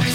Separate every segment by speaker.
Speaker 1: Ik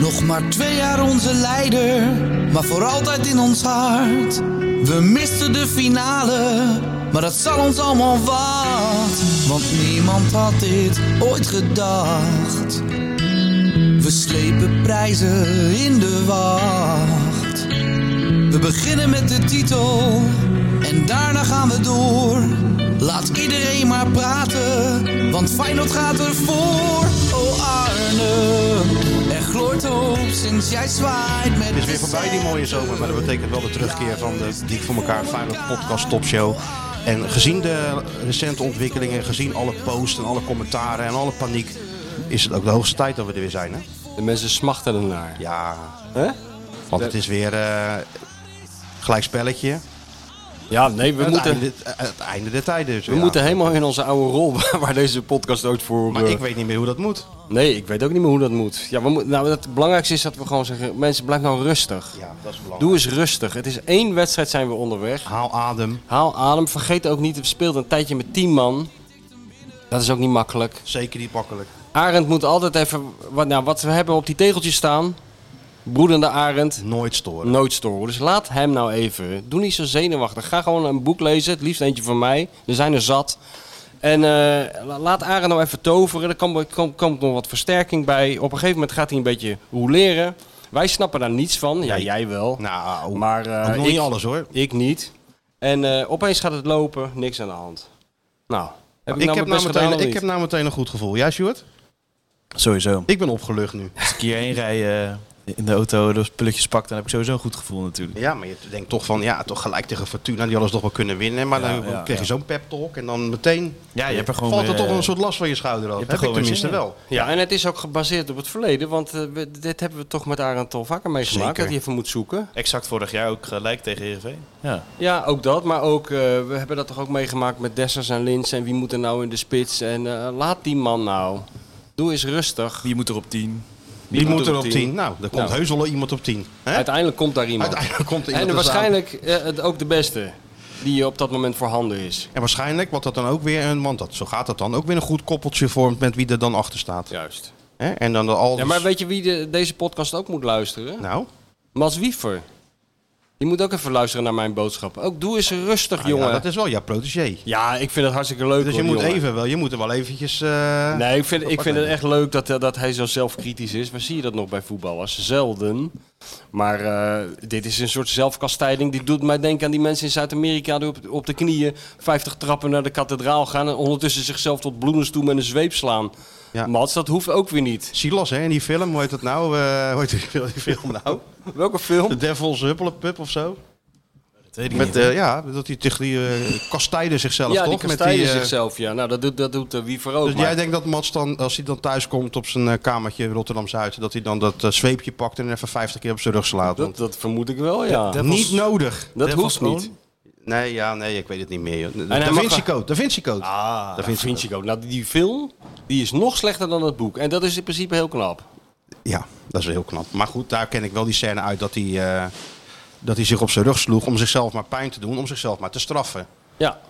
Speaker 2: Nog maar twee jaar onze leider, maar voor altijd in ons hart. We misten de finale, maar dat zal ons allemaal wat. Want niemand had dit ooit gedacht. We slepen prijzen in de wacht. We beginnen met de titel en daarna gaan we door. Laat iedereen maar praten, want Feyenoord gaat ervoor. Oh Arne, er gloort hoop sinds jij zwaait met
Speaker 3: Het is weer voorbij die mooie zomer, maar dat betekent wel de terugkeer van de Dik voor elkaar Feyenoord podcast topshow. En gezien de recente ontwikkelingen, gezien alle posts en alle commentaren en alle paniek, is het ook de hoogste tijd dat we er weer zijn. Hè?
Speaker 4: De mensen smachten ernaar.
Speaker 3: Ja,
Speaker 4: Hè?
Speaker 3: want het is weer eh gelijk spelletje.
Speaker 4: Ja, nee, we,
Speaker 3: Het
Speaker 4: moeten,
Speaker 3: einde, eh, het einde der tijden. dus
Speaker 4: we
Speaker 3: ja.
Speaker 4: moeten helemaal in onze oude rol waar deze podcast ooit voor...
Speaker 3: Maar
Speaker 4: eh,
Speaker 3: ik weet niet meer hoe dat moet.
Speaker 4: Nee, ik weet ook niet meer hoe dat moet. Ja, we moeten- nou, het belangrijkste is dat we gewoon zeggen, mensen blijf nou rustig.
Speaker 3: Ja, dat is belangrijk.
Speaker 4: Doe eens rustig. Het is één wedstrijd zijn we onderweg.
Speaker 3: Haal adem,
Speaker 4: Haal adem. Vergeet ook niet, we speelt een tijdje met 10 man. Dat is ook niet makkelijk.
Speaker 3: zeker niet makkelijk.
Speaker 4: Arend moet altijd even... Wat, nou, wat we hebben op die tegeltjes staan. Broedende Arend.
Speaker 3: Nooit storen.
Speaker 4: Nooit storen. Dus laat hem nou even. Doe niet zo zenuwachtig. Ga gewoon een boek lezen. Het liefst eentje van mij. Er zijn er zat. En eh, la- laat Arend nou even toveren. Er komt, komt, komt nog wat versterking bij. Op een gegeven moment gaat hij een beetje rouleren. Wij snappen daar niets van. Ja,
Speaker 3: Nee.
Speaker 4: jij wel.
Speaker 3: Nou,
Speaker 4: maar eh,
Speaker 3: ook nog
Speaker 4: ik,
Speaker 3: niet alles hoor.
Speaker 4: ik niet. En eh, opeens gaat het lopen. Niks aan de hand. Nou, heb ik,
Speaker 3: Ik,
Speaker 4: nou
Speaker 3: heb, nou
Speaker 4: mijn best gedaan
Speaker 3: meteen,
Speaker 4: of
Speaker 3: ik heb
Speaker 4: niet?
Speaker 3: nou meteen een goed gevoel. Ja, Sjoerd?
Speaker 5: Sowieso.
Speaker 3: Ik ben opgelucht nu.
Speaker 5: Als ik hierheen rij eh, in de auto, de spulletjes pak, dan heb ik sowieso een goed gevoel natuurlijk.
Speaker 3: Ja, maar je denkt toch van, ja, toch gelijk tegen Fortuna, die alles toch wel kunnen winnen. Maar
Speaker 5: Ja,
Speaker 3: dan
Speaker 5: ja,
Speaker 3: krijg je
Speaker 5: ja.
Speaker 3: zo'n pep talk en dan meteen
Speaker 5: Ja, je hebt er gewoon
Speaker 3: valt er
Speaker 5: weer,
Speaker 3: toch wel een
Speaker 5: eh,
Speaker 3: soort last van je schouder af.
Speaker 5: je hebt er
Speaker 3: Heb ik
Speaker 5: gewoon weer
Speaker 3: tenminste
Speaker 5: zin in.
Speaker 3: wel.
Speaker 4: Ja, en het is ook gebaseerd op het verleden. Want eh, we- dit hebben we toch met Arend al vaker meegemaakt.
Speaker 3: Zeker.
Speaker 4: Dat hij even moet zoeken.
Speaker 5: Exact vorig jaar ook gelijk tegen Heerenveen. Ja.
Speaker 4: Ja, ook dat. Maar ook, eh, we hebben dat toch ook meegemaakt met Dessers en Lins. En wie moet er nou in de spits? En eh, laat die man nou. Doe eens rustig.
Speaker 5: Wie moet er op 10?
Speaker 3: Die, moet er op 10.
Speaker 4: tien.
Speaker 3: Nou, er komt
Speaker 4: Nou.
Speaker 3: heus wel iets op 10. Hè?
Speaker 4: Uiteindelijk komt daar iemand.
Speaker 3: Uiteindelijk komt er iemand
Speaker 4: en
Speaker 3: er
Speaker 4: waarschijnlijk eh, het, ook de beste die op dat moment voorhanden is.
Speaker 3: En waarschijnlijk wat dat dan ook weer, een, want dat, zo gaat dat dan, ook weer een goed koppeltje vormt met wie er dan achter staat.
Speaker 4: Juist.
Speaker 3: Hè? En dan de al.
Speaker 4: Ja, maar weet je wie de- deze podcast ook moet luisteren?
Speaker 3: Nou,
Speaker 4: Mas Wiefer. Die moet ook even luisteren naar mijn boodschappen. Ook doe eens rustig, jongen.
Speaker 3: Ah ja,
Speaker 4: Ja,
Speaker 3: dat is wel jouw protégé.
Speaker 4: ik vind het hartstikke leuk.
Speaker 3: Dus je
Speaker 4: hoor,
Speaker 3: moet,
Speaker 4: jongen.
Speaker 3: even wel, je moet er wel eventjes... eh,
Speaker 4: Nee, ik vind, ik
Speaker 3: apart
Speaker 4: vind het
Speaker 3: nemen.
Speaker 4: echt leuk dat, eh, dat hij zo zelfkritisch is. Waar zie je dat nog bij voetballers? Zelden. Maar eh, dit is een soort zelfkastijding. Die doet mij denken aan die mensen in Zuid-Amerika die op, op de knieën 50 trappen naar de kathedraal gaan. En ondertussen zichzelf tot bloedens toe met een zweep slaan.
Speaker 3: Ja.
Speaker 4: Mats, dat hoeft ook weer niet.
Speaker 3: Silas, hè, in die film, hoe heet dat nou? Eh hoe heet die film- die film nou?
Speaker 4: Welke film?
Speaker 3: The Devil's Huppelepup of zo?
Speaker 5: Dat weet ik
Speaker 3: Met,
Speaker 5: niet.
Speaker 3: eh, ja, dat die tegen die eh, kastijden zichzelf
Speaker 4: ja,
Speaker 3: toch?
Speaker 4: die
Speaker 3: Met
Speaker 4: kastijden
Speaker 3: eh,
Speaker 4: zichzelf. Ja, nou, dat doet, dat doet eh, Wiever ook.
Speaker 3: Dus
Speaker 4: maar-
Speaker 3: jij denkt dat Mats dan, als hij dan thuis komt op zijn eh, kamertje in Rotterdam-Zuid, dat hij dan dat eh, zweepje pakt en even 50 keer op zijn rug slaat?
Speaker 4: dat,
Speaker 3: Want
Speaker 4: dat vermoed ik wel, ja.
Speaker 5: dat-
Speaker 4: Dat,
Speaker 3: niet nodig.
Speaker 5: Devil's
Speaker 4: hoeft niet.
Speaker 5: Own?
Speaker 3: Nee, ja, nee, ik weet het niet meer. joh. De,
Speaker 4: hij
Speaker 3: da
Speaker 4: mag
Speaker 3: Vinci
Speaker 4: wel-
Speaker 3: Code, Da Vinci Code. Ah,
Speaker 4: Dat vind ik ook. Nou, die film die is nog slechter dan het boek. En dat is in principe heel knap.
Speaker 3: Ja, dat is heel knap. Maar goed, daar ken ik wel die scène uit dat hij, eh, dat hij zich op zijn rug sloeg om zichzelf maar pijn te doen, om zichzelf maar te straffen.
Speaker 4: Ja.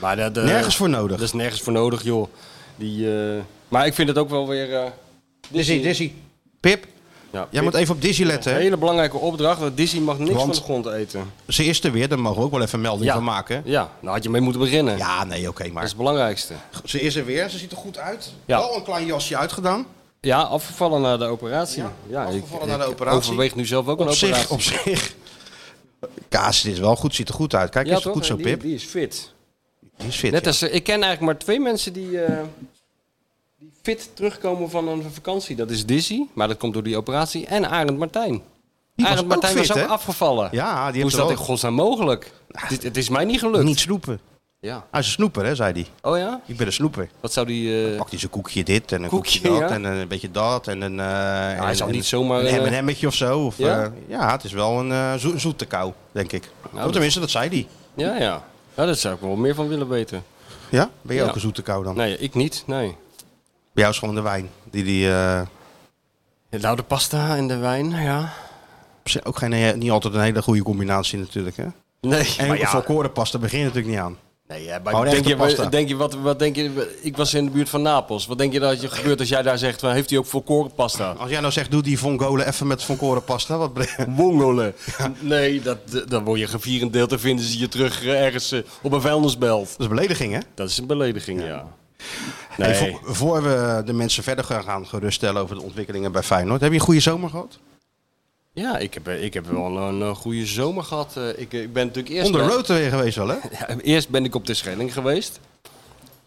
Speaker 4: Maar dat, eh,
Speaker 3: Nergens voor nodig.
Speaker 4: Dat is nergens voor nodig, joh. Die, eh, maar ik vind het ook wel weer... eh,
Speaker 3: Dizzy, Dizzy. Pip,
Speaker 4: Ja.
Speaker 3: Jij moet even op Dizzy letten.
Speaker 4: Een
Speaker 3: hè?
Speaker 4: hele belangrijke opdracht, want Disney mag niks
Speaker 3: Want-
Speaker 4: van de grond eten.
Speaker 3: Ze is er weer, daar mogen we ook wel even een melding
Speaker 4: Ja.
Speaker 3: van maken.
Speaker 4: Ja, daar had je mee moeten beginnen.
Speaker 3: Ja, nee, oké,
Speaker 4: Dat
Speaker 3: maar
Speaker 4: is het belangrijkste.
Speaker 3: dus ze is er weer. Ze ziet er goed uit.
Speaker 4: Ja.
Speaker 3: Wel een klein jasje uitgedaan.
Speaker 4: Ja, afgevallen na de operatie. Ja,
Speaker 3: afgevallen na de operatie.
Speaker 4: overweeg nu zelf ook een
Speaker 3: Op
Speaker 4: operatie.
Speaker 3: zich, op zich. Kaas is wel goed, ziet er goed uit. Kijk,
Speaker 4: ja,
Speaker 3: is
Speaker 4: toch?
Speaker 3: goed zo,
Speaker 4: die,
Speaker 3: Pip.
Speaker 4: Die is fit.
Speaker 3: Die is fit.
Speaker 4: Net
Speaker 3: ja.
Speaker 4: als, eh, ik ken eigenlijk maar twee mensen die, eh, die fit terugkomen van een vakantie. Dat is Dizzy, maar dat komt door die operatie. En Arend Martijn.
Speaker 3: was
Speaker 4: Arend
Speaker 3: ook
Speaker 4: Martijn
Speaker 3: fit,
Speaker 4: was ook
Speaker 3: hè?
Speaker 4: afgevallen.
Speaker 3: Ja, die
Speaker 4: Hoe
Speaker 3: heeft
Speaker 4: is
Speaker 3: er
Speaker 4: dat
Speaker 3: wel-
Speaker 4: in godsnaam mogelijk? Dit, het is mij niet gelukt.
Speaker 3: Niet snoepen.
Speaker 4: Ja.
Speaker 3: Hij is een snoeper, hè, zei hij.
Speaker 4: Oh ja?
Speaker 3: Ik ben een snoeper.
Speaker 4: Wat zou die... eh,
Speaker 3: Pakt hij zijn koekje dit en een koekje,
Speaker 4: Koekje,
Speaker 3: dat
Speaker 4: ja. Nou,
Speaker 3: en een beetje dat en een... eh en,
Speaker 4: hij zal
Speaker 3: en-
Speaker 4: niet zomaar,
Speaker 3: Een
Speaker 4: eh,
Speaker 3: M&M'tje of zo. Of,
Speaker 4: Ja? Nou,
Speaker 3: ja? ja, het is wel een eh, zo- zoete kou, denk ik. Of
Speaker 4: dat-
Speaker 3: tenminste, dat zei hij.
Speaker 4: ja, ja. Ja, daar zou ik wel meer van willen weten.
Speaker 3: Ja? Ben je
Speaker 4: Ja.
Speaker 3: ook een zoete kou dan?
Speaker 4: Nee, ik niet. Nee.
Speaker 3: Bij jou is gewoon de wijn. Die, die eh,
Speaker 4: Nou, de pasta en de wijn, ja.
Speaker 3: op zich ook geen, eh, niet altijd een hele goede combinatie natuurlijk, hè?
Speaker 4: Nee.
Speaker 3: En volkorenpasta begin je natuurlijk niet aan.
Speaker 4: Nee, ja, bij
Speaker 3: Oh, de
Speaker 4: denk,
Speaker 3: echte
Speaker 4: je,
Speaker 3: pasta.
Speaker 4: wat- denk je, wat, wat denk je, ik was in de buurt van Napels. Wat denk je dat je gebeurt als jij daar zegt, van, heeft hij ook volkoren pasta?
Speaker 3: Als jij nou zegt, doe die vongolen even met volkorenpasta. Wat bre-
Speaker 4: Wongole. Nee, dat, dan word je gevierendeeld en vinden ze je terug eh, ergens eh, op een vuilnisbelt.
Speaker 3: dat is belediging, hè?
Speaker 4: Dat is een belediging, ja. Nee.
Speaker 3: Hey, voor, voor we de mensen verder gaan- gaan geruststellen over de ontwikkelingen bij Feyenoord. Heb je een goede zomer gehad?
Speaker 4: Ja, ik heb, eh, ik heb wel een, eh, goede zomer gehad. Eh, Ik, eh, ik ben natuurlijk eerst...
Speaker 3: On the
Speaker 4: bij-
Speaker 3: road weer geweest wel, hè?
Speaker 4: Ja, eerst ben ik op de Schelling geweest.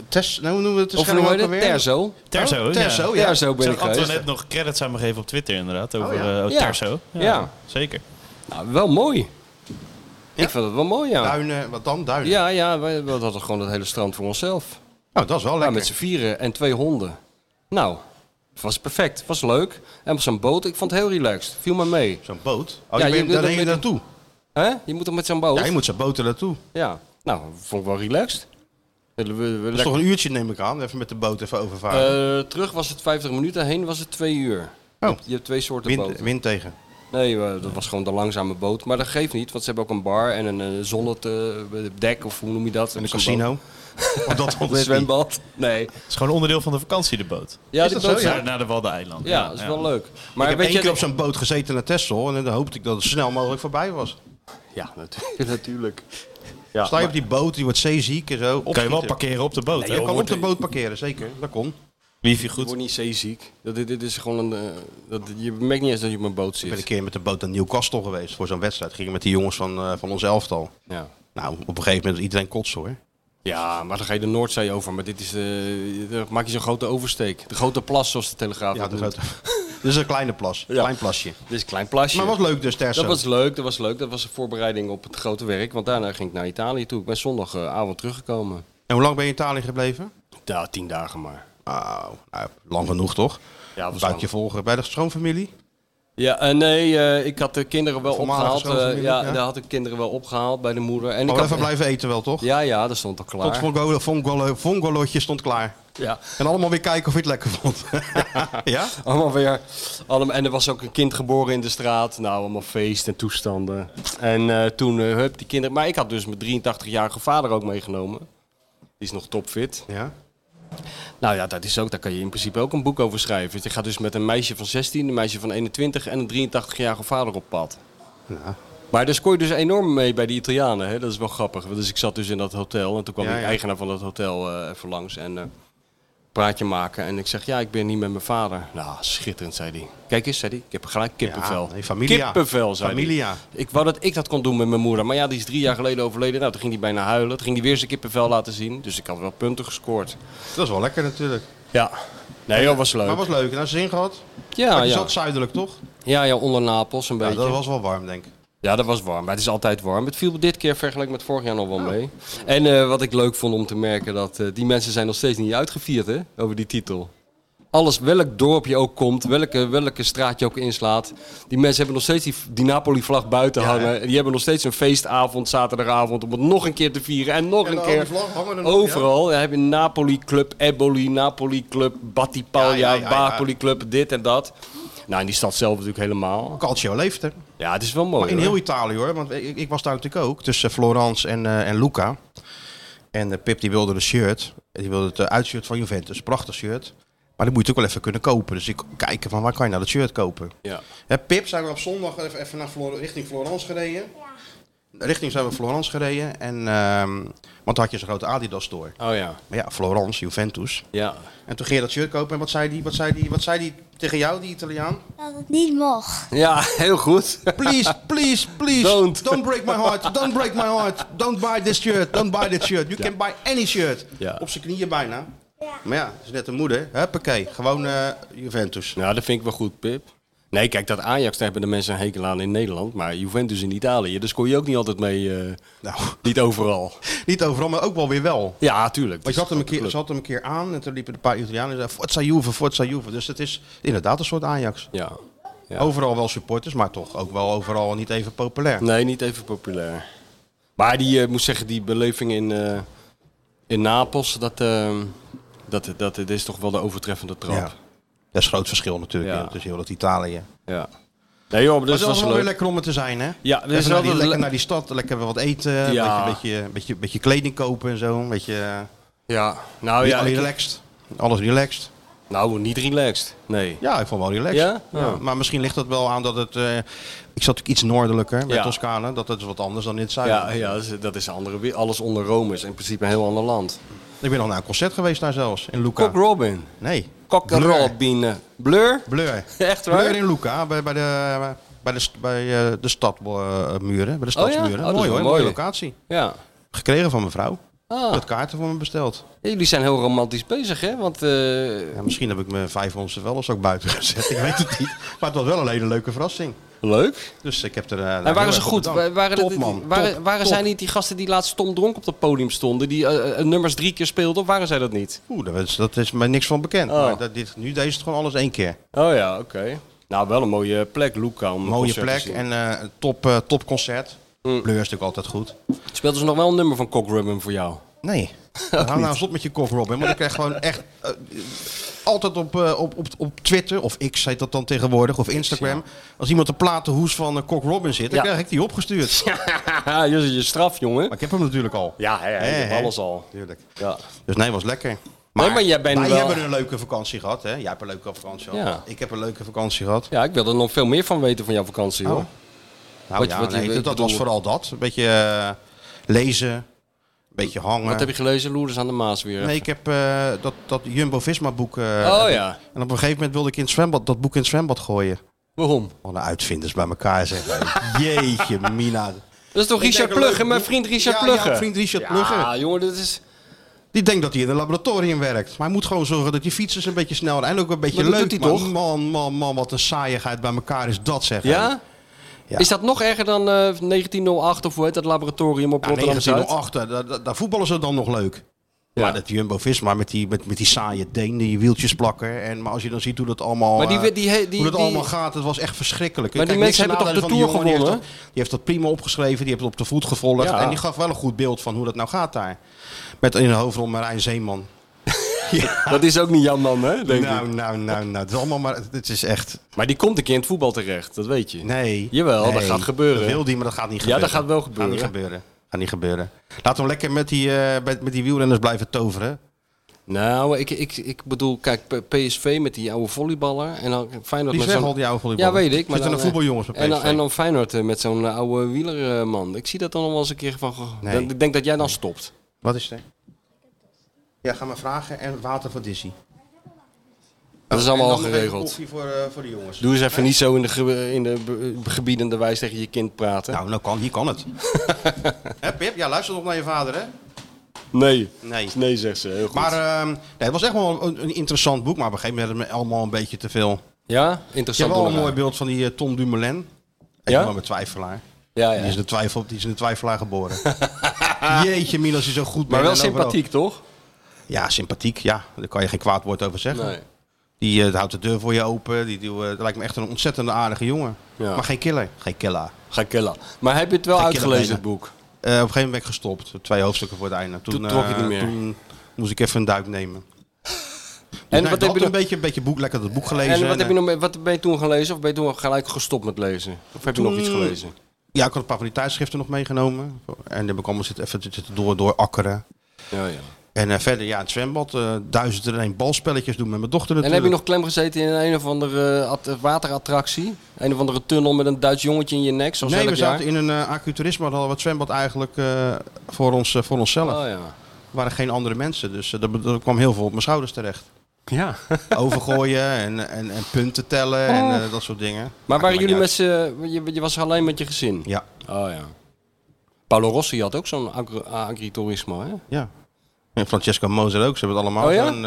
Speaker 3: Tess, nou, hoe noemen we het? de
Speaker 4: Of
Speaker 3: Schelling
Speaker 4: noem je
Speaker 3: ook
Speaker 4: dat?
Speaker 3: alweer?
Speaker 4: Terzo.
Speaker 5: Terzo,
Speaker 3: Oh, Terzo,
Speaker 5: ja.
Speaker 3: ja.
Speaker 4: Terzo ben
Speaker 5: Zou
Speaker 4: ik geweest.
Speaker 5: Antoinette nog credits aan me geven op Twitter inderdaad, over
Speaker 3: Oh, ja.
Speaker 5: eh,
Speaker 4: Ja.
Speaker 5: Terzo.
Speaker 4: Ja.
Speaker 5: Zeker.
Speaker 4: Nou, wel mooi. Ik vond het wel mooi, ja.
Speaker 3: Duinen, wat dan? Duinen.
Speaker 4: Ja, ja, we, we hadden gewoon het hele strand voor onszelf.
Speaker 3: Nou, dat is wel
Speaker 4: Ja,
Speaker 3: lekker.
Speaker 4: met z'n vieren en twee honden. Nou, het was perfect. Het was leuk. En op zo'n boot, ik vond het heel relaxed. Viel me mee.
Speaker 3: Zo'n boot. Oh,
Speaker 4: Ja,
Speaker 3: je
Speaker 4: je
Speaker 3: bent,
Speaker 4: doet
Speaker 3: daar
Speaker 4: dat
Speaker 3: heen je
Speaker 4: met-
Speaker 3: naartoe.
Speaker 4: Hè? Je moet er met zo'n boot?
Speaker 3: Ja, je moet zo'n boot er naartoe.
Speaker 4: Ja. Nou, vond ik wel relaxed. We- we-
Speaker 3: Dat
Speaker 4: we-
Speaker 3: is
Speaker 4: lekker-
Speaker 3: toch een uurtje, neem ik aan. Even met de boot even overvaren.
Speaker 4: Eh, terug was het 50 minuten, heen was het twee uur.
Speaker 3: oh,
Speaker 4: Je hebt twee soorten
Speaker 3: wind,
Speaker 4: boten.
Speaker 3: wind tegen.
Speaker 4: Nee, eh, dat was gewoon de langzame boot. Maar dat geeft niet, want ze hebben ook een bar en een eh, zonnet eh, dek, of hoe noem je dat?
Speaker 3: In
Speaker 4: Op
Speaker 3: een
Speaker 4: zo'n
Speaker 3: casino. Of dat
Speaker 4: boot. Op een
Speaker 3: is niet.
Speaker 4: zwembad. Nee.
Speaker 5: Het is gewoon onderdeel van de vakantie, de boot.
Speaker 4: Ja,
Speaker 3: Is
Speaker 4: die
Speaker 3: dat zo?
Speaker 4: boot-
Speaker 3: Ja.
Speaker 5: Naar, naar de Waddeneilanden.
Speaker 4: Ja, dat is wel leuk. Maar
Speaker 3: Ik heb
Speaker 4: weet
Speaker 3: één
Speaker 4: je,
Speaker 3: keer op zo'n boot gezeten naar Texel en dan hoopte ik dat het snel mogelijk voorbij was.
Speaker 4: Ja, natuurlijk. natuurlijk.
Speaker 3: Sta je op die boot, die wordt zeeziek en zo.
Speaker 5: Kan je wel
Speaker 3: opschieten.
Speaker 5: parkeren op de boot, hè?
Speaker 3: Je kan
Speaker 5: Wordt
Speaker 3: op de
Speaker 5: de-
Speaker 3: boot parkeren, zeker. Dat kon.
Speaker 5: Wifi
Speaker 4: Ik
Speaker 5: goed.
Speaker 4: word niet zeeziek. Dat, dit, dit is gewoon een, eh, dat, je merkt niet eens dat je op een boot
Speaker 3: Ik ben een
Speaker 4: zit.
Speaker 3: keer met de boot naar Newcastle geweest voor zo'n wedstrijd. Gingen met die jongens van, eh, van ons elftal.
Speaker 4: Ja.
Speaker 3: Nou, op een gegeven moment iedereen kotst hoor.
Speaker 4: ja, maar dan ga je de Noordzee over. Maar dit is, eh, dan maak je zo'n grote oversteek. De grote plas, zoals de Telegraaf
Speaker 3: Ja,
Speaker 4: dat
Speaker 3: dat is,
Speaker 4: noemt.
Speaker 3: dit is een kleine plas.
Speaker 4: Ja.
Speaker 3: Klein plasje.
Speaker 4: Dit is een klein plasje.
Speaker 3: Maar was leuk dus, Terzo.
Speaker 4: dat was leuk, dat was leuk. Dat was een voorbereiding op het grote werk. Want daarna ging ik naar Italië toe. Ik ben zondagavond teruggekomen.
Speaker 3: En hoe lang ben je in Italië gebleven?
Speaker 4: Ja, tien dagen maar.
Speaker 3: Nou, nou, lang genoeg toch?
Speaker 4: Ja, was
Speaker 3: Buikje volgen bij de schoonfamilie.
Speaker 4: Ja, eh, nee, eh, ik had de kinderen wel
Speaker 3: Voormalige
Speaker 4: opgehaald. eh,
Speaker 3: schoonfamilie,
Speaker 4: ja,
Speaker 3: ja.
Speaker 4: daar had ik kinderen wel opgehaald bij de moeder. En
Speaker 3: Maar
Speaker 4: ik
Speaker 3: we
Speaker 4: had,
Speaker 3: even blijven eten wel toch?
Speaker 4: Ja, ja, dat stond al
Speaker 3: Tot
Speaker 4: klaar.
Speaker 3: vongolo, vongolo, vongolotje stond klaar.
Speaker 4: Ja.
Speaker 3: En allemaal weer kijken of je het lekker vond. ja?
Speaker 4: Allemaal weer. Allemaal, en er was ook een kind geboren in de straat. Nou, allemaal feest en toestanden. En eh, toen, eh, hup, die kinderen. Maar ik had dus mijn 83-jarige vader ook meegenomen. Die is nog topfit.
Speaker 3: Ja.
Speaker 4: Nou ja, dat is ook, daar kan je in principe ook een boek over schrijven. Je gaat dus met een meisje van 16, een meisje van 21 en een 83-jarige vader op pad. Maar daar scoor je dus enorm mee bij de Italianen. Hè? Dat is wel grappig. Dus ik zat dus in dat hotel en toen kwam
Speaker 3: Ja,
Speaker 4: de
Speaker 3: ja.
Speaker 4: eigenaar van dat hotel eh, even langs en eh, praatje maken. En ik zeg, ja, ik ben niet met mijn vader. Nou, schitterend, zei hij. Kijk eens, zei hij, ik heb gelijk kippenvel.
Speaker 3: Ja, nee, familia.
Speaker 4: Kippenvel, zei
Speaker 3: Familia.
Speaker 4: hij. Ik wou dat ik dat kon doen met mijn moeder. Maar ja, die is drie jaar geleden overleden. Nou, toen ging hij bijna huilen. Toen ging hij weer zijn kippenvel laten zien. Dus ik had wel punten gescoord.
Speaker 3: Dat is wel lekker natuurlijk.
Speaker 4: Ja. Nee, dat was leuk.
Speaker 3: Maar was leuk. Nou, zin gehad.
Speaker 4: Ja,
Speaker 3: maar je
Speaker 4: ja.
Speaker 3: zat zuidelijk toch?
Speaker 4: ja, ja, onder Napels een
Speaker 3: Ja,
Speaker 4: beetje.
Speaker 3: dat was wel warm denk ik.
Speaker 4: Ja, dat was warm. Maar het is altijd warm. Het viel dit keer vergeleken met vorig jaar nog
Speaker 3: Oh.
Speaker 4: wel mee. En eh, wat ik leuk vond om te merken, dat eh, die mensen zijn nog steeds niet uitgevierd hè, over die titel. Alles, welk dorp je ook komt, welke, welke straat je ook inslaat. Die mensen hebben nog steeds die, die Napoli-vlag buiten hangen. En die hebben nog steeds een feestavond, zaterdagavond, om het nog een keer te vieren. En nog
Speaker 3: En
Speaker 4: een
Speaker 3: al
Speaker 4: keer.
Speaker 3: die vlaggen hangen er nog,
Speaker 4: Overal. Dan heb je Napoli-club, Eboli, Napoli-club, Battipaglia,
Speaker 3: Ja, ja, ja, ja.
Speaker 4: Bapoli-club, dit en dat. Nou, in die stad zelf natuurlijk helemaal.
Speaker 3: Calcio leeft hè.
Speaker 4: Ja, het is wel mooi.
Speaker 3: Maar in
Speaker 4: hoor.
Speaker 3: heel Italië hoor, want ik, ik was daar natuurlijk ook tussen Florence en, eh, en Luca. En eh, Pip die wilde een shirt, die wilde het eh, uitshirt van Juventus, prachtig shirt. Maar dat moet je natuurlijk wel even kunnen kopen. Dus ik kijken van waar kan je nou dat shirt kopen.
Speaker 4: Ja.
Speaker 3: Hè, Pip, zijn we op zondag even, even naar Flor- richting Florence gereden. Richting zijn we Florence gereden. En, ehm, want daar had je zo'n grote Adidas store.
Speaker 4: Oh ja.
Speaker 3: Maar ja, Florence, Juventus.
Speaker 4: Ja.
Speaker 3: En toen ging je dat shirt kopen. En wat zei die, wat zei die, wat zei die tegen jou, die Italiaan?
Speaker 6: Dat het niet mocht.
Speaker 4: Ja, heel goed.
Speaker 3: Please, please, please.
Speaker 4: Don't.
Speaker 3: break my heart. Don't break my heart. Don't buy this shirt. Don't buy this shirt. You can buy any shirt.
Speaker 4: Ja.
Speaker 3: Op zijn knieën bijna. Maar ja, het is net een moeder. Huppakee. Gewoon eh, Juventus.
Speaker 4: Nou, dat vind ik wel goed, Pip. Nee, kijk, dat Ajax, daar hebben de mensen een hekel aan in Nederland. Maar Juventus in Italië, daar scoor je ook niet altijd mee. eh,
Speaker 3: Nou,
Speaker 4: niet overal.
Speaker 3: niet overal, maar ook wel weer wel.
Speaker 4: Ja, tuurlijk.
Speaker 3: Want je had hem, een keer, ze
Speaker 4: Club.
Speaker 3: had hem een keer aan en toen liepen een paar Italianen en zeiden Forza Juve, Forza Juve. Dus het is inderdaad een soort Ajax.
Speaker 4: Ja. Ja.
Speaker 3: Overal wel supporters, maar toch ook wel overal niet even populair.
Speaker 4: Nee, niet even populair. Maar die, eh, moet zeggen, die beleving in, eh, in Napels, dat, eh, dat, dat, dat is toch wel de overtreffende trap.
Speaker 3: Ja.
Speaker 4: Ja.
Speaker 3: Dat is een groot verschil natuurlijk
Speaker 4: Ja.
Speaker 3: hè, tussen heel dat Italië.
Speaker 4: Nee joh, maar
Speaker 3: Dus
Speaker 4: dus
Speaker 3: het
Speaker 4: dat
Speaker 3: was
Speaker 4: is
Speaker 3: wel
Speaker 4: leuk.
Speaker 3: weer lekker om er te zijn, hè?
Speaker 4: Ja,
Speaker 3: Even
Speaker 4: dus
Speaker 3: naar
Speaker 4: wel
Speaker 3: die,
Speaker 4: weer
Speaker 3: lekker
Speaker 4: le-
Speaker 3: naar die stad, lekker wat eten,
Speaker 4: Ja.
Speaker 3: een beetje, beetje, beetje, beetje kleding kopen en zo. Een beetje
Speaker 4: Ja. Nou
Speaker 3: oh,
Speaker 4: ja, ik-
Speaker 3: relaxed. Alles relaxed.
Speaker 4: nou niet relaxed. Nee.
Speaker 3: Ja, ik vond wel relaxed.
Speaker 4: Ja? Ja.
Speaker 3: Maar misschien ligt dat wel aan dat het... eh, ik zat natuurlijk iets noordelijker met
Speaker 4: Ja.
Speaker 3: Toscane. Dat is wat anders dan in het zuiden.
Speaker 4: Ah, Ja, ja, dat is- dat is een andere wereld. Alles onder Rome is in principe een heel ander land.
Speaker 3: Ik ben nog naar een concert geweest daar zelfs, in Luca.
Speaker 4: Cock Robin.
Speaker 3: Nee.
Speaker 4: Cock
Speaker 3: Blur.
Speaker 4: Robin. Blur?
Speaker 3: Blur.
Speaker 4: Echt waar?
Speaker 3: Blur in Luca, bij, bij de, bij de, st- bij eh, de stadmuren, bij de stadsmuren.
Speaker 4: Oh, dat
Speaker 3: mooi
Speaker 4: is wel
Speaker 3: hoor,
Speaker 4: mooi.
Speaker 3: mooie locatie.
Speaker 4: Ja.
Speaker 3: Gekregen van mevrouw.
Speaker 4: Ah,
Speaker 3: Met kaarten voor me besteld.
Speaker 4: jullie zijn heel romantisch bezig, hè? Want eh,
Speaker 3: Ja, misschien heb ik mijn vijf honderdste wel eens ook buiten gezet, ik weet het niet. Maar het was wel een hele leuke verrassing.
Speaker 4: leuk.
Speaker 3: Dus ik heb er... eh, nou,
Speaker 4: En
Speaker 3: heel
Speaker 4: waren ze
Speaker 3: erg op
Speaker 4: goed?
Speaker 3: bedankt.
Speaker 4: Wa- Waren,
Speaker 3: top
Speaker 4: dit-
Speaker 3: man,
Speaker 4: waren,
Speaker 3: top,
Speaker 4: waren
Speaker 3: top.
Speaker 4: zij niet die gasten die laatst stom dronk op dat podium stonden, die eh, eh, nummers drie keer speelden? Of waren zij dat niet?
Speaker 3: Oeh, dat is, dat is mij niks van bekend.
Speaker 4: Oh.
Speaker 3: Maar dat, dit, nu deze is het gewoon alles één keer.
Speaker 4: Oh ja, oké. Nou, wel een mooie plek, Luca. Om een
Speaker 3: Mooie
Speaker 4: concert te
Speaker 3: plek
Speaker 4: zien.
Speaker 3: en eh, een top, eh, topconcert. Blur
Speaker 4: Mm.
Speaker 3: is natuurlijk altijd goed.
Speaker 4: Speelden ze nog wel een nummer van Cock Robin voor jou?
Speaker 3: Nee. Hou nou eens op met je koffer op. Want ik krijg gewoon echt eh, altijd op, eh, op, op, op Twitter, of X heet dat dan tegenwoordig, of Instagram. Als iemand de platenhoes van eh, Cock Robin zit, dan
Speaker 4: Ja.
Speaker 3: krijg ik die opgestuurd.
Speaker 4: Haha, je zit je straf, jongen.
Speaker 3: Maar ik heb hem natuurlijk al.
Speaker 4: Ja, hè, hè,
Speaker 3: Hè,
Speaker 4: je hebt
Speaker 3: hè?
Speaker 4: alles al.
Speaker 3: Tuurlijk.
Speaker 4: Ja.
Speaker 3: Dus nee, was lekker.
Speaker 4: Oh, maar jij bent
Speaker 3: wij
Speaker 4: wel-
Speaker 3: hebben een leuke vakantie gehad. Hè? Jij hebt een leuke vakantie gehad.
Speaker 4: Ja.
Speaker 3: Ik heb een leuke vakantie gehad.
Speaker 4: ja, ik wil er nog veel meer van weten van jouw vakantie, hoor.
Speaker 3: Oh. Nou
Speaker 4: Wat-
Speaker 3: ja,
Speaker 4: wat-
Speaker 3: nee,
Speaker 4: ik
Speaker 3: dat
Speaker 4: bedoel-
Speaker 3: was vooral dat. Een beetje eh, lezen, een beetje hangen.
Speaker 4: Wat heb je gelezen? Loerders aan de Maas weer.
Speaker 3: Nee, ik heb eh, dat, dat Jumbo-Visma boek. eh,
Speaker 4: oh ja,
Speaker 3: En op een gegeven moment wilde ik in het zwembad, dat boek in het zwembad gooien.
Speaker 4: waarom?
Speaker 3: Alle uitvinders bij elkaar zeggen. Jeetje, Mina.
Speaker 4: Dat is toch
Speaker 3: Ik
Speaker 4: Richard
Speaker 3: denk wel
Speaker 4: Plugge,
Speaker 3: leuk-
Speaker 4: mijn vriend Richard
Speaker 3: ja,
Speaker 4: Plugge?
Speaker 3: Ja, vriend Richard Plugge.
Speaker 4: Ja, jongen, dat is...
Speaker 3: Die denkt dat hij in een laboratorium werkt. Maar hij moet gewoon zorgen dat die fietsers een beetje snel en ook een beetje
Speaker 4: Maar dat
Speaker 3: leuk.
Speaker 4: doet hij
Speaker 3: maar
Speaker 4: toch?
Speaker 3: man, man, man, wat een saaiigheid bij elkaar is dat, zeg.
Speaker 4: Ja?
Speaker 3: Ja.
Speaker 4: Is dat nog erger dan eh, 1908 of hoe heet dat laboratorium op
Speaker 3: Ja,
Speaker 4: Rotterdam-Zuid?
Speaker 3: 1908, daar, daar- daar voetballen ze dan nog leuk.
Speaker 4: Ja.
Speaker 3: Maar dat Jumbo-Visma met die, met, met die saaie Deen, die wieltjes plakken. En, maar als je dan ziet hoe dat allemaal,
Speaker 4: Maar die-
Speaker 3: eh,
Speaker 4: die- die- die-
Speaker 3: hoe dat
Speaker 4: die-
Speaker 3: allemaal gaat, het was echt verschrikkelijk.
Speaker 4: Maar die
Speaker 3: niks
Speaker 4: mensen
Speaker 3: ten
Speaker 4: hebben toch
Speaker 3: nadele
Speaker 4: de
Speaker 3: van die
Speaker 4: Tour
Speaker 3: jongen,
Speaker 4: gewonnen?
Speaker 3: Die heeft, dat, die heeft dat prima opgeschreven, die heeft het op de voet gevolgd.
Speaker 4: Ja.
Speaker 3: En die gaf wel een goed beeld van hoe dat nou gaat daar. Met in de hoofdrol Marijn Zeeman.
Speaker 4: Dat is ook niet jouw man, hè? Denk
Speaker 3: nou,
Speaker 4: ik.
Speaker 3: nou, nou, nou. Het is allemaal maar... Het is echt...
Speaker 4: Maar die komt een keer in het voetbal terecht, dat weet je.
Speaker 3: Nee.
Speaker 4: Jawel, dat
Speaker 3: Nee.
Speaker 4: gaat gebeuren.
Speaker 3: Dat wil die, maar dat gaat niet
Speaker 4: Ja,
Speaker 3: gebeuren.
Speaker 4: dat gaat wel gebeuren.
Speaker 3: Gaat niet gebeuren. Gaat niet gebeuren. Laten we lekker met die, eh, met, met die wielrenners blijven toveren.
Speaker 4: Nou, ik, ik, ik bedoel, kijk, P- PSV met die oude volleyballer. En dan Feyenoord
Speaker 3: Die
Speaker 4: met
Speaker 3: is weg
Speaker 4: zo'n...
Speaker 3: al, die oude
Speaker 4: Ja,
Speaker 3: volleyballer.
Speaker 4: weet ik. Maar
Speaker 3: Zitten er
Speaker 4: eh,
Speaker 3: voetbaljongens op
Speaker 4: en dan,
Speaker 3: PSV?
Speaker 4: en dan Feyenoord eh, met zo'n eh, oude wielerman. Ik zie dat dan nog wel eens een keer van... goh,
Speaker 3: Nee.
Speaker 4: dan- Ik denk dat jij dan stopt.
Speaker 3: Wat is er? Ja, ga maar vragen. En water voor Dizzy.
Speaker 4: Dat is
Speaker 3: Oh, En
Speaker 4: allemaal
Speaker 3: dan
Speaker 4: al
Speaker 3: nog even
Speaker 4: geregeld.
Speaker 3: koffie voor, eh, voor de jongens.
Speaker 4: Doe eens even niet zo in de, ge- in de be- gebiedende wijs tegen je kind praten.
Speaker 3: Nou, nou kan, hier kan het. hè, Pip? Ja, luister nog naar je vader, hè?
Speaker 4: Nee.
Speaker 3: Nee.
Speaker 4: Nee, zegt ze. Heel goed.
Speaker 3: Maar ehm, nee, het was echt wel een, een interessant boek, maar op een gegeven moment werd het me allemaal een beetje te veel. Je
Speaker 4: ja?
Speaker 3: hebt
Speaker 4: Interessant.
Speaker 3: wel een
Speaker 4: onderwerp.
Speaker 3: mooi beeld van die eh, Tom Dumoulin. Ik
Speaker 4: Ja?
Speaker 3: ja? ben een twijfelaar.
Speaker 4: Ja,
Speaker 3: Die, is
Speaker 4: ja.
Speaker 3: een twijfel, die is in de twijfelaar geboren. Jeetje, Milan, als je zo goed bent.
Speaker 4: Maar wel
Speaker 3: en overal-
Speaker 4: sympathiek, toch?
Speaker 3: Ja, sympathiek, ja. Daar kan je geen kwaad woord over zeggen.
Speaker 4: Nee.
Speaker 3: Die eh, houdt de deur voor je open. Die, die, eh, dat lijkt me echt een ontzettend aardige jongen.
Speaker 4: Ja.
Speaker 3: Maar geen killer. Geen killer. Eh,
Speaker 4: Ga killen. Maar heb je het wel
Speaker 3: Ga killen
Speaker 4: uitgelezen, het
Speaker 3: bijna.
Speaker 4: boek?
Speaker 3: op een gegeven moment ben ik gestopt. Twee hoofdstukken voor het einde. Toen,
Speaker 4: Toen trok je
Speaker 3: eh,
Speaker 4: niet meer.
Speaker 3: Toen moest ik even een duik nemen.
Speaker 4: En
Speaker 3: en
Speaker 4: wat
Speaker 3: wat
Speaker 4: heb je
Speaker 3: een
Speaker 4: nog...
Speaker 3: beetje, een beetje boek, lekker dat boek gelezen.
Speaker 4: En wat, heb
Speaker 3: eh,
Speaker 4: je nog, wat ben je toen gelezen? Of ben je toen gelijk gestopt met lezen? Of heb je nog iets
Speaker 3: Toen-
Speaker 4: gelezen?
Speaker 3: eh, Ja, ik had een paar van die tijdschriften nog meegenomen. En die heb ik allemaal zitten, even zitten door, door akkeren.
Speaker 4: Ja, ja.
Speaker 3: En eh, verder, ja, het zwembad. eh duizend en één balspelletjes doen met mijn dochter
Speaker 4: En
Speaker 3: natuurlijk.
Speaker 4: heb je nog klem gezeten in een of andere eh, at- waterattractie? Een of andere tunnel met een Duits jongetje in je nek, zoals
Speaker 3: Nee,
Speaker 4: elk
Speaker 3: we
Speaker 4: jaar?
Speaker 3: zaten in een eh acuturisme. Hadden we het zwembad eigenlijk eh, voor, ons, eh, voor onszelf.
Speaker 4: Oh ja.
Speaker 3: Er waren geen andere mensen. Dus eh, dat, dat kwam heel veel op mijn schouders terecht.
Speaker 4: Ja.
Speaker 3: Overgooien en, en, en punten tellen en
Speaker 4: Oh.
Speaker 3: eh, dat soort dingen.
Speaker 4: Maar waren
Speaker 3: niet
Speaker 4: jullie met
Speaker 3: uit.
Speaker 4: z'n... Je, je was alleen met je gezin?
Speaker 3: Ja.
Speaker 4: Oh ja. Paolo Rossi had ook zo'n agri- agriturismo, hè?
Speaker 3: Ja. En Francesco Moser ook. Ze hebben het allemaal
Speaker 4: Oh ja?
Speaker 3: zo'n,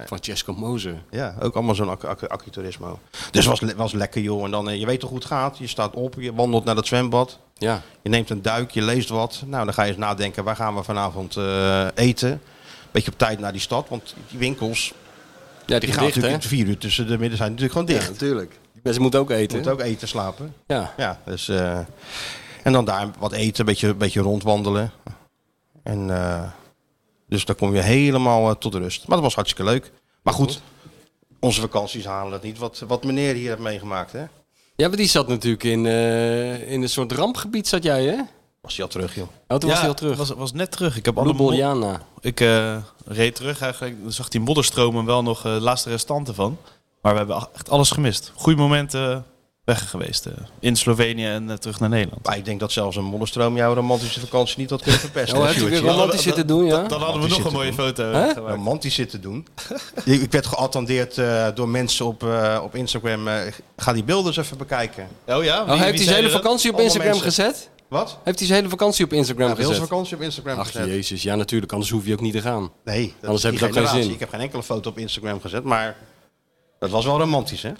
Speaker 3: eh,
Speaker 4: Francesco Moser.
Speaker 3: Ja, ook allemaal zo'n accu- accu- accuturismo. Dus was, le- was lekker joh. En dan, eh, je weet toch hoe het gaat. Je staat op, je wandelt naar dat zwembad.
Speaker 4: Ja.
Speaker 3: Je neemt een duik, je leest wat. Nou, dan ga je eens nadenken, waar gaan we vanavond eh, eten? Beetje op tijd naar die stad, want die winkels
Speaker 4: Ja,
Speaker 3: die
Speaker 4: die
Speaker 3: gaan
Speaker 4: gedichten, hè?
Speaker 3: natuurlijk vier uur tussen de midden zijn natuurlijk gewoon
Speaker 4: Ja,
Speaker 3: dicht.
Speaker 4: natuurlijk. Die mensen moeten ook
Speaker 3: Je
Speaker 4: eten.
Speaker 3: moet ook eten, slapen.
Speaker 4: Ja.
Speaker 3: Ja, dus, eh, en dan daar wat eten, een beetje, een beetje rondwandelen. En, eh, dus dan kom je helemaal eh, tot rust. Maar dat was hartstikke leuk. Maar goed, onze vakanties halen het niet. Wat, wat meneer hier heeft meegemaakt, hè?
Speaker 4: Ja, maar die zat natuurlijk in, eh, in een soort rampgebied, zat jij, hè?
Speaker 3: Was hij al terug, joh.
Speaker 4: Oh, toen was hij al terug.
Speaker 7: Was, was net terug. Ik heb alle mo-
Speaker 4: Ljubljana.
Speaker 7: Ik eh, reed terug eigenlijk. Dan zag die modderstromen wel nog eh, de laatste restanten van. Maar we hebben al- echt alles gemist. Goede momenten eh, weg geweest. eh, in Slovenië en eh, terug naar Nederland.
Speaker 3: Maar ik denk dat zelfs een modderstroom jouw romantische vakantie niet had kunnen verpesten.
Speaker 4: Oh,
Speaker 3: hè,
Speaker 4: heb je
Speaker 3: Sjoerd?
Speaker 4: weer romantisch zitten doen, ja?
Speaker 7: Dan hadden we
Speaker 3: Wat is
Speaker 7: nog een
Speaker 3: dit
Speaker 7: mooie
Speaker 3: te
Speaker 7: foto.
Speaker 4: Hè?
Speaker 7: eh, gemaakt.
Speaker 3: romantisch zitten doen. ik ik werd geattendeerd eh, door mensen op, eh, op Instagram. eh, ga die beelden eens even bekijken.
Speaker 7: Oh ja?
Speaker 4: Oh,
Speaker 7: wie-
Speaker 4: heeft
Speaker 7: wie
Speaker 4: hij
Speaker 7: zei
Speaker 4: zijn hele
Speaker 7: dat?
Speaker 4: vakantie op
Speaker 3: Allemaal
Speaker 4: Instagram
Speaker 3: mensen.
Speaker 4: gezet?
Speaker 3: Wat?
Speaker 4: Heeft hij zijn hele vakantie op Instagram
Speaker 3: Ja, heel
Speaker 4: gezet?
Speaker 3: zijn vakantie op Instagram
Speaker 4: Ach
Speaker 3: gezet.
Speaker 4: jezus, ja natuurlijk, anders hoef je ook niet te gaan.
Speaker 3: Nee, dat
Speaker 4: Anders
Speaker 3: is die
Speaker 4: heb je het ook geen
Speaker 3: generatie.
Speaker 4: zin.
Speaker 3: Ik heb geen enkele foto op Instagram gezet, maar dat was wel romantisch, hè?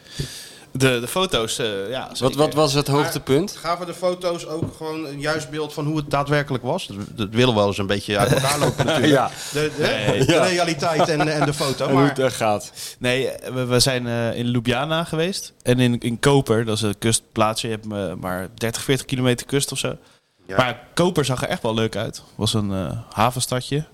Speaker 7: De, de foto's, eh, ja.
Speaker 4: Wat,
Speaker 7: zeker.
Speaker 4: wat was het hoogtepunt?
Speaker 3: Gaven de foto's ook gewoon een juist beeld van hoe het daadwerkelijk was? Dat, dat wil wel eens een beetje uit elkaar lopen natuurlijk.
Speaker 4: Ja.
Speaker 3: De, de- de realiteit en, en de foto.
Speaker 4: En hoe het
Speaker 3: Maar
Speaker 4: er gaat.
Speaker 7: Nee, we, we zijn eh, in Ljubljana geweest. En in, in Koper, dat is een kustplaatsje. Je hebt eh, maar 30, 40 kilometer kust of zo. Maar Koper zag er echt wel leuk uit. was een eh, havenstadje.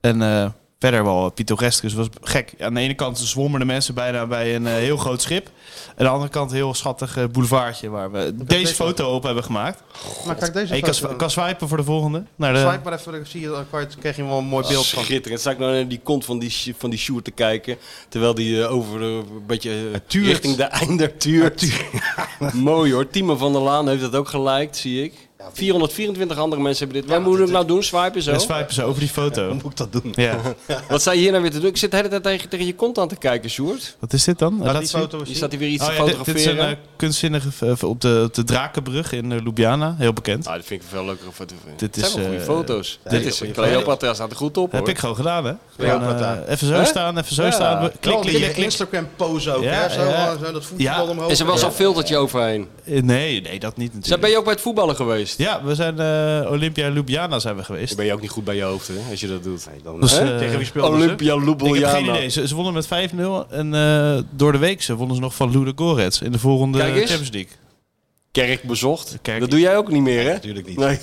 Speaker 7: En eh, verder wel pittoresk. Dus het was gek. Aan de ene kant zwommen de mensen bijna bij een eh, heel groot schip. En aan de andere kant een heel schattig eh, boulevardje waar we deze foto op hebben gemaakt.
Speaker 3: maar kijk deze
Speaker 7: Hey, ik kan, swi-
Speaker 3: foto.
Speaker 7: kan swipen voor de volgende. Naar
Speaker 4: eh,
Speaker 7: de,
Speaker 3: Swipe maar even, dan zie je, dan kan je- krijg je wel een mooi beeld van.
Speaker 4: Schitterend. Sta ik nou naar die kont van die, Sj- van die Sjoerd te kijken. Terwijl die eh, over de- een beetje eh,
Speaker 3: tuurt.
Speaker 4: richting de einder tuurt. Mooi hoor. Timo van der Laan heeft dat ook geliked, zie ik. 424 andere mensen hebben dit. Wat moeten we nou doen? Swipen zo?
Speaker 7: de swipen ze over die foto.
Speaker 3: Hoe moet ik dat doen?
Speaker 7: Ja.
Speaker 4: Wat sta je hier nou weer te doen? Ik zit de hele tijd tegen, tegen je kont aan te kijken, Sjoerd.
Speaker 7: Wat is dit dan?
Speaker 3: Laat
Speaker 7: Laat
Speaker 3: die
Speaker 7: zien.
Speaker 3: foto eens
Speaker 4: Je
Speaker 3: zien.
Speaker 4: staat hier weer iets
Speaker 7: Oh
Speaker 4: te
Speaker 7: ja, dit,
Speaker 4: fotograferen.
Speaker 7: dit is een eh, kunstzinnige eh, op, de, op de Drakenbrug in eh, Ljubljana, heel bekend.
Speaker 4: Ah, dat vind ik een veel leukere foto.
Speaker 7: Dit
Speaker 4: zijn
Speaker 7: is,
Speaker 4: wel goede
Speaker 7: eh,
Speaker 4: foto's.
Speaker 7: dit
Speaker 4: Dit
Speaker 7: is
Speaker 4: is
Speaker 7: een goede
Speaker 4: Cleopatra staat er goed op
Speaker 7: heb
Speaker 4: hoor.
Speaker 7: ik gewoon gedaan, hè?
Speaker 3: Ja,
Speaker 7: Gewoon, eh,
Speaker 3: Pata.
Speaker 7: even zo
Speaker 4: Hè?
Speaker 7: staan, even zo
Speaker 4: Ja.
Speaker 7: staan. Klik,
Speaker 3: Klik,
Speaker 7: Klik, klik, klik.
Speaker 3: Instagram-pose ook,
Speaker 7: Ja,
Speaker 3: hè? Zo,
Speaker 7: ja.
Speaker 3: zo dat voetbal
Speaker 7: Ja.
Speaker 3: omhoog.
Speaker 4: Is er wel
Speaker 3: Ja.
Speaker 4: zo'n filtertje overheen?
Speaker 7: Eh, Nee, nee, dat niet
Speaker 4: Zij,
Speaker 7: natuurlijk.
Speaker 4: ben je ook bij het voetballen geweest?
Speaker 7: Ja, we zijn eh, Olympia Ljubljana zijn we geweest.
Speaker 4: Dan ben je ook niet goed bij je hoofd hè, als je dat doet.
Speaker 3: Nee, dan,
Speaker 7: Dus,
Speaker 3: eh,
Speaker 7: eh,
Speaker 3: tegen wie speelden ze?
Speaker 4: Olympia
Speaker 7: Ik heb geen
Speaker 4: Ljubljana.
Speaker 7: idee. Ze, ze wonnen met 5-0 en eh, door de week ze wonnen ze nog van Ludo Goretz in de volgende
Speaker 4: Kijk eens.
Speaker 7: Champions League.
Speaker 4: Kerk bezocht.
Speaker 7: Kerk-
Speaker 4: Dat doe jij ook niet meer hè?
Speaker 3: Natuurlijk niet.
Speaker 4: Nee.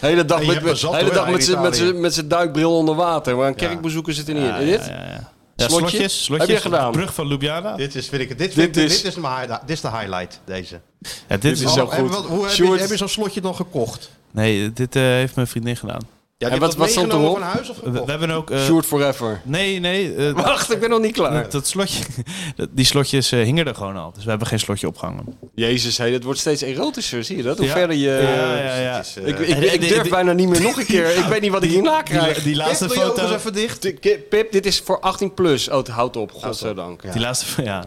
Speaker 4: hele dag
Speaker 3: Nee, je
Speaker 4: met,
Speaker 3: hebt me zat,
Speaker 4: hele
Speaker 3: hoor,
Speaker 4: dag
Speaker 3: daar
Speaker 4: met
Speaker 3: in
Speaker 4: z'n- met
Speaker 3: Italië.
Speaker 4: z'n- met zijn duikbril onder water. Maar een kerkbezoeker zit er niet in. Dit?
Speaker 7: Ja, ja, ja. Ja,
Speaker 4: Slotje?
Speaker 7: slotjes,
Speaker 4: Heb
Speaker 7: slotjes.
Speaker 4: je gedaan?
Speaker 7: Brug van Ljubljana.
Speaker 3: Dit is, vind ik, dit,
Speaker 4: Dit
Speaker 3: vind, ik-
Speaker 4: is-
Speaker 3: dit, is mijn highlight- dit is de highlight, deze.
Speaker 7: Ja, dit
Speaker 4: is
Speaker 7: is
Speaker 4: zo
Speaker 3: Oh, hebben
Speaker 4: goed.
Speaker 3: we- hoe heb je,
Speaker 4: Sjoerd.
Speaker 3: heb je zo'n slotje dan gekocht?
Speaker 7: Nee, dit eh, heeft mijn vriendin gedaan.
Speaker 3: Ja,
Speaker 4: En wat- wat stond erop?
Speaker 3: Van huis of
Speaker 7: We, we
Speaker 3: gekocht?
Speaker 7: hebben ook... eh,
Speaker 4: Oh. Sjoerd forever.
Speaker 7: nee, nee. eh,
Speaker 4: Wacht, ik ben nog niet klaar.
Speaker 7: Dat, dat slotje, dat- die slotjes eh, hingen er gewoon al. Dus we hebben geen slotje opgehangen.
Speaker 4: Jezus, hé, dat wordt steeds erotischer, zie je dat? Hoe
Speaker 7: Ja.
Speaker 4: verder je...
Speaker 7: Ja, ja, ja.
Speaker 3: Het is, eh,
Speaker 4: Ik, ik,
Speaker 7: Eh,
Speaker 4: ik
Speaker 7: die-
Speaker 4: durf
Speaker 7: die-
Speaker 4: bijna niet meer nog een keer. Ik weet niet wat ik hierna krijg.
Speaker 7: Die, die laatste
Speaker 3: Pip, eh, wil je ook
Speaker 7: foto...
Speaker 3: eens even dicht.
Speaker 4: Dit- Ki- Pip, dit is voor 18 plus. Oh, het houdt op, godzijdank.
Speaker 7: Die laatste... Ja.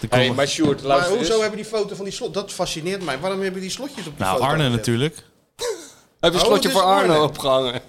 Speaker 7: De
Speaker 4: Hey,
Speaker 7: kom-
Speaker 4: maar Sjoerd,
Speaker 3: Maar
Speaker 4: luister eens.
Speaker 3: hoezo hebben die foto van die slot? Dat fascineert mij. Waarom hebben die slotjes op die
Speaker 7: nou,
Speaker 3: foto?
Speaker 7: Arne
Speaker 3: gezet?
Speaker 7: natuurlijk.
Speaker 4: Heb je een
Speaker 3: Oh,
Speaker 4: slotje
Speaker 3: het is
Speaker 4: voor Arno
Speaker 3: Arne.
Speaker 4: opgehangen?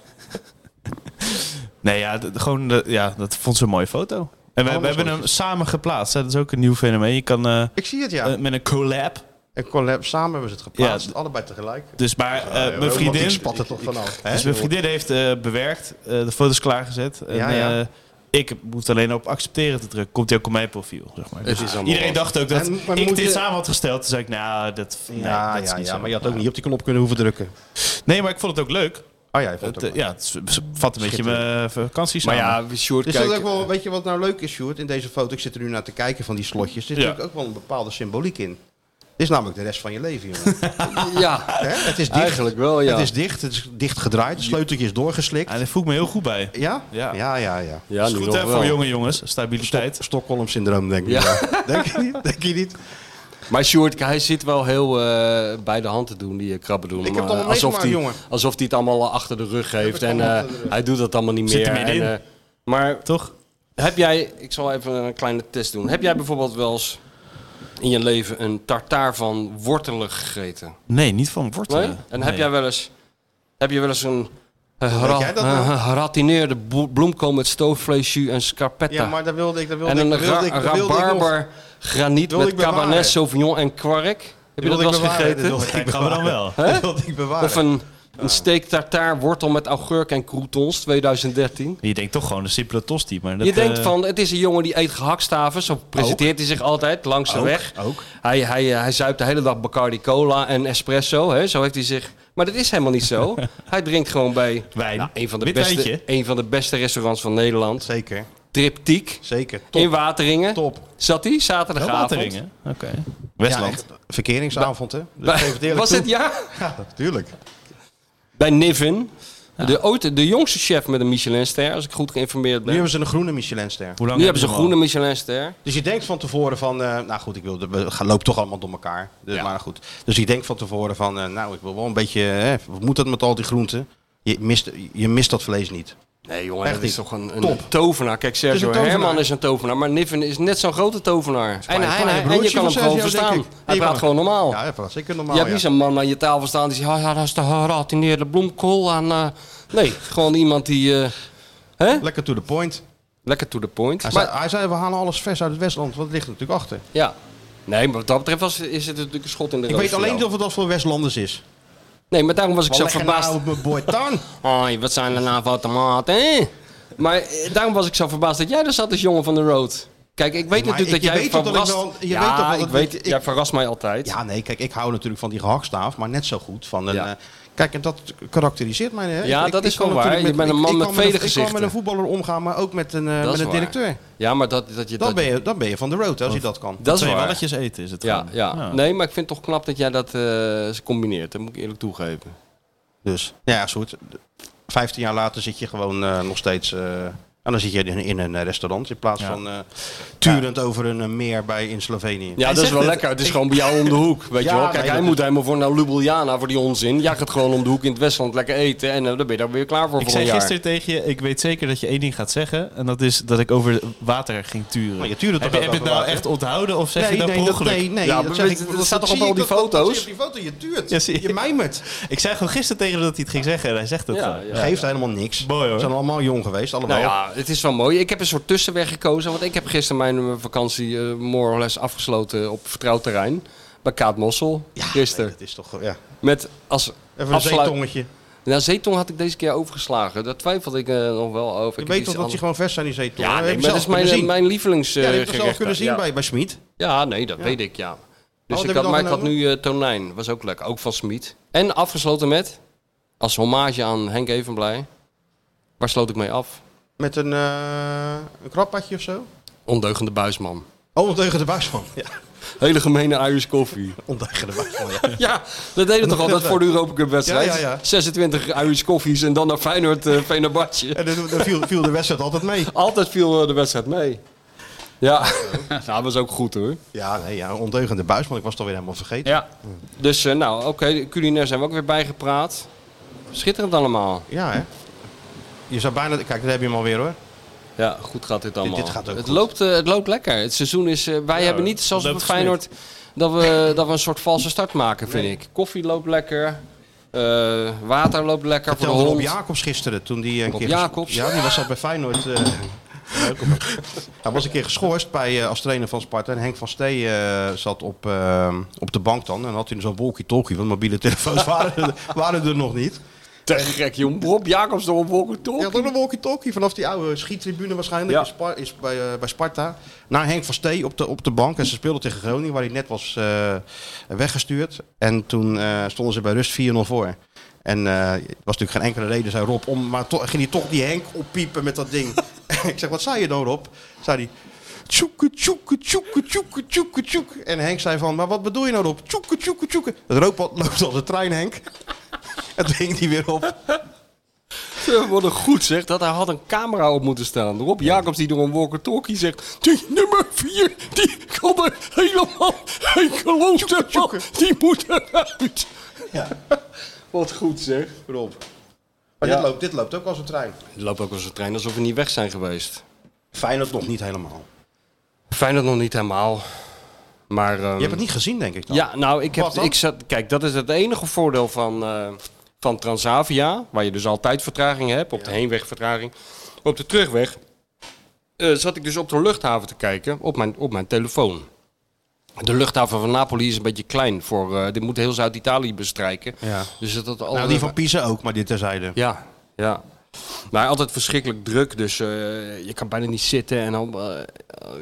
Speaker 7: Nee, ja, d- gewoon... de- ja, dat vond ze een mooie foto. En we, we
Speaker 3: Allemaal
Speaker 7: hebben hem samen geplaatst. hè. Dat is ook een nieuw fenomeen. Je kan eh,
Speaker 3: Ik zie het, ja.
Speaker 7: eh, met een collab...
Speaker 3: en collab, samen hebben ze het geplaatst.
Speaker 7: Ja, d-
Speaker 3: allebei tegelijk.
Speaker 7: Dus maar eh, mijn
Speaker 3: Ik
Speaker 7: vriendin...
Speaker 3: spat er toch vanaf. hè?
Speaker 7: Dus mijn vriendin heeft eh, bewerkt, eh, de foto's klaargezet. En,
Speaker 3: Ja, ja.
Speaker 7: eh, ik hoef alleen op accepteren te drukken. Komt hij ook op mijn profiel, zeg maar. Dus
Speaker 4: is allemaal
Speaker 7: iedereen
Speaker 4: wat.
Speaker 7: dacht ook dat
Speaker 3: En- maar
Speaker 7: ik
Speaker 3: moet
Speaker 7: dit
Speaker 3: je-
Speaker 7: samen had gesteld. Toen zei ik, nou, dat, nee,
Speaker 3: Ja,
Speaker 7: dat is
Speaker 3: ja,
Speaker 7: niet
Speaker 3: ja,
Speaker 7: zo.
Speaker 3: maar je had ook niet op die knop kunnen hoeven drukken.
Speaker 7: Nee, maar ik vond het ook leuk.
Speaker 3: Oh ja, je vond
Speaker 7: Het,
Speaker 3: het
Speaker 7: eh,
Speaker 3: ook
Speaker 7: ja, het s- s- vat een beetje mijn vakantie
Speaker 4: Maar
Speaker 7: samen.
Speaker 4: ja, Sjoerd,
Speaker 3: Dus dat
Speaker 4: kijk.
Speaker 3: is ook wel, weet je wat nou leuk is, Sjoerd? In deze foto, ik zit er nu naar te kijken van die slotjes. Er zit
Speaker 7: Ja.
Speaker 3: natuurlijk ook wel een bepaalde symboliek in. Dit is namelijk de rest van je leven, jongen.
Speaker 4: Ja,
Speaker 3: Hè? Het is dicht.
Speaker 4: eigenlijk wel, ja.
Speaker 3: Het is dicht, het is dicht gedraaid, het sleuteltje is doorgeslikt.
Speaker 5: En daar voel ik me heel goed bij.
Speaker 3: Ja?
Speaker 5: Ja.
Speaker 3: Ja, ja, ja.
Speaker 4: ja,
Speaker 5: is
Speaker 4: nu
Speaker 5: goed
Speaker 4: nog
Speaker 5: hè,
Speaker 4: wel.
Speaker 5: voor jonge jongens. Stabiliteit.
Speaker 3: Stockholm-syndroom, denk ik.
Speaker 4: Ja.
Speaker 3: Ja. denk je niet? Denk je niet?
Speaker 4: Maar Sjoerd, hij zit wel heel eh, bij de hand te doen, die eh, krabben doen.
Speaker 3: Ik heb
Speaker 4: maar
Speaker 3: het allemaal
Speaker 4: alsof
Speaker 3: meegemaakt,
Speaker 4: hij,
Speaker 3: jongen.
Speaker 4: Alsof hij het allemaal achter de rug heeft. En eh, hij doet dat allemaal niet
Speaker 5: Zit
Speaker 4: meer.
Speaker 5: er middenin.
Speaker 4: en, eh, maar
Speaker 5: Toch?
Speaker 4: heb jij, ik zal even een kleine test doen. Heb jij bijvoorbeeld wel eens in je leven een tartaar van wortelen gegeten?
Speaker 5: Nee, niet van
Speaker 4: Nee?
Speaker 7: eh.
Speaker 5: wortelen.
Speaker 4: En
Speaker 5: Nee.
Speaker 4: heb jij wel eens, heb je wel eens een
Speaker 3: Weet jij dat nou?
Speaker 4: geratineerde bloemkool met stoofvleesjus en scarpetta?
Speaker 3: Ja, maar daar wilde ik, daar wilde
Speaker 4: en
Speaker 3: ik,
Speaker 4: een
Speaker 3: wilde ik,
Speaker 4: ra-
Speaker 3: daar wilde ik nog-
Speaker 4: rabarber graniet
Speaker 3: wilde
Speaker 4: met
Speaker 3: ik bewaren.
Speaker 4: cabernet sauvignon en kwark. Heb je dat
Speaker 3: wilde
Speaker 4: wel
Speaker 3: ik
Speaker 4: eens
Speaker 3: bewaren, dit
Speaker 4: gegeten?
Speaker 3: wilde ik
Speaker 5: Kijk, gaan we dan wel.
Speaker 3: bewaren. wilde ik bewaren.
Speaker 4: Of een, een steak tartaar wortel met augurk en croutons 2013.
Speaker 5: Je denkt toch gewoon een simpele tosti. Maar dat,
Speaker 4: Je denkt
Speaker 5: eh,
Speaker 4: van, het is een jongen die eet gehaktstaven. Zo presenteert hij zich altijd langs de weg.
Speaker 3: ook.
Speaker 4: Hij, hij, eh, hij zuipt de hele dag Bacardi Cola en espresso. Hè? Zo heeft hij zich... Maar dat is helemaal niet zo. hij drinkt gewoon bij
Speaker 5: Wijn.
Speaker 4: nou, een, van de
Speaker 5: Wit
Speaker 4: beste,
Speaker 5: wijntje.
Speaker 4: een van de beste restaurants van Nederland.
Speaker 3: Zeker,
Speaker 4: Triptiek.
Speaker 3: zeker. Top.
Speaker 4: In Wateringen.
Speaker 3: Top.
Speaker 4: Zat hij
Speaker 5: Wel
Speaker 4: zaterdagavond.
Speaker 5: Wateringen. Oké. Westland.
Speaker 3: Ja, echt. verkeringsavond, hè? Dus
Speaker 4: Bij-
Speaker 3: geef het eerlijk
Speaker 4: was
Speaker 3: toe.
Speaker 4: het ja?
Speaker 3: Ja, tuurlijk.
Speaker 4: Bij Niven. De, ooit- de jongste chef met een Michelinster, als ik goed geïnformeerd
Speaker 3: Nu
Speaker 4: ben.
Speaker 3: hebben ze een groene Michelinster.
Speaker 5: Hoe lang
Speaker 4: Nu hebben ze een
Speaker 5: hem al?
Speaker 4: groene Michelinster.
Speaker 3: Dus je denkt van tevoren van, eh, nou goed, ik wil, we gaan- lopen toch allemaal door elkaar. Dus, Maar goed. Dus ik denk van tevoren van, eh, nou ik wil wel een beetje, hè, wat moet dat met al die groenten? Je mist, je mist dat vlees niet.
Speaker 4: Nee jongen,
Speaker 3: Echt
Speaker 4: dat is
Speaker 3: niet.
Speaker 4: toch een, een
Speaker 3: Top.
Speaker 4: tovenaar. Kijk,
Speaker 3: Het
Speaker 4: Sergio
Speaker 3: is een tovenaar.
Speaker 4: Herman is een tovenaar, maar Niven is net zo'n grote tovenaar. En,
Speaker 3: klein-
Speaker 4: hij-
Speaker 3: klein
Speaker 4: hij- en je
Speaker 3: broertje van
Speaker 4: kan hem gewoon
Speaker 3: Sergio, denk
Speaker 4: verstaan.
Speaker 3: ik.
Speaker 4: Hij
Speaker 3: Je
Speaker 4: praat
Speaker 3: kan-
Speaker 4: gewoon normaal.
Speaker 3: Ja, dat was zeker normaal.
Speaker 4: je hebt niet
Speaker 3: ja.
Speaker 4: zo'n man aan je tafel staan die zegt, "Ah, ja, dat is de geratineerde bloemkool aan... eh." Nee, gewoon iemand die... eh, hè?
Speaker 3: Lekker to the point.
Speaker 4: Lekker to the point.
Speaker 3: Hij,
Speaker 4: Maar-
Speaker 3: zei, hij zei, we halen alles vers uit het Westland, want dat ligt er natuurlijk achter.
Speaker 4: ja. Nee, maar wat dat betreft was, is het natuurlijk een schot in de
Speaker 3: Ik
Speaker 4: roos
Speaker 3: weet
Speaker 4: voor
Speaker 3: alleen
Speaker 4: jou.
Speaker 3: niet of het dat voor Westlanders is.
Speaker 4: Nee, maar daarom was ik
Speaker 3: Maar
Speaker 4: zo
Speaker 3: leg er nou
Speaker 4: verbaasd.
Speaker 3: op mijn bord dan.
Speaker 4: Hoi, wat zijn er nou voor tomaten? hè? Maar eh, daarom was ik zo verbaasd dat jij er zat als jongen van de road. Kijk, ik weet
Speaker 3: Maar
Speaker 4: natuurlijk
Speaker 3: ik-
Speaker 4: dat
Speaker 3: je
Speaker 4: jij
Speaker 3: weet toch dat ik
Speaker 4: verrast...
Speaker 3: wel- je
Speaker 4: ja,
Speaker 3: weet toch wel
Speaker 4: ik
Speaker 3: dat
Speaker 4: weet,
Speaker 3: ik-
Speaker 4: jij verrast mij altijd.
Speaker 3: Ja, nee, kijk, ik hou natuurlijk van die gehaktstaaf, maar net zo goed van een...
Speaker 4: Ja.
Speaker 3: eh, kijk, en dat karakteriseert mij. Hè?
Speaker 4: Ja,
Speaker 3: Ik- ik-
Speaker 4: dat
Speaker 3: ik
Speaker 4: is
Speaker 3: kan
Speaker 4: wel waar.
Speaker 3: natuurlijk
Speaker 4: Je bent een
Speaker 3: ik-
Speaker 4: man
Speaker 3: ik
Speaker 4: met
Speaker 3: kan
Speaker 4: vele
Speaker 3: een- Ik kan
Speaker 4: gezichten.
Speaker 3: met een voetballer omgaan, maar ook met een, eh,
Speaker 4: dat
Speaker 3: met
Speaker 4: is
Speaker 3: een
Speaker 4: waar.
Speaker 3: directeur.
Speaker 4: Ja, maar dat, dat je...
Speaker 3: Dan
Speaker 4: dat,
Speaker 3: ben, je, dan ben je van de road als je dat kan.
Speaker 4: dat is
Speaker 5: Twee
Speaker 4: waar.
Speaker 5: walletjes eten is het
Speaker 4: Ja,
Speaker 5: gewoon.
Speaker 4: ja. Nee, maar ik vind het toch knap dat jij dat eh, combineert. Dat moet ik eerlijk toegeven.
Speaker 3: Dus ja, ja, goed. 15 jaar later zit je gewoon eh, nog steeds. eh, en dan zit je in, in een restaurant in plaats van eh, turend over een eh, meer bij in Slovenië.
Speaker 4: Ja, dat is wel lekker. Het is gewoon bij jou om de hoek, weet
Speaker 3: Ja,
Speaker 4: je wel. Kijk,
Speaker 3: nee,
Speaker 4: hij
Speaker 3: dat
Speaker 4: moet helemaal voor naar Ljubljana voor die onzin. Jij gaat gewoon om de hoek in het Westland lekker eten en eh, dan ben je daar weer klaar voor
Speaker 5: Ik
Speaker 4: voor
Speaker 5: zei
Speaker 4: een jaar.
Speaker 5: gisteren tegen je, ik weet zeker dat je één ding gaat zeggen. En dat is dat ik over water ging turen.
Speaker 3: Maar je tuurde
Speaker 5: heb
Speaker 3: toch
Speaker 5: je, heb je
Speaker 3: ook
Speaker 5: het nou
Speaker 3: over
Speaker 5: echt onthouden of zeg je dat
Speaker 3: nee,
Speaker 5: per
Speaker 3: dat-
Speaker 5: ongeluk?
Speaker 3: nee, nee.
Speaker 4: Ja,
Speaker 3: dat
Speaker 4: maar
Speaker 3: zeg
Speaker 4: weet
Speaker 3: ik-
Speaker 4: je,
Speaker 3: dat-
Speaker 4: dat staat
Speaker 3: dat
Speaker 4: toch op
Speaker 3: zie
Speaker 4: al
Speaker 3: ik
Speaker 4: die
Speaker 3: dat- dat
Speaker 4: foto's?
Speaker 3: zie je op die foto, je tuurt.
Speaker 5: Ja, zie je.
Speaker 3: je mijmert.
Speaker 5: Ik zei gewoon gisteren tegen hem dat hij het ging zeggen. En hij zegt het
Speaker 4: Ja,
Speaker 5: gewoon.
Speaker 4: ja.
Speaker 3: Geeft helemaal niks.
Speaker 5: Mooi, hoor.
Speaker 3: Ze zijn allemaal jong geweest, allemaal.
Speaker 4: Nou ja, het is wel mooi. Ik heb een soort tussenweg gekozen, want ik heb gisteren mijn eh, vakantie eh, more or less afgesloten op vertrouwd terrein. Bij Kaat Mossel,
Speaker 3: nee,
Speaker 4: gisteren.
Speaker 3: dat is toch ja.
Speaker 4: Met als
Speaker 3: Even een
Speaker 4: afsluit-
Speaker 3: zeetongetje.
Speaker 4: Nou, zeetong had ik deze keer overgeslagen. Daar twijfelde ik eh, nog wel over.
Speaker 3: Je
Speaker 4: Ik heb
Speaker 3: weet toch
Speaker 4: iets
Speaker 3: dat die
Speaker 4: anders-
Speaker 3: gewoon vers zijn, die zeetongen?
Speaker 4: Ja,
Speaker 3: Heb
Speaker 4: nee,
Speaker 3: je
Speaker 4: maar dat
Speaker 3: zelf
Speaker 4: is
Speaker 3: kunnen zien.
Speaker 4: mijn, mijn lievelings
Speaker 3: Ja,
Speaker 4: eh,
Speaker 3: die heb je toch zelf
Speaker 4: gerecht.
Speaker 3: kunnen zien
Speaker 4: ja.
Speaker 3: bij, Oh, bij Smit.
Speaker 4: Ja, nee, dat weet ik, ja.
Speaker 3: heb
Speaker 4: Dus ik
Speaker 3: je
Speaker 4: had,
Speaker 3: dan
Speaker 4: maar ik had
Speaker 3: genomen?
Speaker 4: nu eh, tonijn. Was ook lekker. Ook van Smit. En afgesloten met, als hommage aan Henk Evenblij. Waar sloot ik mee af?
Speaker 3: Met een, eh een krabpadje of zo.
Speaker 4: Ondeugende buisman.
Speaker 3: Oh, tegen de buis van. Ja,
Speaker 4: Hele gemene Irish koffie.
Speaker 3: tegen de buis van, ja.
Speaker 4: Ja, dat deden we toch altijd
Speaker 3: wel.
Speaker 4: voor de Europa Cup wedstrijd.
Speaker 3: eh, Ja, ja, ja.
Speaker 4: 26 Irish koffies en dan naar Feyenoord eh Venabatje.
Speaker 3: En dan dan viel, viel de wedstrijd altijd mee.
Speaker 4: Altijd viel eh, de wedstrijd mee. Ja, nou, dat was ook goed hoor.
Speaker 3: Ja, nee, ja, een ondeugende buis, want ik was het alweer helemaal vergeten.
Speaker 4: Ja. Dus eh, nou, oké, culinair zijn we ook weer bijgepraat. Schitterend allemaal.
Speaker 3: Ja, hè? Je zou bijna... Kijk, daar heb je hem alweer, hoor.
Speaker 4: Ja, goed gaat dit allemaal.
Speaker 3: dit gaat ook
Speaker 4: het,
Speaker 3: goed.
Speaker 4: Loopt, eh, het loopt lekker. Het seizoen is... eh, wij hebben niet, zoals bij
Speaker 5: loopt
Speaker 4: Feyenoord, dat we, dat we een soort valse start maken, vind ik. Koffie loopt lekker. eh, water loopt lekker
Speaker 3: Vertelde
Speaker 4: voor de
Speaker 3: Rob
Speaker 4: hond.
Speaker 3: Jacobs gisteren, toen die een
Speaker 4: Rob
Speaker 3: keer...
Speaker 4: Jacobs?
Speaker 3: Ja, die was dat bij Feyenoord... eh, Hij was een keer geschorst bij, eh, als trainer van Sparta. En Henk van Stee eh, zat op, eh, op de bank dan. En had hij zo'n walkie-talkie, want mobiele telefoons waren, er- waren er nog niet.
Speaker 4: Te gek, jong. Rob Jacobs door een wolken
Speaker 3: Je had ook een walkie-talkie vanaf die oude schiettribune waarschijnlijk
Speaker 4: Ja.
Speaker 3: in Spa- is bij, eh, bij Sparta. Naar Henk van Stee op de, op de bank. En ze speelden tegen Groningen, waar hij net was eh, weggestuurd. En toen eh, stonden ze bij rust 4-0 voor. En eh het was natuurlijk geen enkele reden, zei Rob. Om, maar to- ging hij toch die Henk oppiepen met dat ding. ik zeg, wat zei je dan, Rob? Zei hij, Tjoeke, tjoeke, tjoeke, tjoeke, tjoeke, tjoeke. En Henk zei van, maar wat bedoel je nou op? Tjoeke, tjoeke, tjoeke. Het rookpad loopt als een trein, Henk. En toen ging die weer op.
Speaker 4: Wat een goed zeg, dat hij had een camera op moeten staan. Rob Jacobs die door een walkie-talkie zegt... Die nummer 4, die kan er helemaal geen geloof van. Die moet eruit. Wat goed zeg.
Speaker 3: Rob. Maar dit, loopt, dit loopt ook als een trein.
Speaker 4: Het loopt ook als een trein alsof we niet weg zijn geweest.
Speaker 3: Feyenoord nog niet helemaal.
Speaker 4: Fijn dat nog niet helemaal. Maar, ehm,
Speaker 3: Je hebt het niet gezien, denk ik dan.
Speaker 4: Ja, nou, ik heb,
Speaker 3: Wat dan?
Speaker 4: ik zat, kijk, dat is het enige voordeel van, eh, van Transavia, waar je dus altijd vertraging hebt, op de heenweg vertraging. Op de terugweg eh, zat ik dus op de luchthaven te kijken, op mijn, op mijn telefoon. De luchthaven van Napoli is een beetje klein voor, eh, dit moet heel Zuid-Italië bestrijken.
Speaker 3: Ja.
Speaker 4: Dus dat, dat
Speaker 3: Nou, die van Pisa ook, maar dit terzijde.
Speaker 4: ja, ja. Maar altijd verschrikkelijk druk, dus eh, je kan bijna niet zitten en dan eh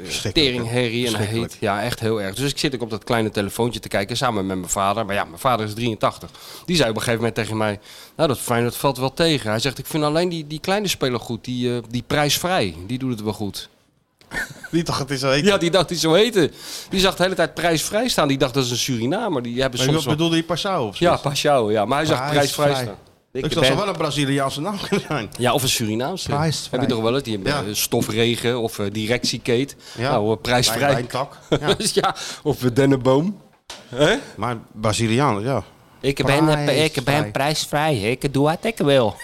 Speaker 3: Verschrikkelijk,
Speaker 4: teringherrie en
Speaker 3: Verschrikkelijk.
Speaker 4: heet. Ja, echt heel erg. Dus ik zit ook op dat kleine telefoontje te kijken samen met mijn vader. Maar ja, mijn vader is 83. Die zei op een gegeven moment tegen mij, nou dat Feyenoord valt wel tegen. Hij zegt, ik vind alleen die, die kleine speler goed, die, eh, die prijsvrij, die doet het wel goed.
Speaker 3: Die dacht, het is een
Speaker 4: Ja, die dacht die zo heette. Die zag de hele tijd prijsvrij staan. Die dacht dat is een Surinamer. Die hebben
Speaker 7: Maar
Speaker 4: soms
Speaker 7: wat
Speaker 4: wel...
Speaker 7: bedoelde je Passau of zo?
Speaker 4: Ja, Pashao, ja. Maar hij zag
Speaker 3: Prijsvrij.
Speaker 4: prijsvrij staan.
Speaker 3: Ik dat zou wel een Braziliaanse naam kunnen zijn.
Speaker 4: Ja, of een Surinaamse.
Speaker 3: Prijsvrij.
Speaker 4: Heb je toch wel het? Die hebben
Speaker 3: Ja.
Speaker 4: eh, stofregen of eh, directiekate.
Speaker 3: Ja.
Speaker 4: Nou, eh, prijsvrij.
Speaker 3: Mijn tak. Ja.
Speaker 4: ja. of eh, dennenboom.
Speaker 3: Maar Brazilianen, ja.
Speaker 6: Ik ben, ik ben prijsvrij. Ik doe wat ik wil.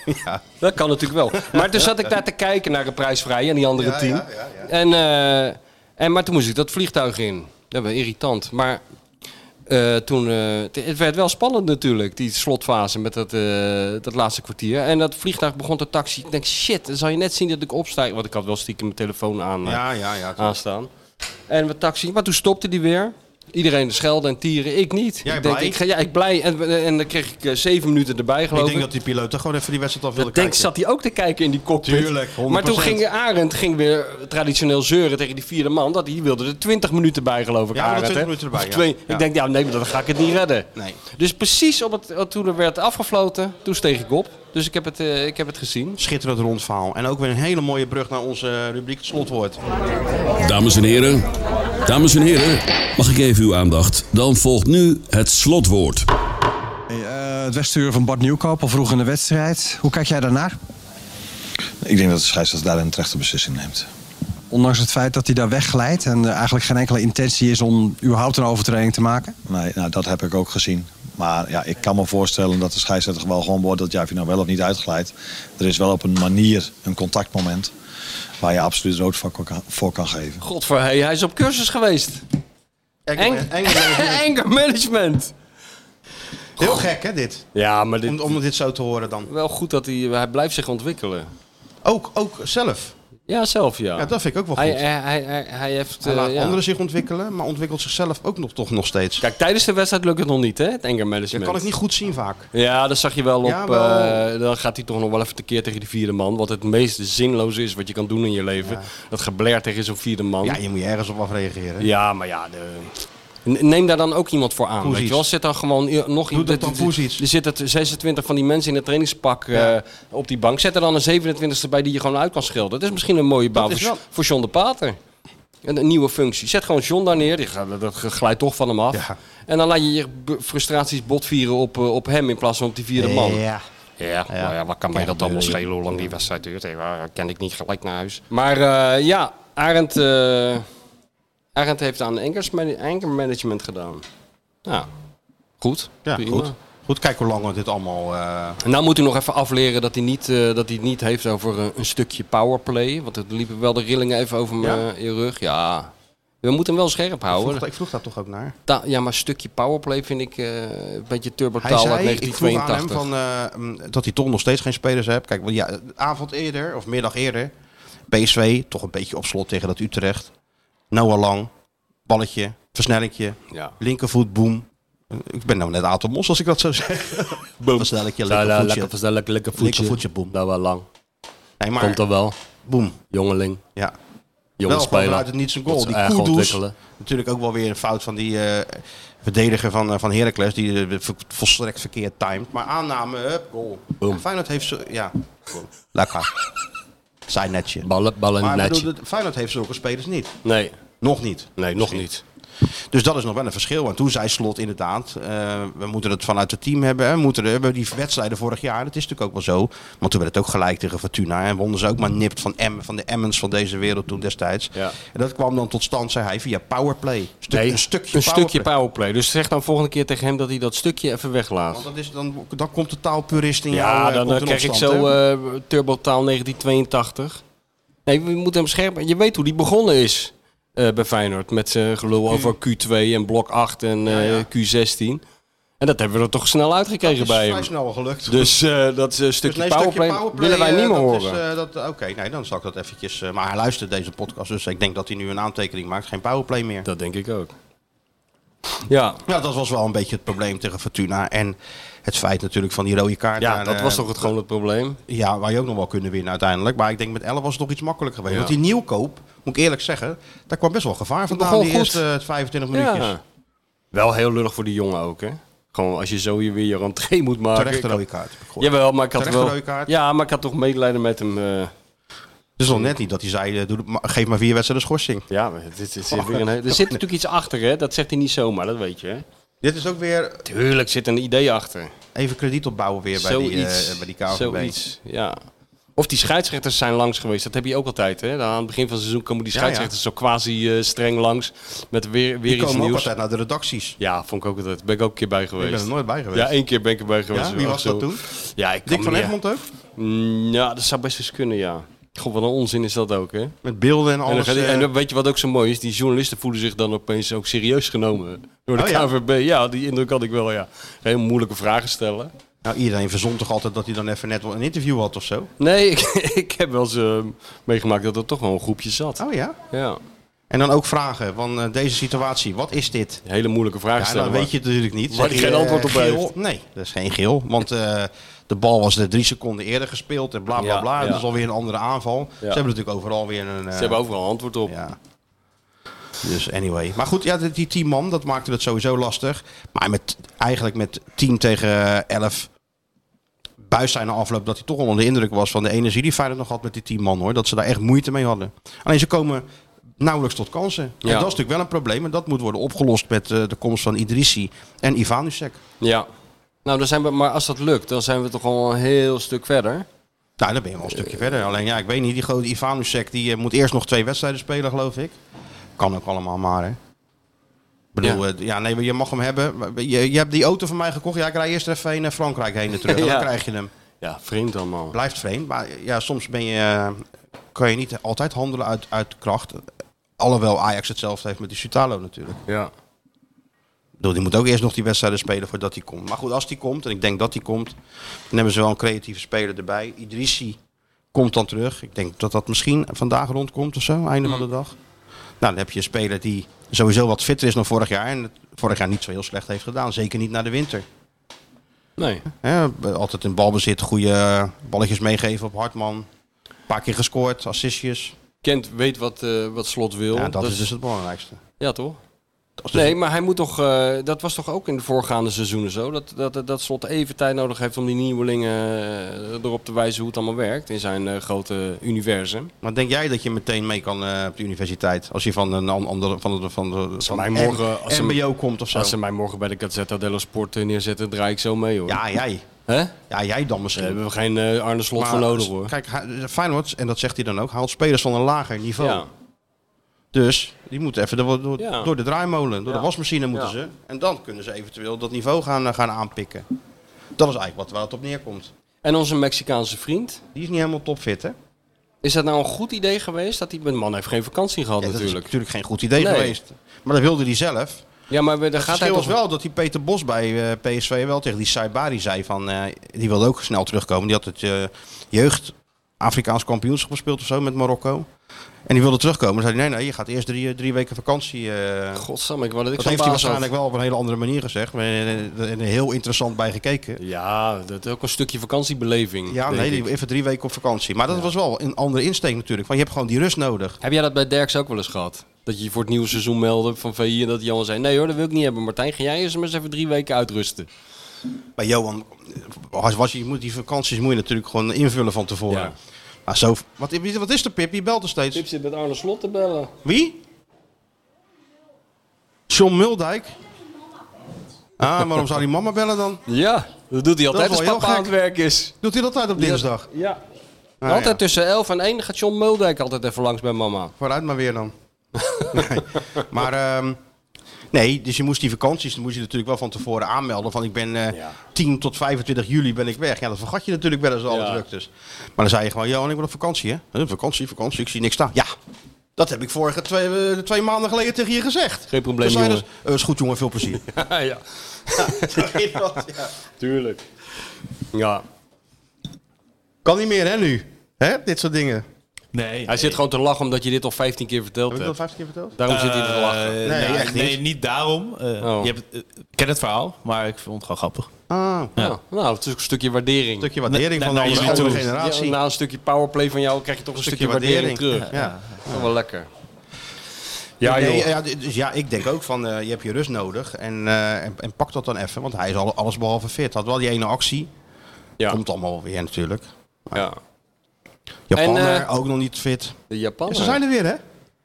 Speaker 4: Dat kan natuurlijk wel. Maar toen zat ik daar te kijken naar de prijsvrij en die andere tien. En, eh, en, maar toen moest ik dat vliegtuig in. Dat was irritant. Maar eh, toen, eh, het- het werd wel spannend natuurlijk, die slotfase met dat, eh, dat laatste kwartier. En dat vliegtuig begon te taxi. Ik denk, shit, dan zal je net zien dat ik opstijg. Want ik had wel stiekem mijn telefoon aan. eh,
Speaker 3: Ja, ja, ja.
Speaker 4: aanstaan. En we taxi. Maar toen stopte die weer. Iedereen schelde en tieren. Ik niet.
Speaker 3: Jij
Speaker 4: ik denk,
Speaker 3: blij?
Speaker 4: Ik ga, ja, ik blij. En, en dan kreeg ik eh, zeven minuten erbij, geloof
Speaker 3: Ik
Speaker 4: ik.
Speaker 3: denk dat die piloot toch gewoon even die wedstrijd af wilde
Speaker 4: Ik denk,
Speaker 3: kijken.
Speaker 4: zat hij ook te kijken in die cockpit.
Speaker 3: Tuurlijk, 100%.
Speaker 4: Maar toen ging Arend ging weer traditioneel zeuren tegen die vierde man. Dat hij wilde er 20 minuten bij, geloof ik.
Speaker 3: Ja, we wilden
Speaker 4: Arend,
Speaker 3: 20
Speaker 4: hè?
Speaker 3: minuten erbij,
Speaker 4: Of
Speaker 3: ja.
Speaker 4: twee.
Speaker 3: Ja.
Speaker 4: Ik denk, ja, nee, maar dan ga ik het niet redden.
Speaker 3: Nee.
Speaker 4: Dus precies op het, toen er werd afgefloten, toen steeg ik op. Dus ik heb het, eh, ik heb het gezien.
Speaker 3: Schitterend rondverhaal. En ook weer een hele mooie brug naar onze rubriek het slotwoord.
Speaker 8: Dames en heren, dames en heren, mag ik even uw aandacht? Dan volgt nu het slotwoord.
Speaker 9: eh, het wegsturen van Bart Nieuwkoop al vroeg in de wedstrijd. Hoe kijk jij daarnaar?
Speaker 10: Ik denk dat de scheidsrechter daar een terechte beslissing neemt.
Speaker 9: Ondanks het feit dat hij daar wegglijdt en er eigenlijk geen enkele intentie is om überhaupt een overtreding te maken.
Speaker 10: Nee, nou, dat heb ik ook gezien. Maar ja, ik kan me voorstellen dat de scheidsrechter wel gewoon beoordeelt... ja, of je nou wel of niet uitglijdt. Er is wel op een manier een contactmoment... waar je absoluut rood voor kan- voor kan geven.
Speaker 4: Godver, hey, hij is op cursus geweest.
Speaker 3: eh,
Speaker 4: Eng- Anger management.
Speaker 3: Heel gek, hè, dit?
Speaker 4: Ja, maar
Speaker 3: Om, om dit zo te horen dan.
Speaker 4: Wel goed dat hij, hij blijft zich ontwikkelen.
Speaker 3: Ook, ook zelf.
Speaker 4: Ja, zelf ja.
Speaker 3: Ja, dat vind ik ook wel goed.
Speaker 4: hij,
Speaker 3: Hij,
Speaker 4: hij, hij, hij, hij heeft... eh,
Speaker 3: laat
Speaker 4: ja.
Speaker 3: anderen zich ontwikkelen, maar ontwikkelt zichzelf ook nog, toch nog steeds.
Speaker 4: Kijk, tijdens de wedstrijd lukt het nog niet, hè? Het anger
Speaker 3: dat
Speaker 4: management.
Speaker 3: kan ik niet goed zien vaak.
Speaker 4: Ja, dat zag je wel op...
Speaker 3: Ja, wel.
Speaker 4: eh, dan gaat hij toch nog wel even tekeer tegen die vierde man. Wat het meest zinloze is wat je kan doen in je leven. Dat geblair tegen zo'n vierde man.
Speaker 3: Ja, je moet je ergens op afreageren.
Speaker 4: Oh. Ja, maar ja... De... N- Neem daar dan ook iemand voor aan.
Speaker 3: Poesies.
Speaker 4: Weet je wel, zit dan gewoon i- nog
Speaker 3: Doe dat
Speaker 4: iemand.
Speaker 3: dan, Poesies.
Speaker 4: Er zitten 26 van die mensen in het trainingspak eh, op die bank. Zet er dan een 27e bij die je gewoon uit kan schilderen. Dat is misschien een mooie baan
Speaker 3: is
Speaker 4: voor,
Speaker 3: wel-
Speaker 4: voor John de Pater. Een, een nieuwe functie. Zet gewoon John daar neer. Die, gaat- dat glijdt toch van hem af.
Speaker 3: Ja.
Speaker 4: En dan laat je je b- frustraties botvieren op, eh, op hem in plaats van op die vierde man.
Speaker 3: Ja.
Speaker 4: Ja,
Speaker 3: Ja.
Speaker 4: maar ja, wat kan mij dat allemaal
Speaker 3: Ja.
Speaker 4: schelen hoe lang die wedstrijd duurt? Hey, waar ken ik niet gelijk naar huis. Maar eh, ja, Arend, eh, Arend heeft aan angersman- anger management gedaan. Nou, goed.
Speaker 3: Ja,
Speaker 4: prima.
Speaker 3: goed. Goed, kijk hoe lang we dit allemaal... eh,
Speaker 4: En nou moet hij nog even afleren dat hij, niet, eh, dat hij het niet heeft over eh, een, een stukje powerplay. Want het liepen wel de rillingen even over mijn in rug. Ja, we moeten hem wel scherp
Speaker 3: ik,
Speaker 4: houden.
Speaker 3: vroeg, ik vroeg daar toch ook naar.
Speaker 4: Ta- ja, maar een stukje powerplay vind ik eh, een beetje
Speaker 3: Hij
Speaker 4: turbotaal uit
Speaker 3: zei, ik vroeg aan hem
Speaker 4: 1982.
Speaker 3: van, eh, mm, dat hij toch nog steeds geen spelers heeft. Kijk, want ja, de avond eerder, of middag eerder, PSV, toch een beetje op slot tegen dat Utrecht. Noah Lang, balletje, versnellingje,
Speaker 4: Ja.
Speaker 3: linkervoet, boom. Ik ben nou net Aad Mos als ik dat zo zeg. Boom. Versnellingje, linkervoetje.
Speaker 4: nou, lekker, lekker
Speaker 3: Linkervoetje, boom.
Speaker 4: Dat wel lang.
Speaker 3: Nee, maar,
Speaker 4: Komt er wel.
Speaker 3: boom.
Speaker 4: Jongeling.
Speaker 3: Ja.
Speaker 4: Jonge
Speaker 3: wel gewoon
Speaker 4: speler.
Speaker 3: vanuit het niet zijn goal.
Speaker 4: Moet ze
Speaker 3: Die
Speaker 4: eigen
Speaker 3: Kudus,
Speaker 4: ontwikkelen.
Speaker 3: natuurlijk ook wel weer een fout van die eh, verdediger van, eh, van Heracles. Die eh, vo- volstrekt verkeerd timed. Maar aanname, hup, goal.
Speaker 4: Boom.
Speaker 3: En Feyenoord heeft ze... Ja, boom. lekker. Zijn netje.
Speaker 4: Ballen, ballen,
Speaker 3: Maar ik
Speaker 4: netje.
Speaker 3: bedoel, de- Feyenoord heeft zulke spelers niet.
Speaker 4: Nee,
Speaker 3: Nog niet.
Speaker 4: nee, nog niet.
Speaker 3: Dus dat is nog wel een verschil. Want toen zei Slot inderdaad, eh, we moeten het vanuit het team hebben. hè. We moeten we hebben die wedstrijden vorig jaar, dat is natuurlijk ook wel zo. Want toen werd het ook gelijk tegen Fortuna. En wonnen ze ook maar nipt van, Em, van de Emmens van deze wereld toen destijds.
Speaker 4: Ja.
Speaker 3: En dat kwam dan tot stand, zei hij, via powerplay. Stuk-
Speaker 4: Nee,
Speaker 3: een stukje
Speaker 4: een
Speaker 3: powerplay.
Speaker 4: stukje powerplay. Dus zeg dan volgende keer tegen hem dat hij dat stukje even weglaat.
Speaker 3: Want dat is, dan, dan komt de taalpurist in jou.
Speaker 4: Ja,
Speaker 3: eh,
Speaker 4: dan
Speaker 3: komt
Speaker 4: eh,
Speaker 3: in
Speaker 4: krijg ik
Speaker 3: opstand,
Speaker 4: zo
Speaker 3: hè.
Speaker 4: eh Turbotaal 1982. Nee, we moeten hem scherp. Je weet hoe die begonnen is eh, bij Feyenoord. Met zijn gelul over Q2 en blok 8 en eh, Q16. En dat hebben we er toch snel uitgekregen
Speaker 3: Dat is
Speaker 4: bij
Speaker 3: vrij
Speaker 4: hem.
Speaker 3: snel wel gelukt.
Speaker 4: Dus eh, dat is een stukje,
Speaker 3: nee,
Speaker 4: powerplay,
Speaker 3: powerplay,
Speaker 4: willen wij
Speaker 3: eh,
Speaker 4: niet meer
Speaker 3: dat is,
Speaker 4: horen.
Speaker 3: eh, dat- Oké, nee, dan zal ik dat eventjes... eh, maar hij luistert deze podcast, dus ik denk dat hij nu een aantekening maakt. Geen powerplay meer.
Speaker 4: dat denk ik ook. Ja,
Speaker 3: Ja, dat was wel een beetje het probleem tegen Fortuna. En het feit natuurlijk van die rode kaart.
Speaker 4: ja
Speaker 3: En,
Speaker 4: dat
Speaker 3: eh,
Speaker 4: was toch het, gewoon het probleem.
Speaker 3: Ja, waar je ook nog wel kunnen winnen uiteindelijk. Maar ik denk met 11 was het nog iets makkelijker geweest.
Speaker 4: Ja.
Speaker 3: Want die nieuwkoop, moet ik eerlijk zeggen, daar kwam best wel gevaar vandaan.
Speaker 4: begon
Speaker 3: Die
Speaker 4: goed.
Speaker 3: eerste 25 minuutjes.
Speaker 4: Ja. Wel heel lullig voor die jongen ook, hè? Gewoon als je zo je weer je rentree moet maken.
Speaker 3: Terecht de
Speaker 4: Ik
Speaker 3: rode kaart. heb ik gehoord.
Speaker 4: Jawel, maar ik had
Speaker 3: Terecht
Speaker 4: wel...
Speaker 3: een rode kaart.
Speaker 4: Ja, maar ik had toch medelijden met hem. eh.
Speaker 3: Het is nog net niet dat hij zei, eh, doe het maar- geef maar vier wedstrijden schorsing.
Speaker 4: Ja, maar dit, dit zit weer een... hele- er zit natuurlijk iets achter, hè? Dat zegt hij niet zomaar, dat weet je. Hè?
Speaker 3: Dit is ook weer
Speaker 4: Tuurlijk zit een idee achter.
Speaker 3: even krediet opbouwen weer bij die, eh,
Speaker 4: Zoiets.
Speaker 3: bij die KVB.
Speaker 4: Zoiets, ja. Of die scheidsrechters zijn langs geweest. Dat heb je ook altijd, hè? Aan het begin van het seizoen komen die
Speaker 3: Ja, ja.
Speaker 4: scheidsrechters zo quasi eh, streng langs. Met weer, weer
Speaker 3: Die
Speaker 4: iets
Speaker 3: komen ook
Speaker 4: nieuws.
Speaker 3: altijd naar de redacties.
Speaker 4: Ja, vond ik ook altijd. Ben ik ook een keer bij
Speaker 3: Ik
Speaker 4: geweest.
Speaker 3: ben er nooit bij geweest.
Speaker 4: Ja, één keer ben ik erbij geweest.
Speaker 3: Ja, wie was
Speaker 4: Zo.
Speaker 3: dat toen?
Speaker 4: Ja, ik
Speaker 3: Dick
Speaker 4: kan
Speaker 3: van
Speaker 4: me niet-
Speaker 3: Egmond ook?
Speaker 4: Mm, Ja, dat zou best eens kunnen, ja. God, wat een onzin is dat ook, hè?
Speaker 3: Met beelden en
Speaker 4: en, dan
Speaker 3: alles.
Speaker 4: gaat die-
Speaker 3: eh,
Speaker 4: en dan weet je wat ook zo mooi is? Die journalisten voelen zich dan opeens ook serieus genomen door de
Speaker 3: Oh, ja?
Speaker 4: KVB. Ja. die indruk had ik wel, ja. Heel moeilijke vragen stellen.
Speaker 3: Nou, iedereen verzon toch altijd dat hij dan even net wel een interview had of zo?
Speaker 4: Nee, ik, ik heb wel eens eh, meegemaakt dat er toch wel een groepje zat.
Speaker 3: Oh ja.
Speaker 4: Ja,
Speaker 3: En dan ook vragen van eh, deze situatie, wat is dit?
Speaker 4: hele moeilijke vragen
Speaker 3: Ja,
Speaker 4: stellen.
Speaker 3: dan weet je het natuurlijk niet.
Speaker 4: waar
Speaker 3: Zeg
Speaker 4: hij geen
Speaker 3: eh,
Speaker 4: antwoord op
Speaker 3: geel?
Speaker 4: heeft.
Speaker 3: Nee, dat is geen geel. Want eh, de bal was er drie seconden eerder gespeeld en bla bla
Speaker 4: Ja,
Speaker 3: bla.
Speaker 4: ja.
Speaker 3: Dat is alweer een andere aanval. Ze hebben natuurlijk overal weer een... eh,
Speaker 4: Ze hebben overal antwoord op.
Speaker 3: Ja. Dus anyway. Maar goed, ja, die- die tien man, dat maakte het sowieso lastig. Maar met, eigenlijk met 10 tegen 11 buis zijn na afloop dat hij toch al onder de indruk was van de energie die Feyenoord nog had met die tien man hoor. Dat ze daar echt moeite mee hadden. Alleen ze komen nauwelijks tot kansen. En
Speaker 4: Ja.
Speaker 3: dat is natuurlijk wel een probleem. En dat moet worden opgelost met eh, de komst van Idrissi en Ivanusek.
Speaker 4: Ja. Nou, dan zijn we, maar als dat lukt, dan zijn we toch al een heel stuk verder.
Speaker 3: Nou, dan ben je wel een stukje verder. Alleen ja, ik weet niet, die grote Ivanusek die eh, moet eerst nog twee wedstrijden spelen, geloof ik. Kan ook allemaal maar, hè. Ik bedoel, eh, ja, ja nee, maar je mag hem hebben. Maar Je, je hebt die auto van mij gekocht. Ja, ik rij eerst even heen naar Frankrijk heen en terug. En
Speaker 4: Ja.
Speaker 3: dan krijg je hem.
Speaker 4: Ja, vreemd allemaal.
Speaker 3: Blijft vreemd, maar ja, soms ben je, eh, kan je niet altijd handelen uit, uit kracht. Alhoewel Ajax hetzelfde heeft met die Sutalo natuurlijk.
Speaker 4: Ja.
Speaker 3: Ik bedoel, die moet ook eerst nog die wedstrijden spelen voordat hij komt. Maar goed, als die komt, en ik denk dat die komt, dan hebben ze wel een creatieve speler erbij. Idrissi komt dan terug. Ik denk dat dat misschien vandaag rondkomt of zo, einde van de dag. Nou, dan heb je een speler die sowieso wat fitter is dan vorig jaar. En het vorig jaar niet zo heel slecht heeft gedaan. Zeker niet na de winter.
Speaker 4: Nee.
Speaker 3: Hè, altijd in balbezit, goede eh, balletjes meegeven op Hartman. Een paar keer gescoord, assistjes.
Speaker 4: Kent weet wat, eh, wat slot wil.
Speaker 3: Ja, dat, is dus het belangrijkste.
Speaker 4: Ja, toch?
Speaker 3: Dat is dus-
Speaker 4: Nee, maar hij moet toch. eh, dat was toch ook in de voorgaande seizoenen zo. Dat, dat, dat, dat slot even tijd nodig heeft om die nieuwelingen eh, erop te wijzen hoe het allemaal werkt in zijn eh, grote universum.
Speaker 3: Maar denk jij dat je meteen mee kan eh, op de universiteit? Als je van een an- andere van de van de van
Speaker 4: mij
Speaker 3: M-
Speaker 4: morgen- als ze-
Speaker 3: MBO komt of zo?
Speaker 4: Als ze mij morgen bij de Gazzetta dello Sport eh, neerzetten, draai ik zo mee hoor.
Speaker 3: Ja, jij.
Speaker 4: Hè?
Speaker 3: Ja, jij dan
Speaker 4: Daar
Speaker 3: misschien.
Speaker 4: hebben we geen eh, Arne Slot
Speaker 3: Maar,
Speaker 4: voor nodig
Speaker 3: s-
Speaker 4: hoor.
Speaker 3: Kijk, hij- Feyenoord, en dat zegt hij dan ook, haalt spelers van een lager niveau.
Speaker 4: Ja.
Speaker 3: Dus die moeten even door, door,
Speaker 4: Ja.
Speaker 3: door de draaimolen, door
Speaker 4: Ja.
Speaker 3: de wasmachine moeten
Speaker 4: Ja.
Speaker 3: ze. En dan kunnen ze eventueel dat niveau gaan, eh, gaan aanpikken. Dat is eigenlijk wat, waar het op neerkomt.
Speaker 4: En onze Mexicaanse vriend.
Speaker 3: Die is niet helemaal topfit, hè? Ja,
Speaker 4: Is dat nou een goed idee geweest? Dat die de man heeft geen vakantie gehad
Speaker 3: dat is
Speaker 4: natuurlijk.
Speaker 3: natuurlijk geen goed idee
Speaker 4: Nee.
Speaker 3: geweest. Maar dat wilde hij zelf.
Speaker 4: Ja, maar we- daar
Speaker 3: Het
Speaker 4: gaat hij
Speaker 3: verschil
Speaker 4: toch
Speaker 3: was wel dat die Peter Bos bij eh, PSV wel tegen die Saibari zei van... eh, die wilde ook snel terugkomen. Die had het eh, jeugd Afrikaans kampioenschap gespeeld of zo met Marokko. En die wilde terugkomen. Dan zei hij, nee, nee, je gaat eerst drie, eh, drie weken vakantie. eh."
Speaker 4: Godsam, ik wou dat ik
Speaker 3: dat
Speaker 4: zo'n
Speaker 3: heeft hij
Speaker 4: baas had.
Speaker 3: waarschijnlijk wel op een hele andere manier gezegd. Maar er heel interessant bij gekeken.
Speaker 4: Ja, dat is ook een stukje vakantiebeleving.
Speaker 3: Ja,
Speaker 4: denk
Speaker 3: nee,
Speaker 4: ik.
Speaker 3: die- even drie weken op vakantie. Maar dat was wel een andere insteek natuurlijk. Van, je hebt gewoon die rust nodig.
Speaker 4: Heb jij dat bij Derks ook wel eens gehad? Dat je je voor het nieuwe seizoen meldde van VI en dat Johan zei... Nee hoor, dat wil ik niet hebben. Martijn, ga jij eens maar eens even drie weken uitrusten.
Speaker 3: Bij Johan, eh, was, was, je moet die vakanties moet je natuurlijk gewoon invullen van tevoren.
Speaker 4: Ja.
Speaker 3: Maar Ah, zo. Wat, wie- wat is er, Pip? Je belt er steeds.
Speaker 4: Pip zit met Arne Slot te bellen.
Speaker 3: Wie? John Muldijk? Ah, waarom zou die mama bellen dan?
Speaker 4: Ja, dat doet hij altijd
Speaker 3: wel
Speaker 4: als
Speaker 3: heel
Speaker 4: papa
Speaker 3: gek.
Speaker 4: aan het werk is.
Speaker 3: Doet hij dat altijd op dinsdag?
Speaker 4: Ja.
Speaker 3: Ah,
Speaker 4: altijd
Speaker 3: ja.
Speaker 4: tussen 11 en 1 gaat John Muldijk altijd even langs bij mama.
Speaker 3: Vooruit maar weer dan. nee. Maar ehm, nee, dus je moest die vakanties, dan moest je natuurlijk wel van tevoren aanmelden. Van ik ben eh, 10 tot 25 juli ben ik weg. Ja, dat vergat je natuurlijk wel eens alle
Speaker 4: Ja.
Speaker 3: druktes. dus. Maar dan zei je gewoon, Johan, ik wil op vakantie hè. Huh, Vakantie, vakantie, ik zie niks staan. Ja, dat heb ik vorige twee, eh, twee maanden geleden tegen je gezegd.
Speaker 4: Geen probleem,
Speaker 3: Toen zei je
Speaker 4: jongen.
Speaker 3: dus, eh, is goed jongen, veel plezier.
Speaker 4: ja, ja. tuurlijk. Ja.
Speaker 3: Kan niet meer hè nu, hè? dit soort dingen.
Speaker 5: Nee.
Speaker 4: Hij zit gewoon te lachen omdat je dit al 15 keer verteld
Speaker 3: Heb ik
Speaker 4: hebt.
Speaker 3: dat vijf keer verteld?
Speaker 4: Daarom zit hij
Speaker 5: Eh,
Speaker 4: te lachen.
Speaker 5: nee,
Speaker 3: Nee,
Speaker 5: nou,
Speaker 3: echt
Speaker 5: nee,
Speaker 3: niet.
Speaker 5: niet daarom. Eh,
Speaker 4: Oh.
Speaker 5: je hebt, eh, ik ken het verhaal, maar ik vond het gewoon grappig.
Speaker 3: Ah, een
Speaker 4: Ja. Nou, het is ook een stukje waardering.
Speaker 3: stukje waardering
Speaker 5: Nee,
Speaker 3: van de
Speaker 5: naar
Speaker 3: andere
Speaker 5: jullie
Speaker 3: andere
Speaker 5: toe.
Speaker 3: generatie.
Speaker 4: Ja, na een stukje powerplay van jou krijg je toch een stukje, waardering, terug.
Speaker 3: Ja.
Speaker 4: Dat is wel lekker. eh, Ja,
Speaker 3: Nee,
Speaker 4: joh.
Speaker 3: ja, dus ja, ik denk ook van eh, je hebt je rust nodig en, eh, en, en pak dat dan even, want hij is al, alles behalve fit. Had wel die ene actie,
Speaker 4: Ja.
Speaker 3: komt allemaal weer natuurlijk.
Speaker 4: ja.
Speaker 3: Japaner
Speaker 4: En, eh,
Speaker 3: ook nog niet fit.
Speaker 4: De
Speaker 3: Ja,
Speaker 4: Japaner.
Speaker 3: ze zijn er weer, hè?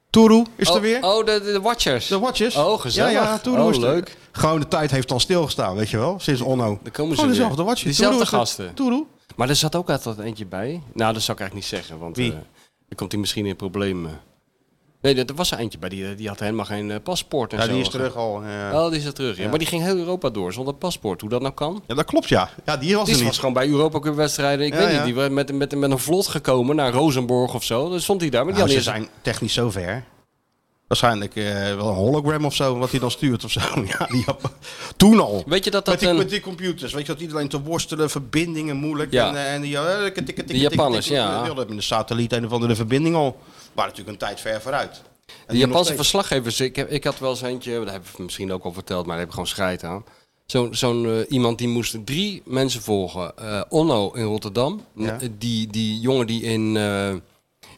Speaker 3: Toeroe is
Speaker 4: oh,
Speaker 3: er weer.
Speaker 4: Oh, de, de Watchers.
Speaker 3: De Watchers.
Speaker 4: Oh, gezellig.
Speaker 3: Ja, ja, Toeroe
Speaker 4: Oh,
Speaker 3: is er.
Speaker 4: leuk.
Speaker 3: Gewoon de tijd heeft dan stilgestaan, weet je wel, sinds Onno.
Speaker 4: Dan komen ze
Speaker 3: Gewoon
Speaker 4: weer.
Speaker 3: dezelfde Watchers.
Speaker 4: Diezelfde
Speaker 3: Toeroe is er.
Speaker 4: gasten.
Speaker 3: Toeroe.
Speaker 4: Maar er zat ook altijd eentje bij. Nou, dat zou ik eigenlijk niet zeggen, want
Speaker 3: Wie?
Speaker 4: eh, dan komt hij misschien in problemen. Nee, er er was er eentje bij, die, die had helemaal geen eh, paspoort en
Speaker 3: Ja,
Speaker 4: zo.
Speaker 3: die is terug al. ja.
Speaker 4: Oh, die is er terug. Ja. Maar die ging heel Europa door zonder paspoort. Hoe dat nou kan?
Speaker 3: Ja, dat klopt, ja. Ja, die was
Speaker 4: Die
Speaker 3: er
Speaker 4: was
Speaker 3: niet.
Speaker 4: gewoon bij Europa Cup wedstrijden. Ik
Speaker 3: Ja,
Speaker 4: weet
Speaker 3: ja.
Speaker 4: niet, die werd met, met, met een vlot gekomen naar Rozenborg of zo. Dan stond hij daar. Maar die
Speaker 3: Nou, ze
Speaker 4: had eerst-
Speaker 3: zijn technisch zo ver. Waarschijnlijk eh, wel een hologram of zo, wat hij dan stuurt of zo. Ja, die had- toen al.
Speaker 4: Weet je dat dat
Speaker 3: met, die,
Speaker 4: een-
Speaker 3: met die computers, weet je, dat iedereen te worstelen, verbindingen moeilijk.
Speaker 4: Ja.
Speaker 3: En, eh, en die, ja, eh, tikken, tikken, tikken,
Speaker 4: Japanners,
Speaker 3: tikken.
Speaker 4: ja.
Speaker 3: Die hadden met de satelliet een of andere verbinding al. Waren natuurlijk een tijd ver vooruit. En nu
Speaker 4: De
Speaker 3: nog
Speaker 4: Japanse
Speaker 3: steeds.
Speaker 4: verslaggevers, ik, heb, ik had wel eens eentje, dat heb ik misschien ook al verteld, maar daar heb ik gewoon scheid aan. Zo'n zo'n eh, iemand die moest drie mensen volgen. Eh, Onno in Rotterdam,
Speaker 3: Ja.
Speaker 4: eh, die, die jongen die in, eh,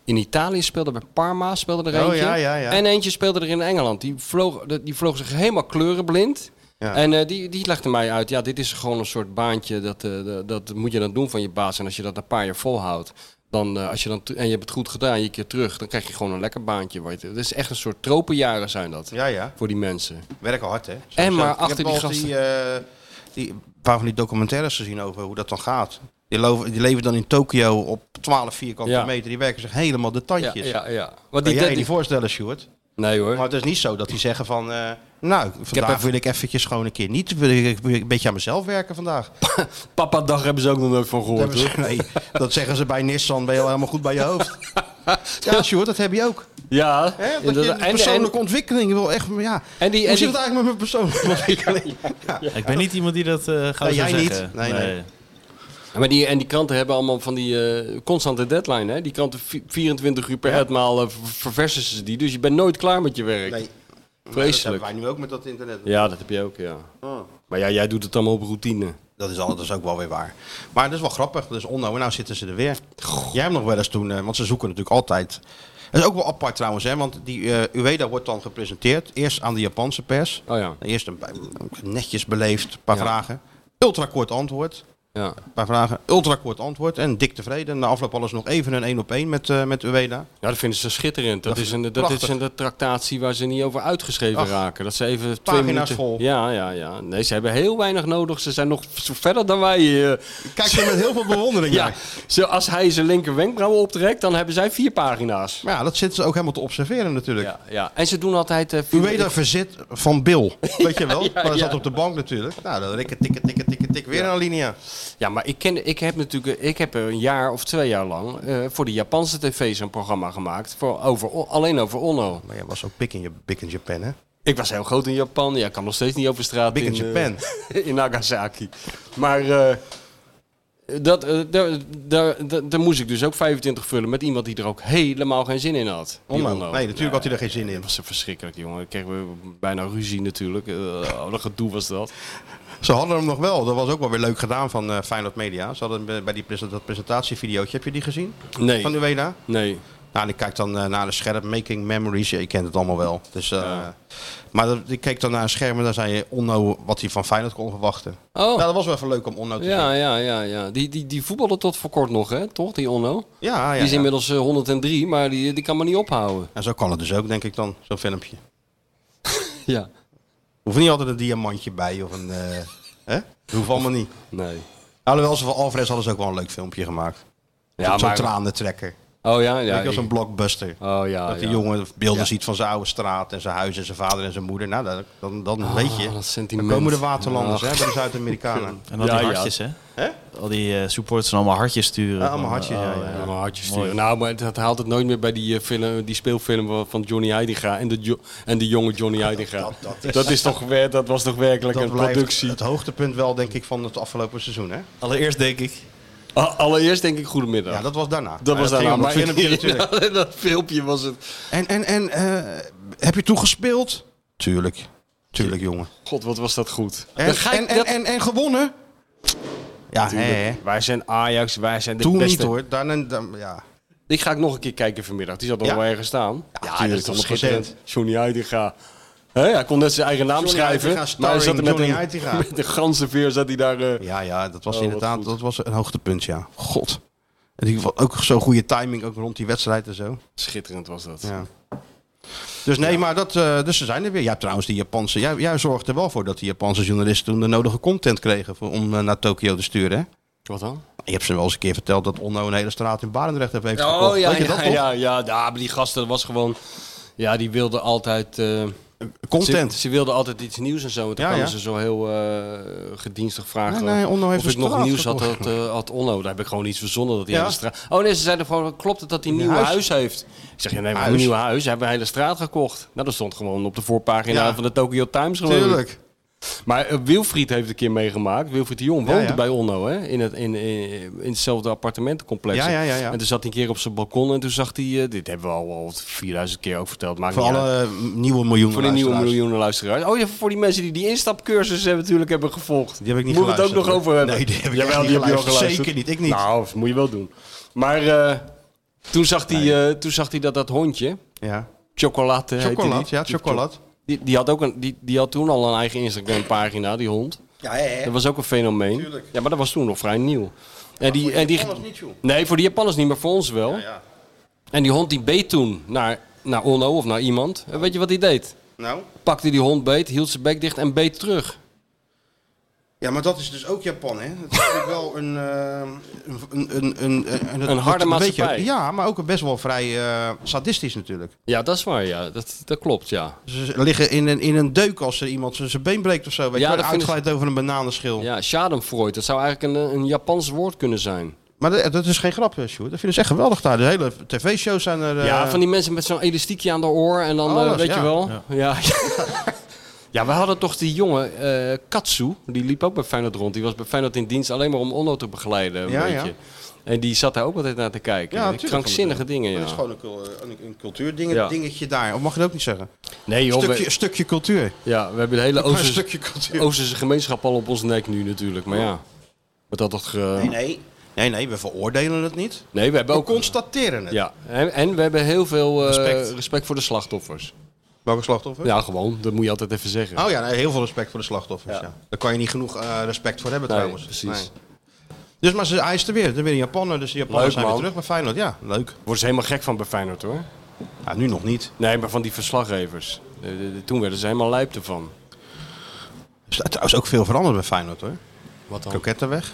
Speaker 4: in Italië speelde, bij Parma speelde er
Speaker 3: Oh,
Speaker 4: eentje.
Speaker 3: ja, ja, ja.
Speaker 4: En eentje speelde er in Engeland. Die vloog, die vloog zich helemaal kleurenblind.
Speaker 3: Ja.
Speaker 4: En eh, die, die legde mij uit, ja, dit is gewoon een soort baantje, dat, eh, dat- dat moet je dan doen van je baas. En als je dat een paar jaar volhoudt, dan, eh, als je dan, t- en je hebt het goed gedaan, je keer terug, dan krijg je gewoon een lekker baantje. Weet je. Het is echt een soort tropenjaren zijn dat,
Speaker 3: Ja, ja.
Speaker 4: voor die mensen.
Speaker 3: Werken hard, hè.
Speaker 4: En maar
Speaker 3: Ik heb
Speaker 4: achter die
Speaker 3: al Die, eh, die, een paar van die documentaires gezien over hoe dat dan gaat. Die, lo- die leven dan in Tokio op 12 vierkante
Speaker 4: Ja.
Speaker 3: meter. Die werken zich helemaal de tandjes.
Speaker 4: ja, ja.
Speaker 3: Kan
Speaker 4: Wat die,
Speaker 3: jij je
Speaker 4: die-
Speaker 3: niet voorstellen, Stuart?
Speaker 4: Nee hoor.
Speaker 3: Maar het is niet zo dat die zeggen van... eh, nou, vandaag
Speaker 4: even-
Speaker 3: wil ik eventjes gewoon een keer niet... Wil ik wil ik een beetje aan mezelf werken vandaag.
Speaker 4: Papa dag hebben ze ook nog nooit van
Speaker 3: Dat
Speaker 4: gehoord
Speaker 3: hebben
Speaker 4: hoor.
Speaker 3: ze- nee, dat zeggen ze bij Nissan. Ben je al helemaal goed bij je hoofd. Ja, Stuart, dat heb je ook.
Speaker 4: Ja,
Speaker 3: Hè? Dat je
Speaker 4: inderdaad.
Speaker 3: de persoonlijke ontwikkeling wil echt... Ja.
Speaker 4: en die, en
Speaker 3: Hoe zit
Speaker 4: die-
Speaker 3: het eigenlijk met mijn persoonlijke ontwikkeling?
Speaker 5: Ik ben niet iemand die dat eh, gaat
Speaker 3: Nee,
Speaker 5: zo
Speaker 3: jij
Speaker 5: zeggen.
Speaker 3: niet. Nee, nee.
Speaker 4: maar die, en die kranten hebben allemaal van die eh, constante deadline. Hè? Die kranten vi- 24 uur per etmaal eh, ver- verversen ze die. Dus je bent nooit klaar met je werk.
Speaker 3: Nee, dat hebben
Speaker 4: Vreselijk.
Speaker 3: wij nu ook met dat internet.
Speaker 4: Ja, dat heb je ook, ja.
Speaker 3: Oh.
Speaker 4: Maar ja, jij doet het allemaal op routine.
Speaker 3: Dat is, al, dat is ook wel weer waar. Maar dat is wel grappig. Dus onno, en nou zitten ze er weer. Jij hebt nog wel eens toen, eh, want ze zoeken natuurlijk altijd. Dat is ook wel apart trouwens, hè, want die eh, Ueda wordt dan gepresenteerd. Eerst aan de Japanse pers.
Speaker 4: Oh ja.
Speaker 3: Eerst een, netjes beleefd, een paar
Speaker 4: Ja.
Speaker 3: vragen. Ultra kort antwoord.
Speaker 4: ja.
Speaker 3: Een paar vragen, ultra kort antwoord. En dik tevreden. Na afloop alles nog even een één op één met, eh, met Ueda.
Speaker 4: Ja, dat vinden ze schitterend. Dat,
Speaker 3: Dat
Speaker 4: is, een, dat
Speaker 3: prachtig.
Speaker 4: is een tractatie waar ze niet over uitgeschreven
Speaker 3: Ach,
Speaker 4: raken. Dat ze even twee
Speaker 3: pagina's
Speaker 4: minuten...
Speaker 3: vol.
Speaker 4: Ja, ja, ja. Nee, ze hebben heel weinig nodig. Ze zijn nog zo verder dan wij. eh.
Speaker 3: Kijk er met heel veel bewondering
Speaker 4: ja,
Speaker 3: naar.
Speaker 4: zo, als hij zijn linker wenkbrauwen optrekt, dan hebben zij vier pagina's.
Speaker 3: Maar ja, dat zitten ze ook helemaal te observeren natuurlijk.
Speaker 4: Ja, ja. En ze doen altijd... eh, vier-
Speaker 3: Ueda verzit van Bill. Weet je wel?
Speaker 4: ja,
Speaker 3: maar hij zat
Speaker 4: ja.
Speaker 3: op de bank natuurlijk. Nou, dan rikken, tikken, tikken, tikken, tik. Weer een linia.
Speaker 4: Ja, maar ik, ken, ik heb natuurlijk ik heb een jaar of twee jaar lang eh, voor de Japanse tv zo'n programma gemaakt. Voor, over, alleen over Onno.
Speaker 3: Maar jij was ook big in, je, big in Japan, hè?
Speaker 4: Ik was heel groot in Japan. Ja, ik kan nog steeds niet over straat.
Speaker 3: Big in
Speaker 4: eh,
Speaker 3: Japan.
Speaker 4: in Nagasaki. Maar eh, dat, eh, daar, daar, daar, daar moest ik dus ook 25 vullen met iemand die er ook helemaal geen zin in had. Die
Speaker 3: Onno.
Speaker 4: Onno.
Speaker 3: Nee, natuurlijk had hij er geen zin in.
Speaker 4: Dat was verschrikkelijk, jongen. Ik kreeg weer bijna ruzie natuurlijk. Eh, wat een gedoe was dat.
Speaker 3: Ze hadden hem nog wel. Dat was ook wel weer leuk gedaan van eh Feyenoord Media. Ze hadden bij- bij die present- dat presentatievideootje, heb je die gezien?
Speaker 4: Nee,
Speaker 3: Van Ueda?
Speaker 4: nee.
Speaker 3: Nou, Nou, en ik kijk dan eh, naar de scherm, Making Memories. Ja, je kent het allemaal wel. Dus, eh, Maar dat- ik keek dan naar een scherm en daar zei je Onno wat hij van Feyenoord kon verwachten.
Speaker 4: Oh. Nou,
Speaker 3: dat was wel even leuk om Onno te
Speaker 4: ja, ja, ja, ja. Die, die, die voetbalde tot voor kort nog, hè? Toch, die Onno?
Speaker 3: Ah, Ja, ja,
Speaker 4: Die is
Speaker 3: ja.
Speaker 4: inmiddels eh, 103, maar die, die kan maar niet ophouden.
Speaker 3: En zo kan het dus ook, denk ik dan, zo'n filmpje.
Speaker 4: Ja.
Speaker 3: Hoeft niet altijd een diamantje bij of een... eh hè? Dat hoeft allemaal niet.
Speaker 4: Nee.
Speaker 3: Alhoewel, ze van Alvarez hadden ze ook wel een leuk filmpje gemaakt.
Speaker 4: Ja,
Speaker 3: Ja, zo'n
Speaker 4: maar-
Speaker 3: tranentrekker.
Speaker 4: Oh ja, ja.
Speaker 3: Weet je, als een
Speaker 4: ik-
Speaker 3: blockbuster.
Speaker 4: Oh ja,
Speaker 3: dat die
Speaker 4: ja.
Speaker 3: jongen beelden
Speaker 4: Ja.
Speaker 3: ziet van zijn oude straat en zijn huis en zijn vader en zijn moeder. Nou, dat- dan, dan
Speaker 4: Ah,
Speaker 3: weet je.
Speaker 4: dat
Speaker 3: dan
Speaker 4: sentiment.
Speaker 3: komen de waterlanders,
Speaker 4: Ach.
Speaker 3: hè, bij de Zuid-Amerikanen.
Speaker 7: En dan die hartjes, hè? Al die eh, supporters en allemaal hartjes sturen.
Speaker 3: Ja, allemaal
Speaker 7: Van,
Speaker 5: eh,
Speaker 3: hartjes,
Speaker 7: oh,
Speaker 3: ja, ja, ja.
Speaker 4: Allemaal hartjes
Speaker 7: Mooi.
Speaker 4: sturen. Nou, maar dat haalt het nooit meer bij die, eh, film, die speelfilm van- van Johnny Heidinga en de, jo- en de jonge Johnny Heidinga. Dat,
Speaker 3: is-
Speaker 4: is toch, wer- dat was toch werkelijk
Speaker 3: Dat
Speaker 4: een
Speaker 3: blijft
Speaker 4: productie.
Speaker 3: het hoogtepunt wel, denk ik, van het afgelopen seizoen, hè?
Speaker 7: Allereerst denk ik.
Speaker 4: A- Allereerst denk ik goedemiddag.
Speaker 3: Ja, dat was daarna. Maar
Speaker 4: Dat was
Speaker 3: ging
Speaker 4: daarna.
Speaker 3: om dat
Speaker 4: Maar ik-
Speaker 3: filmpje natuurlijk.
Speaker 4: Ja, dat filmpje was het.
Speaker 3: En, en, en eh, heb je toen gespeeld? Tuurlijk. Tuurlijk, jongen.
Speaker 4: God, wat was dat goed.
Speaker 3: En,
Speaker 4: Dan ga ik
Speaker 3: en, en,
Speaker 4: dat-
Speaker 3: en, en gewonnen? Ja, hè, hè.
Speaker 4: Tuurlijk. Wij zijn Ajax, wij zijn de
Speaker 3: Toen
Speaker 4: beste.
Speaker 3: niet, hoor. Daarna, dan, ja.
Speaker 4: Die ga ik nog een keer kijken vanmiddag. Die zat nog
Speaker 3: Ja.
Speaker 4: wel ergens staan. Ja,
Speaker 3: tuurlijk, dat is
Speaker 4: Johnny Heitinga. Hè, hij kon net zijn eigen naam
Speaker 3: Johnny
Speaker 4: schrijven.
Speaker 3: Heitinga,
Speaker 4: maar hij zat er met,
Speaker 3: starring Johnny
Speaker 4: een,
Speaker 3: Heitinga.
Speaker 4: met de ganse veer zat hij daar... eh,
Speaker 3: Ja, ja, dat was
Speaker 4: Oh, wat
Speaker 3: inderdaad
Speaker 4: goed.
Speaker 3: dat was een hoogtepunt, ja. God. En die had ook zo'n goede timing, ook rond die wedstrijd en zo.
Speaker 4: Schitterend was dat.
Speaker 3: Ja. Dus nee, maar dat, eh, dus ze zijn er weer. Jij hebt trouwens die Japanse, jij, jij zorgde er wel voor dat die Japanse journalisten toen de nodige content kregen voor, om eh, naar Tokio te sturen. Hè?
Speaker 4: Wat dan?
Speaker 3: Je hebt ze wel eens een keer verteld dat Onno een hele straat in Barendrecht heeft heeft gekocht.
Speaker 4: Oh ja,
Speaker 3: Weet je
Speaker 4: ja,
Speaker 3: dat
Speaker 4: ja,
Speaker 3: toch?
Speaker 4: ja, ja, maar die gasten dat was gewoon... Ja, die wilden altijd... eh,
Speaker 3: Content.
Speaker 4: Ze, ze wilden altijd iets nieuws en zo. En toen
Speaker 3: Ja,
Speaker 4: kwamen
Speaker 3: ja.
Speaker 4: ze zo heel eh, gedienstig vragen.
Speaker 3: Nee, nee, Onno heeft
Speaker 4: of ik
Speaker 3: een
Speaker 4: nog
Speaker 3: straat
Speaker 4: nieuws had,
Speaker 3: gekocht.
Speaker 4: had, eh, had Onno. Daar heb ik gewoon iets verzonnen. Dat die
Speaker 3: Ja.
Speaker 4: hele straat... Oh nee, ze zeiden gewoon, klopt het dat hij een nieuw huis.
Speaker 3: huis.
Speaker 4: heeft? Ik zeg, ja, nee, maar
Speaker 3: Huis.
Speaker 4: een nieuw huis. Hij heeft een hele straat gekocht. Nou, dat stond gewoon op de voorpagina
Speaker 3: Ja.
Speaker 4: van de Tokyo Times gewoon.
Speaker 3: Tuurlijk.
Speaker 4: Maar eh, Wilfried heeft een keer meegemaakt. Wilfried de Jong
Speaker 3: Ja,
Speaker 4: woonde
Speaker 3: ja.
Speaker 4: bij Onno, hè? In, het, in, in, in hetzelfde appartementencomplex.
Speaker 3: Ja, ja, ja, ja.
Speaker 4: En toen zat hij een keer op zijn balkon en toen zag hij... eh, dit hebben we al, al 4000 keer ook verteld. Maakt
Speaker 3: Voor
Speaker 4: niet uit.
Speaker 3: alle eh, nieuwe miljoenen
Speaker 4: Voor de nieuwe
Speaker 3: luisteraars.
Speaker 4: miljoenen luisteraars. Oh, ja, voor die mensen die die instapcursus hebben, natuurlijk hebben gevolgd.
Speaker 3: Die heb ik niet
Speaker 4: Moet we het ook
Speaker 3: geluisterd,
Speaker 4: nog
Speaker 3: hoor.
Speaker 4: over hebben?
Speaker 3: Nee, die heb ik
Speaker 4: Jawel,
Speaker 3: echt niet
Speaker 4: die heb je al
Speaker 3: geluisterd.
Speaker 4: geluisterd.
Speaker 3: Zeker niet, ik niet.
Speaker 4: Nou, dat moet je wel doen. Maar eh, toen zag hij eh, toen zag hij dat dat hondje,
Speaker 3: Ja.
Speaker 4: Chocolate heette
Speaker 3: Chocolat,
Speaker 4: die.
Speaker 3: ja, chocolat.
Speaker 4: Die, die, had ook een, die, die had toen al een eigen Instagram-pagina, die hond.
Speaker 3: Ja, hè, hè.
Speaker 4: Dat was ook een fenomeen. Ja, maar dat was toen nog vrij nieuw. En die, en die,
Speaker 3: Japaners niet, joh.
Speaker 4: nee, voor de Japanners niet, maar voor ons wel.
Speaker 3: ja.
Speaker 4: En die hond die beet toen naar, naar Onno of naar iemand. En weet je wat hij deed?
Speaker 3: Nou,
Speaker 4: pakte die hond beet, hield zijn bek dicht en beet terug.
Speaker 3: ja, maar dat is dus ook Japan, hè? Dat is natuurlijk wel een... eh, een, een, een, en dat-
Speaker 4: Een harde
Speaker 3: dat- weet je,
Speaker 4: maatschappij.
Speaker 3: ja, maar ook best wel vrij eh, sadistisch natuurlijk.
Speaker 4: Ja, dat is waar, ja. Dat, dat klopt, ja.
Speaker 3: Ze liggen in een, in een deuk als er iemand zijn zijn been breekt of zo. Weet
Speaker 4: Ja,
Speaker 3: je, wel,
Speaker 4: dat vinden
Speaker 3: uitglijdt over een bananenschil.
Speaker 4: Ja, schadenfreude, dat zou eigenlijk een, een Japans woord kunnen zijn.
Speaker 3: Maar dat, dat is geen grap, eh, Sjoerd. Dat vinden ze echt geweldig daar. De hele tv-shows zijn er... eh,
Speaker 4: ja, van die mensen met zo'n elastiekje aan de oor en dan, eh,
Speaker 3: Alles,
Speaker 4: weet
Speaker 3: ja.
Speaker 4: je wel. Ja. Ja. we hadden toch die jongen, eh, Katsu, die liep ook bij Feyenoord rond. Die was bij Feyenoord in dienst alleen maar om Onno te begeleiden, een
Speaker 3: Ja, ja.
Speaker 4: beetje. En die zat daar ook altijd naar te kijken.
Speaker 3: Ja,
Speaker 4: Eh,
Speaker 3: natuurlijk
Speaker 4: Krankzinnige
Speaker 3: vond ik
Speaker 4: dingen,
Speaker 3: dat
Speaker 4: ja.
Speaker 3: is gewoon een, cul- een, een cultuurdingetje
Speaker 4: Ja.
Speaker 3: dingetje daar. Of mag je dat ook niet zeggen?
Speaker 4: Nee joh,
Speaker 3: stukje,
Speaker 4: we,
Speaker 3: stukje cultuur.
Speaker 4: ja, we hebben de hele
Speaker 3: Een
Speaker 4: Oosterse,
Speaker 3: stukje cultuur.
Speaker 4: Oosterse gemeenschap al op ons nek nu natuurlijk. Maar ja, wat had dat... eh, Ge...
Speaker 3: Nee, nee. Nee, nee, we veroordelen het niet.
Speaker 4: Nee, we hebben
Speaker 3: We
Speaker 4: ook.
Speaker 3: constateren het.
Speaker 4: Ja, en, en we hebben heel veel eh, respect.
Speaker 3: Respect.
Speaker 4: voor de slachtoffers.
Speaker 3: Welke slachtoffer?
Speaker 4: Ja, gewoon. Dat moet je altijd even zeggen.
Speaker 3: Oh ja, nee, heel veel respect voor de slachtoffers. Ja. Daar kan je niet genoeg eh, respect voor hebben
Speaker 4: Nee,
Speaker 3: trouwens.
Speaker 4: precies.
Speaker 3: Dus maar ze eisten weer. Er weer in Japan. Dus de Japanners
Speaker 4: Leuk,
Speaker 3: zijn weer
Speaker 4: man.
Speaker 3: terug bij Feyenoord. Ja, leuk.
Speaker 4: Worden ze helemaal gek van bij Feyenoord hoor.
Speaker 3: Ja, nu nog niet.
Speaker 4: Nee, maar van die verslaggevers. Eh, de- de- toen werden ze helemaal lijp ervan.
Speaker 3: Er is trouwens ook veel veranderd bij Feyenoord hoor.
Speaker 4: Wat dan?
Speaker 3: Kroketten weg.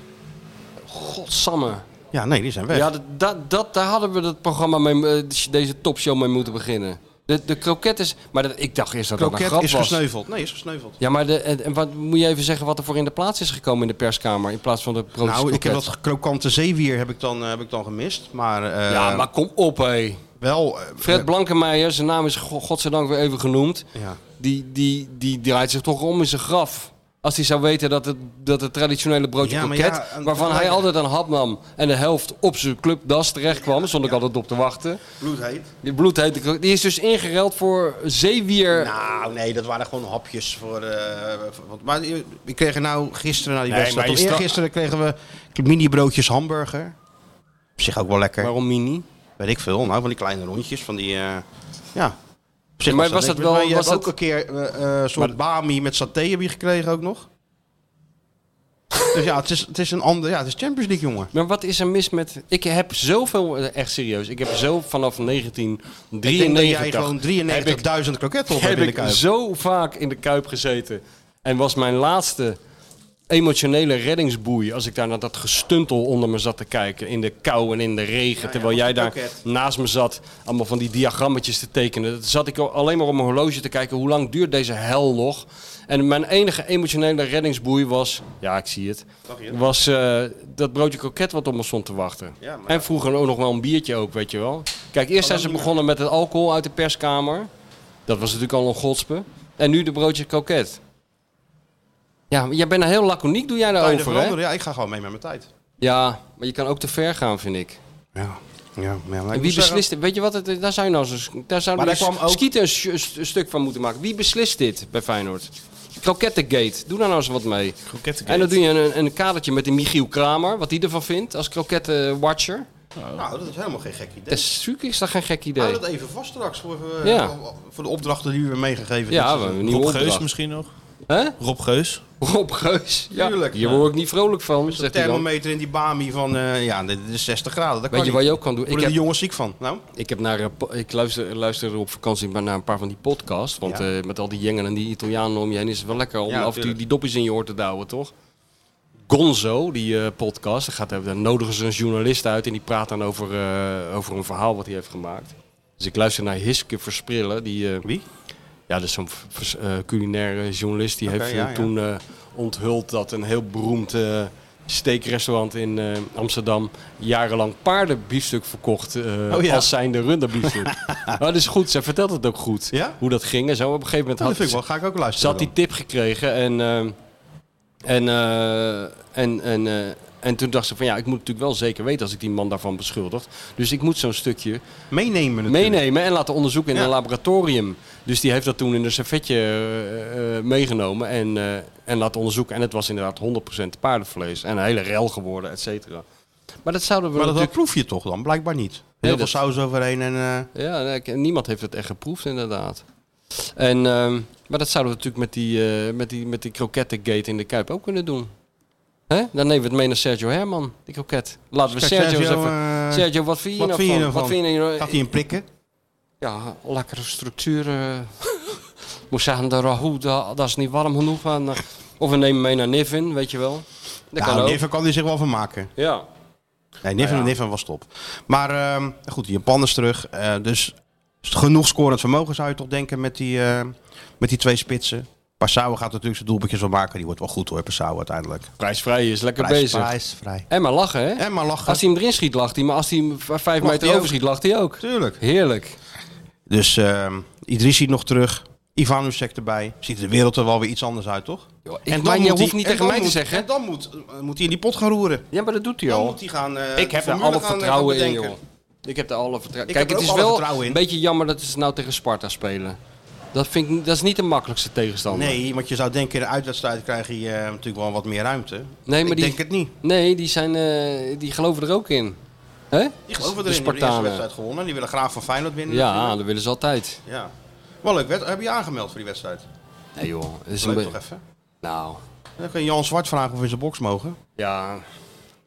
Speaker 4: Godsamme.
Speaker 3: Ja, nee, die zijn weg.
Speaker 4: Ja, dat, dat, dat- daar hadden we het programma mee, eh, de- deze topshow mee moeten beginnen. De, de kroket is... Maar dat, ik dacht eerst dat dat een
Speaker 3: Kroket
Speaker 4: grap
Speaker 3: is
Speaker 4: was.
Speaker 3: gesneuveld. Nee, is gesneuveld.
Speaker 4: Ja, maar de, en, en wat, moet je even zeggen wat er voor in de plaats is gekomen in de perskamer? In plaats van de broodjes
Speaker 3: Nou, ik heb
Speaker 4: kroket?
Speaker 3: dat krokante zeewier heb ik dan, eh, heb ik dan gemist. Maar, eh,
Speaker 4: Ja, maar kom op hé.
Speaker 3: wel... eh,
Speaker 4: Fred Blankemeijer, zijn naam is go- godzijdank weer even genoemd.
Speaker 3: Ja.
Speaker 4: Die, die, die draait zich toch om in zijn graf. Als hij zou weten dat het, dat het traditionele broodje
Speaker 3: Ja, maar
Speaker 4: kroket,
Speaker 3: ja, een-
Speaker 4: waarvan hij altijd een hap nam en de helft op zijn clubdas terecht kwam, stond ik altijd op te wachten.
Speaker 3: Bloedheet.
Speaker 4: Die bloedhete kroket, die is dus ingereld voor zeewier.
Speaker 3: Nou, nee, dat waren gewoon hapjes voor. eh, voor- want- maar je- we kregen nou gisteren na die
Speaker 4: Nee,
Speaker 3: wedstrijd.
Speaker 4: maar je
Speaker 3: Of
Speaker 4: stra-
Speaker 3: eergisteren kregen we mini broodjes hamburger. Op zich ook wel lekker.
Speaker 4: Waarom mini?
Speaker 3: Weet ik veel. Nou, van die kleine rondjes, van die... eh, ja. Op zich
Speaker 4: Maar was
Speaker 3: leuk.
Speaker 4: dat wel-
Speaker 3: Maar Je
Speaker 4: was
Speaker 3: hebt ook
Speaker 4: dat-
Speaker 3: een keer eh, eh, een soort bami met saté heb je gekregen ook nog. dus ja, het is, het is een ander... Ja, het is Champions League, jongen.
Speaker 4: Maar wat is er mis met... Ik heb zoveel, eh, echt serieus, ik heb zo vanaf 1993...
Speaker 3: Ik denk dat jij
Speaker 4: heb
Speaker 3: gewoon
Speaker 4: ik-
Speaker 3: 93.000 kroketten op hebt
Speaker 4: heb
Speaker 3: in de
Speaker 4: ik
Speaker 3: kuip.
Speaker 4: zo vaak in de Kuip gezeten. En was mijn laatste emotionele reddingsboei... als ik daar naar dat gestuntel onder me zat te kijken. In de kou en in de regen. terwijl jij daar naast me zat... allemaal van die diagrammetjes te tekenen. Dat zat ik al- alleen maar op mijn horloge te kijken... hoe lang duurt deze hel nog? En mijn enige emotionele reddingsboei was... ja, ik zie het... was eh, dat broodje kroket wat op me stond te wachten.
Speaker 3: Ja, maar- Oh,
Speaker 4: En vroeger ook nog wel een biertje ook, weet je wel. Kijk, eerst zijn ze begonnen met het alcohol uit de perskamer... Dat was natuurlijk al een godspe. En nu de broodje koket. Ja, maar jij bent er heel laconiek, doe jij
Speaker 3: Kan je er
Speaker 4: daarover, hè?
Speaker 3: veranderen? Ja, ik ga gewoon mee met mijn tijd.
Speaker 4: Ja, maar je kan ook te ver gaan, vind ik.
Speaker 3: Ja, ja, maar
Speaker 4: En wie beslist dit? Weet je wat? Het, daar zou je nou zo, daar zou
Speaker 3: Maar
Speaker 4: je
Speaker 3: daar kwam ook-
Speaker 4: Skieten een, sh- een st- een stuk van moeten maken. Wie beslist dit bij Feyenoord? Krokettengate. Doe daar nou eens wat mee. En dan doe je een, een kadertje met een Michiel Kramer, wat hij ervan vindt, als krokettenwatcher.
Speaker 3: Nou, dat is helemaal geen gek idee.
Speaker 4: Dat is, natuurlijk is dat geen gek idee.
Speaker 3: Hou Ah, dat even vast straks voor, eh,
Speaker 4: Ja.
Speaker 3: voor de opdrachten die u hebben meegegeven.
Speaker 4: Ja,
Speaker 3: dit
Speaker 4: we hebben een
Speaker 3: seizoen.
Speaker 4: nieuwe
Speaker 5: Rob Geus
Speaker 4: opdracht.
Speaker 5: misschien nog?
Speaker 4: Hè?
Speaker 5: Rob Geus?
Speaker 4: Rob Geus. Ja,
Speaker 3: Tuurlijk,
Speaker 4: hier
Speaker 3: ja.
Speaker 4: word ik niet vrolijk van,
Speaker 3: Zo'n
Speaker 4: zegt hij dan.
Speaker 3: thermometer in die bami van, eh, ja, dit is 60 graden. Dat
Speaker 4: Weet
Speaker 3: kan
Speaker 4: je
Speaker 3: niet.
Speaker 4: wat je ook kan doen? Ik
Speaker 3: Worden
Speaker 4: heb-
Speaker 3: de jongens ziek van? Nou,
Speaker 4: Ik, heb naar, eh, po- ik luister, luister op vakantie maar naar een paar van die podcasts. Want
Speaker 3: Ja.
Speaker 4: eh, met al die jengen en die Italianen om je heen is het wel lekker om
Speaker 3: Ja,
Speaker 4: af en toe
Speaker 3: tuurlijk.
Speaker 4: die dopjes in je oor te douwen, toch? Gonzo, die eh, podcast, daar, gaat, daar nodigen ze een journalist uit en die praat dan over, eh, over een verhaal wat hij heeft gemaakt. Dus ik luister naar Hiske Versprillen. Die, eh,
Speaker 3: Wie?
Speaker 4: Ja, dat is zo'n vers- eh, culinaire journalist. Die
Speaker 3: Oké,
Speaker 4: heeft eh,
Speaker 3: ja, ja.
Speaker 4: toen eh, onthuld dat een heel beroemd eh, steakrestaurant in eh, Amsterdam jarenlang paardenbiefstuk verkocht. eh
Speaker 3: Oh ja.
Speaker 4: Als zijnde runderbiefstuk. maar dat is goed. Zij vertelt het ook goed.
Speaker 3: Ja? Oh,
Speaker 4: Hoe dat ging en zo. Op een gegeven
Speaker 3: dat
Speaker 4: moment
Speaker 3: vind ik
Speaker 4: had,
Speaker 3: wel. Ga ik ook
Speaker 4: ze
Speaker 3: luisteren
Speaker 4: had die tip gekregen en, ehm, en, eh, en, en, eh, en toen dacht ze van ja, ik moet natuurlijk wel zeker weten als ik die man daarvan beschuldig. Dus ik moet zo'n stukje
Speaker 3: dan. Meenemen natuurlijk.
Speaker 4: meenemen en laten onderzoeken in
Speaker 3: Ja.
Speaker 4: een laboratorium. Dus die heeft dat toen in een servetje eh, eh, meegenomen en, eh, en laten onderzoeken. En het was inderdaad 100% paardenvlees en een hele rel geworden, et cetera. Maar dat zouden we
Speaker 3: Maar dat, dat
Speaker 4: natuurlijk...
Speaker 3: proef je toch dan? Blijkbaar niet. Heel veel
Speaker 4: dat-
Speaker 3: saus overheen en... eh,
Speaker 4: Ja, nee, ik- niemand heeft het echt geproefd inderdaad. En, ehm, maar dat zouden we natuurlijk met die, eh, met die, met die krokettengate in de Kuip ook kunnen doen. Hè? Dan nemen we het mee naar Sergio Herman, die kroket. Laten we
Speaker 3: kijk,
Speaker 4: Sergio, eens
Speaker 3: Sergio,
Speaker 4: even...
Speaker 3: eh,
Speaker 4: Sergio, wat vind je
Speaker 3: wat
Speaker 4: nou
Speaker 3: vind je
Speaker 4: van?
Speaker 3: ervan?
Speaker 4: Wat vind je nou-
Speaker 3: Gaat hij een prikken?
Speaker 4: ja, lekkere structuren. Moest zeggen, de rahout, dat, dat is niet warm genoeg. En, eh, of we nemen mee naar Nivin, weet je wel. Dat kan
Speaker 3: Nou,
Speaker 4: ook.
Speaker 3: Niffen kan hij zich wel van maken.
Speaker 4: Ja.
Speaker 3: Nee, Niffen,
Speaker 4: Nou
Speaker 3: Niffen was top. Maar ehm, goed, Japan is terug. eh, dus genoeg scorend vermogen zou je toch denken met die, eh, met die twee spitsen. Passau gaat natuurlijk zijn doelpuntjes wel maken. Die wordt wel goed hoor, Passau uiteindelijk.
Speaker 4: Prijsvrij is lekker
Speaker 3: Prijs-
Speaker 4: bezig.
Speaker 3: Prijsvrij.
Speaker 4: En maar lachen, hè?
Speaker 3: En maar lachen.
Speaker 4: Als hij hem erin schiet, lacht hij. Maar als hij hem v- vijf
Speaker 3: hij
Speaker 4: meter
Speaker 3: ook.
Speaker 4: overschiet, lacht hij ook.
Speaker 3: Tuurlijk.
Speaker 4: Heerlijk.
Speaker 3: Dus ehm Idrissi nog terug. Ivanusek erbij. Ziet de wereld er wel weer iets anders uit, toch?
Speaker 4: Joh, ik- maar je
Speaker 3: moet
Speaker 4: hoeft
Speaker 3: hij-
Speaker 4: niet
Speaker 3: en
Speaker 4: tegen
Speaker 3: dan
Speaker 4: mij te
Speaker 3: moet-
Speaker 4: zeggen.
Speaker 3: En dan moet, eh, moet hij in die pot gaan roeren.
Speaker 4: Ja, maar dat doet hij
Speaker 3: Dan
Speaker 4: al.
Speaker 3: moet hij gaan... eh,
Speaker 4: Ik
Speaker 3: de
Speaker 4: heb er
Speaker 3: formule
Speaker 4: alle
Speaker 3: gaan-
Speaker 4: vertrouwen
Speaker 3: gaan
Speaker 4: in,
Speaker 3: bedenken.
Speaker 4: joh. Ik heb er alle vertrouwen
Speaker 3: Ik
Speaker 4: Kijk,
Speaker 3: heb
Speaker 4: het
Speaker 3: er
Speaker 4: is
Speaker 3: ook alle
Speaker 4: wel
Speaker 3: vertrouwen in.
Speaker 4: een beetje jammer dat ze nou tegen Sparta spelen. Dat, vind ik, dat is niet de makkelijkste tegenstander.
Speaker 3: Nee, want je zou denken in de uitwedstrijd krijg je eh, natuurlijk wel wat meer ruimte.
Speaker 4: Nee,
Speaker 3: ik
Speaker 4: maar die-
Speaker 3: denk het niet.
Speaker 4: Nee, die, zijn, eh, die geloven er ook in. Hè?
Speaker 3: Die geloven
Speaker 4: De
Speaker 3: erin. Die hebben de eerste
Speaker 4: Spartanen.
Speaker 3: wedstrijd gewonnen. Die willen graag van Feyenoord winnen.
Speaker 4: Ja,
Speaker 3: natuurlijk.
Speaker 4: dat willen ze altijd.
Speaker 3: ja. Wel leuk. wed- Heb je je aangemeld voor die wedstrijd?
Speaker 4: Nee joh, dat is een
Speaker 3: Leuk
Speaker 4: be-
Speaker 3: toch even?
Speaker 4: Nou,
Speaker 3: Dan kun je Jan Zwart vragen of we in zijn box mogen.
Speaker 4: ja.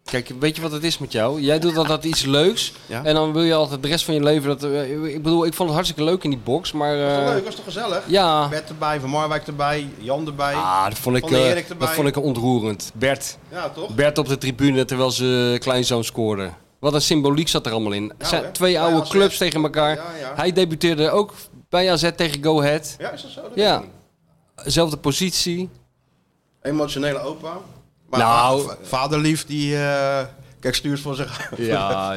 Speaker 4: Kijk, weet je wat het is met jou? Jij doet altijd iets leuks
Speaker 3: Ja.
Speaker 4: en dan wil je altijd de rest van je leven dat... eh, ik bedoel, ik vond het hartstikke leuk in die box, maar...
Speaker 3: Was toch
Speaker 4: eh,
Speaker 3: leuk, was toch gezellig?
Speaker 4: Ja.
Speaker 3: Bert erbij, Van Marwijk erbij, Jan erbij.
Speaker 4: Ah, dat vond ik,
Speaker 3: Van de
Speaker 4: eh,
Speaker 3: Erik erbij.
Speaker 4: dat vond ik ontroerend. Bert.
Speaker 3: Ja, toch?
Speaker 4: Bert op de tribune terwijl ze kleinzoon scoorde. Wat een symboliek zat er allemaal in. Het zijn
Speaker 3: Nou, hè?
Speaker 4: twee
Speaker 3: Bij
Speaker 4: oude
Speaker 3: AZ.
Speaker 4: clubs tegen elkaar.
Speaker 3: Ja, ja.
Speaker 4: Hij debuteerde ook bij AZ tegen Go Ahead.
Speaker 3: Ja, is dat zo? Dat
Speaker 4: Ja.
Speaker 3: weet ik niet.
Speaker 4: Zelfde positie.
Speaker 3: Emotionele opa. Maar
Speaker 4: Nou.
Speaker 3: va- vaderlief die... eh, kijk, stuurt voor zich.
Speaker 4: Ja, ja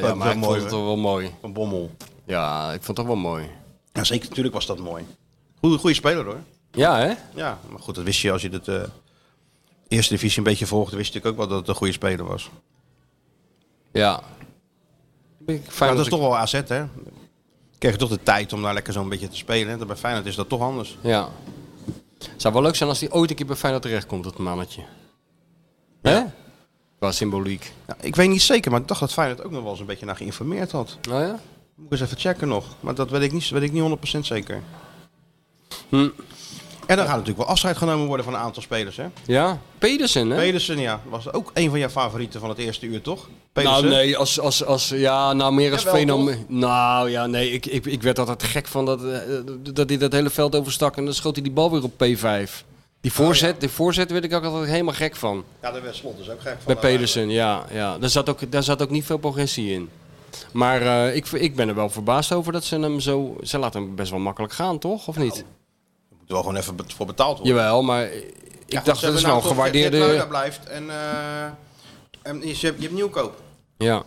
Speaker 3: Dat
Speaker 4: maar
Speaker 3: is
Speaker 4: ik
Speaker 3: mooi,
Speaker 4: vond het
Speaker 3: hoor.
Speaker 4: toch wel mooi.
Speaker 3: Van Bommel.
Speaker 4: Ja, ik vond het wel mooi.
Speaker 3: Ja, zeker. Natuurlijk was dat mooi. Goeie, goeie speler hoor.
Speaker 4: Ja, hè?
Speaker 3: Ja, maar goed, dat wist je als je het eh, eerste divisie een beetje volgde, wist ik ook wel dat het een goede speler was.
Speaker 4: Ja. Ik
Speaker 3: Maar
Speaker 4: fijn
Speaker 3: dat is toch wel AZ, hè? Kreeg je toch de tijd om daar lekker zo'n beetje te spelen. hè? Bij Feyenoord is dat toch anders.
Speaker 4: Ja. Zou wel leuk zijn als hij ooit een keer bij Feyenoord terechtkomt, dat mannetje. Hè? Qua symboliek.
Speaker 3: Ja, ik weet niet zeker, maar ik dacht dat Feyenoord ook nog wel eens een beetje naar geïnformeerd had.
Speaker 4: Nou ja?
Speaker 3: Moet ik eens even checken nog. Maar dat weet ik niet, weet ik niet 100% zeker.
Speaker 4: Hm.
Speaker 3: En dan gaat natuurlijk wel afscheid genomen worden van een aantal spelers, hè?
Speaker 4: Ja, Pedersen, hè?
Speaker 3: Pedersen, ja. Was ook een van jouw favorieten van het eerste uur, toch?
Speaker 4: nou,
Speaker 3: Pedersen?
Speaker 4: nee, als, als, als, ja, nou meer als
Speaker 3: Jawel,
Speaker 4: fenomeen. Nou ja, nee, ik, ik, ik werd altijd gek van dat, eh, dat hij dat hele veld overstak en dan schoot hij die bal weer op P5. Die voorzet, die voorzet werd ik ook altijd helemaal gek van.
Speaker 3: Ja, daar werd Slot dus ook gek van.
Speaker 4: Bij Pedersen, Oh, ja. ja. Daar, zat ook, daar zat ook niet veel progressie in. Maar eh, ik, ik ben er wel verbaasd over dat ze hem zo... Ze laten hem best wel makkelijk gaan, toch? Of niet?
Speaker 3: Moet er wel gewoon even be- voor betaald worden.
Speaker 4: Jawel, maar ik dacht dat is nou een gewaardeerde...
Speaker 3: blijft en, eh, en je, hebt, je hebt nieuwkoop.
Speaker 4: Ja.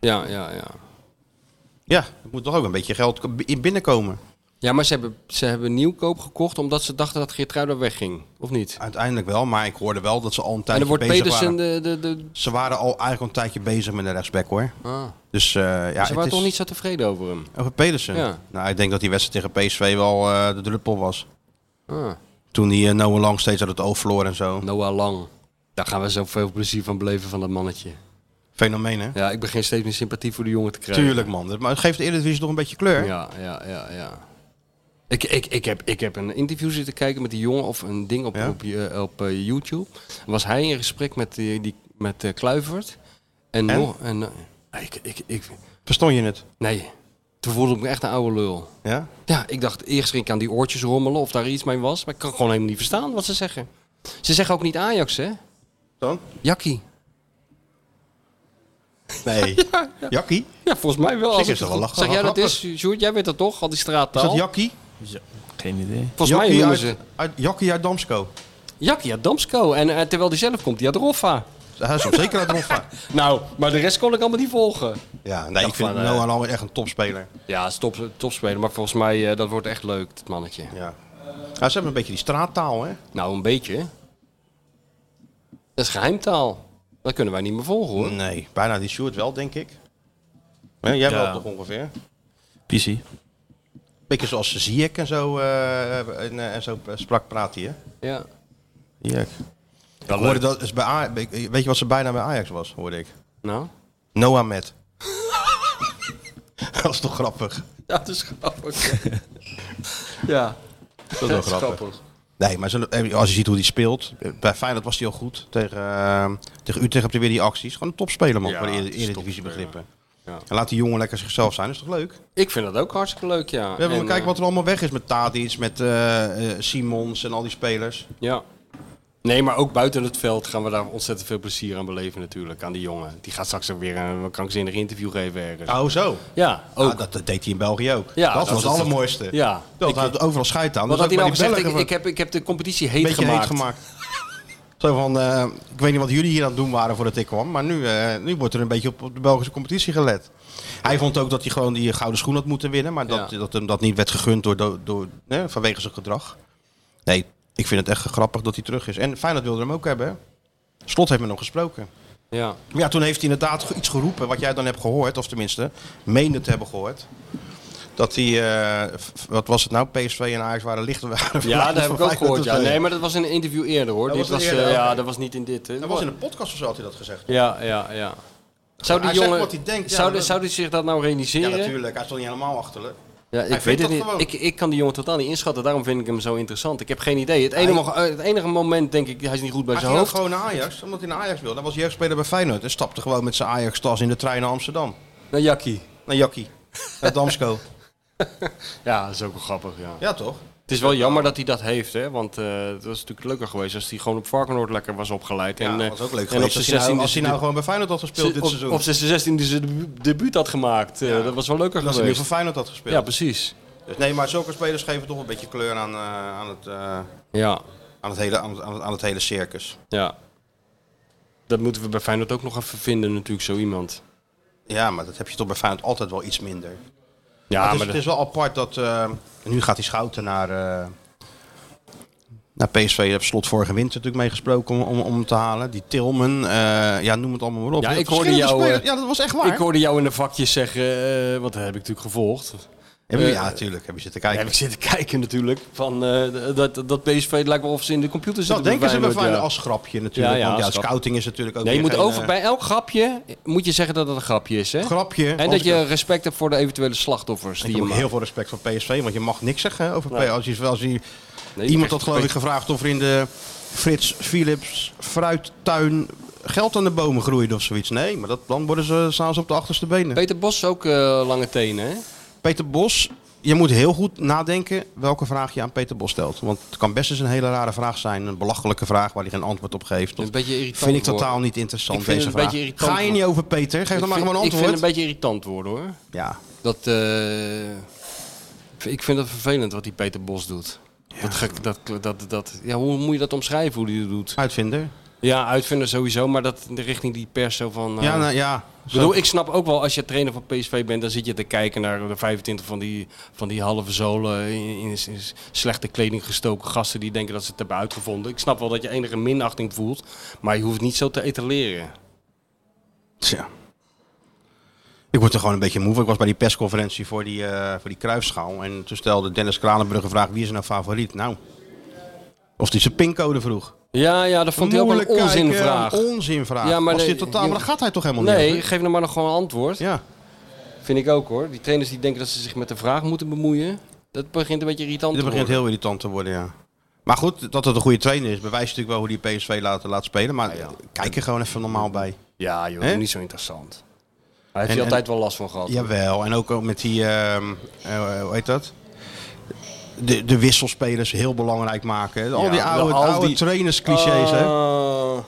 Speaker 4: Ja, ja, ja.
Speaker 3: Ja, er moet toch ook een beetje geld k- in binnenkomen.
Speaker 4: Ja, maar ze hebben, ze hebben nieuwkoop gekocht omdat ze dachten dat Geertruida wegging. Of niet?
Speaker 3: Uiteindelijk wel, maar ik hoorde wel dat ze al een
Speaker 4: en
Speaker 3: tijdje
Speaker 4: dan wordt
Speaker 3: bezig
Speaker 4: Pedersen
Speaker 3: waren.
Speaker 4: de... de, de...
Speaker 3: Ze waren al eigenlijk al een tijdje bezig met een rechtsback hoor.
Speaker 4: Ah.
Speaker 3: Dus eh, ja,
Speaker 4: ze
Speaker 3: het
Speaker 4: waren
Speaker 3: is...
Speaker 4: toch niet zo tevreden over hem?
Speaker 3: Over Pedersen?
Speaker 4: Ja.
Speaker 3: Nou, ik denk dat die wedstrijd tegen PSV wel eh, de druppel was.
Speaker 4: Ah.
Speaker 3: Toen die eh, Noah Lang steeds uit het oog verloor en zo.
Speaker 4: Noah Lang. Daar gaan we zoveel plezier van beleven van dat mannetje.
Speaker 3: Fenomeen, hè?
Speaker 4: Ja, ik begin steeds meer sympathie voor de jongen te krijgen.
Speaker 3: Tuurlijk, man. Dat- Maar het geeft de Eredivisie nog een beetje kleur.
Speaker 4: Ja, ja, ja, ja. Ik, ik, ik, heb, ik heb een interview zitten kijken met die jongen of een ding op,
Speaker 3: Ja?
Speaker 4: op, eh, op eh, YouTube. Was hij in gesprek met, die, die, met eh, Kluivert. En,
Speaker 3: En?
Speaker 4: nog... En, eh, ik, ik, ik,
Speaker 3: Verstond je het?
Speaker 4: nee, toen voelde ik me echt een oude lul.
Speaker 3: Ja?
Speaker 4: Ja, ik dacht eerst ging ik aan die oortjes rommelen of daar iets mee was. Maar ik kan gewoon helemaal niet verstaan wat ze zeggen. Ze zeggen ook niet Ajax, hè?
Speaker 3: Dan?
Speaker 4: Jakkie.
Speaker 3: Nee. Jakkie?
Speaker 4: Ja, volgens mij wel.
Speaker 3: Zeker,
Speaker 4: Als ik
Speaker 3: is
Speaker 4: het
Speaker 3: wel
Speaker 4: goed-
Speaker 3: lachen-
Speaker 4: zeg jij dat
Speaker 3: grappig.
Speaker 4: is, Sjoerd? Jij weet dat toch, al die
Speaker 3: Is
Speaker 4: straattaal?
Speaker 3: dat Jakkie?
Speaker 5: Geen idee.
Speaker 4: volgens mij noemen
Speaker 3: uit,
Speaker 4: ze
Speaker 3: uit, Jakkie uit Damsko.
Speaker 4: Jakkie uit Damsko. En eh, terwijl die zelf komt, die uit Roffa.
Speaker 3: Hij is zeker uit Roffa.
Speaker 4: Nou, maar de rest kon ik allemaal niet volgen.
Speaker 3: Ja, nee, ik vind
Speaker 4: van, eh,
Speaker 3: Noah Lang echt een topspeler.
Speaker 4: Ja, stop, topspeler. Maar volgens mij, eh, dat wordt echt leuk, dat mannetje.
Speaker 3: Ja. Nou, ze hebben een beetje die straattaal, hè?
Speaker 4: Nou, een beetje. hè. Dat is geheimtaal. Dat kunnen wij niet meer volgen, hoor.
Speaker 3: Nee, bijna die Sjoerd wel, denk ik. Hè, jij wel toch ongeveer?
Speaker 5: PC.
Speaker 3: Beetje zoals Ziyech en zo, eh, en, eh, en zo sprak praat hij, hè?
Speaker 4: Ja.
Speaker 3: Ziyech. Ik hoorde dat, is bij Aj- weet je wat ze bijna bij Ajax was, hoorde ik?
Speaker 4: Nou?
Speaker 3: Noah Met. dat is toch grappig?
Speaker 4: Ja, dat is grappig. ja.
Speaker 3: Dat is wel grappig. Nee, maar zo- eh, als je ziet hoe die speelt. eh, Bij Feyenoord was hij al goed. Tegen, eh, tegen Utrecht heb je weer die acties. Gewoon een topspeler, man.
Speaker 4: Ja,
Speaker 3: voor de
Speaker 4: het
Speaker 3: Ere-
Speaker 4: is
Speaker 3: Eredivisie begrippen.
Speaker 4: Ja.
Speaker 3: En laat die jongen lekker zichzelf zijn. Dat is toch leuk? We
Speaker 4: Ik vind dat ook hartstikke leuk, ja.
Speaker 3: hebben
Speaker 4: En, eh,
Speaker 3: maar kijken wat er allemaal weg is met Tadic, met eh, eh, Simons en al die spelers.
Speaker 4: eh, Ja. Nee, maar ook buiten het veld gaan we daar ontzettend veel plezier aan beleven natuurlijk, aan die jongen. Die gaat straks ook weer een krankzinnig interview geven ergens.
Speaker 3: Oh, zo.
Speaker 4: Ja,
Speaker 3: Ook.
Speaker 4: ook.
Speaker 3: dat, dat deed hij in België ook.
Speaker 4: Ja,
Speaker 3: dat,
Speaker 4: dat
Speaker 3: was
Speaker 4: is-
Speaker 3: het allermooiste.
Speaker 4: ja.
Speaker 3: Dat
Speaker 4: Ik-
Speaker 3: had overal scheid aan. Dat
Speaker 4: wat had
Speaker 3: is
Speaker 4: hij
Speaker 3: ook bij
Speaker 4: nou gezegd?
Speaker 3: die
Speaker 4: Ik,
Speaker 3: Belgen
Speaker 4: ik, heb, ik heb de competitie heet
Speaker 3: een beetje
Speaker 4: gemaakt.
Speaker 3: heet gemaakt. Zo van, eh, ik weet niet wat jullie hier aan het doen waren voordat ik kwam, maar nu, eh, nu wordt er een beetje op, op de Belgische competitie gelet. Hij vond ook dat hij gewoon die gouden schoen had moeten winnen, maar dat,
Speaker 4: Ja.
Speaker 3: dat hem dat niet werd gegund door, door, door, hè, vanwege zijn gedrag. Nee, ik vind het echt grappig dat hij terug is. En Feyenoord wilde hem ook hebben. hè. Slot heeft met hem gesproken.
Speaker 4: Ja.
Speaker 3: Maar ja, toen heeft hij inderdaad ge- iets geroepen, wat jij dan hebt gehoord, of tenminste, meende te hebben gehoord. Dat hij, eh, f- wat was het nou, PSV en Ajax waren licht. Waren
Speaker 4: ja, dat heb ik ook gehoord. Ja. Nee,
Speaker 3: maar...
Speaker 4: maar dat was in een interview eerder, hoor.
Speaker 3: Dat
Speaker 4: Dit
Speaker 3: was
Speaker 4: was,
Speaker 3: het eerder,
Speaker 4: eh,
Speaker 3: oké.
Speaker 4: ja, dat was niet in dit. hè.
Speaker 3: Dat was in een podcast of zo had hij dat gezegd.
Speaker 4: Ja, ja, ja. Zou die
Speaker 3: Hij zegt
Speaker 4: jongen,
Speaker 3: wat hij denkt, ja,
Speaker 4: zou,
Speaker 3: dat-
Speaker 4: zou die zich dat nou realiseren?
Speaker 3: Ja, natuurlijk. Hij stond niet helemaal achterlijk.
Speaker 4: Ja, ik
Speaker 3: vindt
Speaker 4: weet
Speaker 3: dat
Speaker 4: het niet.
Speaker 3: gewoon.
Speaker 4: Ik, ik kan die jongen totaal niet inschatten. Daarom vind ik hem zo interessant. Ik heb geen idee. Het enige, eh, het enige moment denk ik, hij is niet goed bij
Speaker 3: Hij
Speaker 4: zijn
Speaker 3: ging ook
Speaker 4: hoofd.
Speaker 3: gewoon naar Ajax, omdat hij naar Ajax wilde. Hij was jeugdspeler bij Feyenoord en stapte gewoon met zijn Ajax-tas in de trein naar Amsterdam.
Speaker 4: Naar Jackie.
Speaker 3: Naar Jakkie. Naar Damsko.
Speaker 4: Ja, dat is ook wel grappig, ja.
Speaker 3: Ja, toch?
Speaker 4: Het is wel jammer dat hij dat heeft, hè. Want eh het was natuurlijk leuker geweest als hij gewoon op Varkenoord lekker was opgeleid.
Speaker 3: Ja,
Speaker 4: en, eh,
Speaker 3: dat was ook leuk
Speaker 4: en op
Speaker 3: geweest
Speaker 4: zijn
Speaker 3: als hij nou,
Speaker 4: 16
Speaker 3: als hij nou gewoon bij Feyenoord had gespeeld dit seizoen.
Speaker 4: Op zijn 16 zijn debu- debuut had gemaakt. Eh,
Speaker 3: Ja.
Speaker 4: Dat was wel leuker
Speaker 3: als hij nu
Speaker 4: geweest.
Speaker 3: voor Feyenoord had
Speaker 4: Ja,
Speaker 3: gespeeld.
Speaker 4: precies.
Speaker 3: dus nee, maar zulke spelers geven toch een beetje kleur aan, eh, aan, het, eh,
Speaker 4: Ja,
Speaker 3: aan, het, hele, aan, het, aan het- aan het hele circus.
Speaker 4: ja. Dat moeten we bij Feyenoord ook nog even vinden natuurlijk, zo iemand.
Speaker 3: Ja, maar dat heb je toch bij Feyenoord altijd wel iets minder.
Speaker 4: Ja,
Speaker 3: het, is,
Speaker 4: maar
Speaker 3: het
Speaker 4: de-
Speaker 3: is wel apart dat. eh, en nu gaat die Schouten naar, eh, naar PSV. Daar heb slot vorige winter natuurlijk mee gesproken om, om, om hem te halen. Die Tilman, eh, ja, noem het allemaal maar op.
Speaker 4: Ja,
Speaker 3: Heel
Speaker 4: ik hoorde
Speaker 3: verschillende
Speaker 4: jou,
Speaker 3: spelers.
Speaker 4: eh,
Speaker 3: Ja, dat was echt waar.
Speaker 4: Ik hoorde jou in de vakjes zeggen, eh, want dat heb ik natuurlijk gevolgd.
Speaker 3: Hebben
Speaker 4: Eh,
Speaker 3: jullie- ja, natuurlijk. Hebben je zitten kijken.
Speaker 4: Heb ik zitten kijken natuurlijk. Van, eh, dat, dat PSV lijkt wel of ze in de computer
Speaker 3: dat
Speaker 4: zitten.
Speaker 3: denken ze bij
Speaker 4: Feyenoord, ja.
Speaker 3: Feyenoord als grapje natuurlijk.
Speaker 4: Ja, ja,
Speaker 3: want ja,
Speaker 4: als grap.
Speaker 3: scouting is natuurlijk ook
Speaker 4: Nee, je
Speaker 3: weer
Speaker 4: moet
Speaker 3: geen,
Speaker 4: over,
Speaker 3: eh,
Speaker 4: bij elk grapje moet je zeggen dat het een grapje is. Hè?
Speaker 3: Grapje.
Speaker 4: En dat je respect hebt voor de eventuele slachtoffers.
Speaker 3: Ik
Speaker 4: Die
Speaker 3: heb
Speaker 4: je
Speaker 3: ook
Speaker 4: maakt.
Speaker 3: heel veel respect voor PSV, want je mag niks zeggen hè, over
Speaker 4: Nee.
Speaker 3: PSV. Als je, als je,
Speaker 4: Nee, je
Speaker 3: iemand
Speaker 4: krijgt
Speaker 3: had geloof ik
Speaker 4: respect.
Speaker 3: gevraagd of er in de Frits Philips fruittuin geld aan de bomen groeide of zoiets. Nee, maar dat, dan worden ze, staan ze op de achterste benen.
Speaker 4: Peter Bos ook eh, lange tenen. Hè?
Speaker 3: Peter Bos, je moet heel goed nadenken welke vraag je aan Peter Bos stelt. Want het kan best eens een hele rare vraag zijn. Een belachelijke vraag waar hij geen antwoord op geeft. Of-
Speaker 4: Een beetje irritant
Speaker 3: vind ik
Speaker 4: worden.
Speaker 3: totaal niet interessant,
Speaker 4: Ik vind
Speaker 3: deze
Speaker 4: het een
Speaker 3: vraag.
Speaker 4: beetje irritant
Speaker 3: Ga je niet
Speaker 4: worden.
Speaker 3: over Peter, geef
Speaker 4: Ik
Speaker 3: dan maar
Speaker 4: vind-
Speaker 3: gewoon een
Speaker 4: Ik vind
Speaker 3: antwoord.
Speaker 4: het een beetje irritant worden hoor.
Speaker 3: Ja,
Speaker 4: Dat, eh, ik vind dat vervelend wat die Peter Bos doet. Dat, gek- dat, dat, dat, ja, hoe moet je dat omschrijven, hoe die dat doet?
Speaker 3: uitvinder.
Speaker 4: Ja, uitvinder sowieso, maar dat in de richting die pers zo van... eh,
Speaker 3: Ja, nou, ja.
Speaker 4: Ik bedoel, ik snap ook wel, als je trainer van PSV bent, dan zit je te kijken naar de 25 van die, van die halve zolen in, in- in slechte kleding gestoken gasten die denken dat ze het hebben uitgevonden. Ik snap wel dat je enige minachting voelt, maar je hoeft het niet zo te etaleren.
Speaker 3: Tja. Ik word er gewoon een beetje moe van. Ik was bij die persconferentie voor die, eh voor die Kruifschaal. En toen stelde Dennis Kranenbrug een vraag, wie is nou favoriet? Nou, of die zijn pincode vroeg.
Speaker 4: Ja, ja, dat vond hij ook
Speaker 3: Moeilijk
Speaker 4: een
Speaker 3: kijken,
Speaker 4: onzinvraag.
Speaker 3: Een onzinvraag.
Speaker 4: Ja, maar
Speaker 3: was
Speaker 4: nee,
Speaker 3: dit totaal,
Speaker 4: je-
Speaker 3: maar dat gaat hij toch helemaal niet?
Speaker 4: Nee,
Speaker 3: over?
Speaker 4: geef nou maar nog gewoon een antwoord.
Speaker 3: Ja.
Speaker 4: Vind ik ook hoor. Die trainers die denken dat ze zich met de vraag moeten bemoeien, dat begint een beetje irritant
Speaker 3: Dit
Speaker 4: te
Speaker 3: begint
Speaker 4: worden.
Speaker 3: heel irritant te worden, ja. Maar goed, dat het een goede trainer is, bewijst natuurlijk wel hoe die PSV laat, laat spelen. Maar kijk er gewoon even normaal bij.
Speaker 4: Ja joh,
Speaker 3: Hè?
Speaker 4: niet zo interessant. Hij
Speaker 3: En-
Speaker 4: heeft hier
Speaker 3: en-
Speaker 4: altijd wel last van gehad.
Speaker 3: Jawel, en ook met die, ehm, eh, hoe heet dat? De, de wisselspelers heel belangrijk maken. Al
Speaker 4: Ja,
Speaker 3: die oude,
Speaker 4: al
Speaker 3: oude
Speaker 4: die-
Speaker 3: trainersclichés, hè.
Speaker 4: Ah.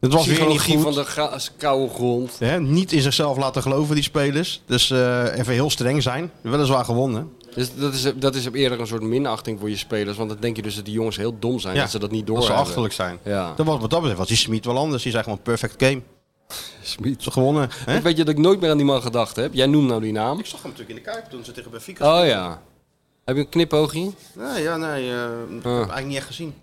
Speaker 3: Dat was weer niet
Speaker 4: Psychologie
Speaker 3: goed.
Speaker 4: van de gra- koude grond.
Speaker 3: Hè, niet in zichzelf laten geloven, die spelers. Dus eh, even heel streng zijn. Weliswaar gewonnen.
Speaker 4: Dus dat is, dat is eerder een soort minachting voor je spelers. Want dan denk je dus dat die jongens heel dom zijn.
Speaker 3: Ja,
Speaker 4: dat ze dat niet
Speaker 3: Dat ze
Speaker 4: doorhebben.
Speaker 3: achterlijk zijn.
Speaker 4: Ja.
Speaker 3: Dat was, wat dat betreft was die Smit wel anders. Die zei gewoon perfect game.
Speaker 4: Smit.
Speaker 3: Ze gewonnen. Hè?
Speaker 4: Ik weet je dat ik nooit meer aan die man gedacht heb. Jij noemt nou die naam.
Speaker 3: Ik zag hem natuurlijk in de Kuip toen ze tegen Benfica
Speaker 4: Oh ja. Heb je een knipoogje?
Speaker 3: Nee, ja, nee. eh, ik heb hem
Speaker 4: Oh.
Speaker 3: eigenlijk niet echt gezien.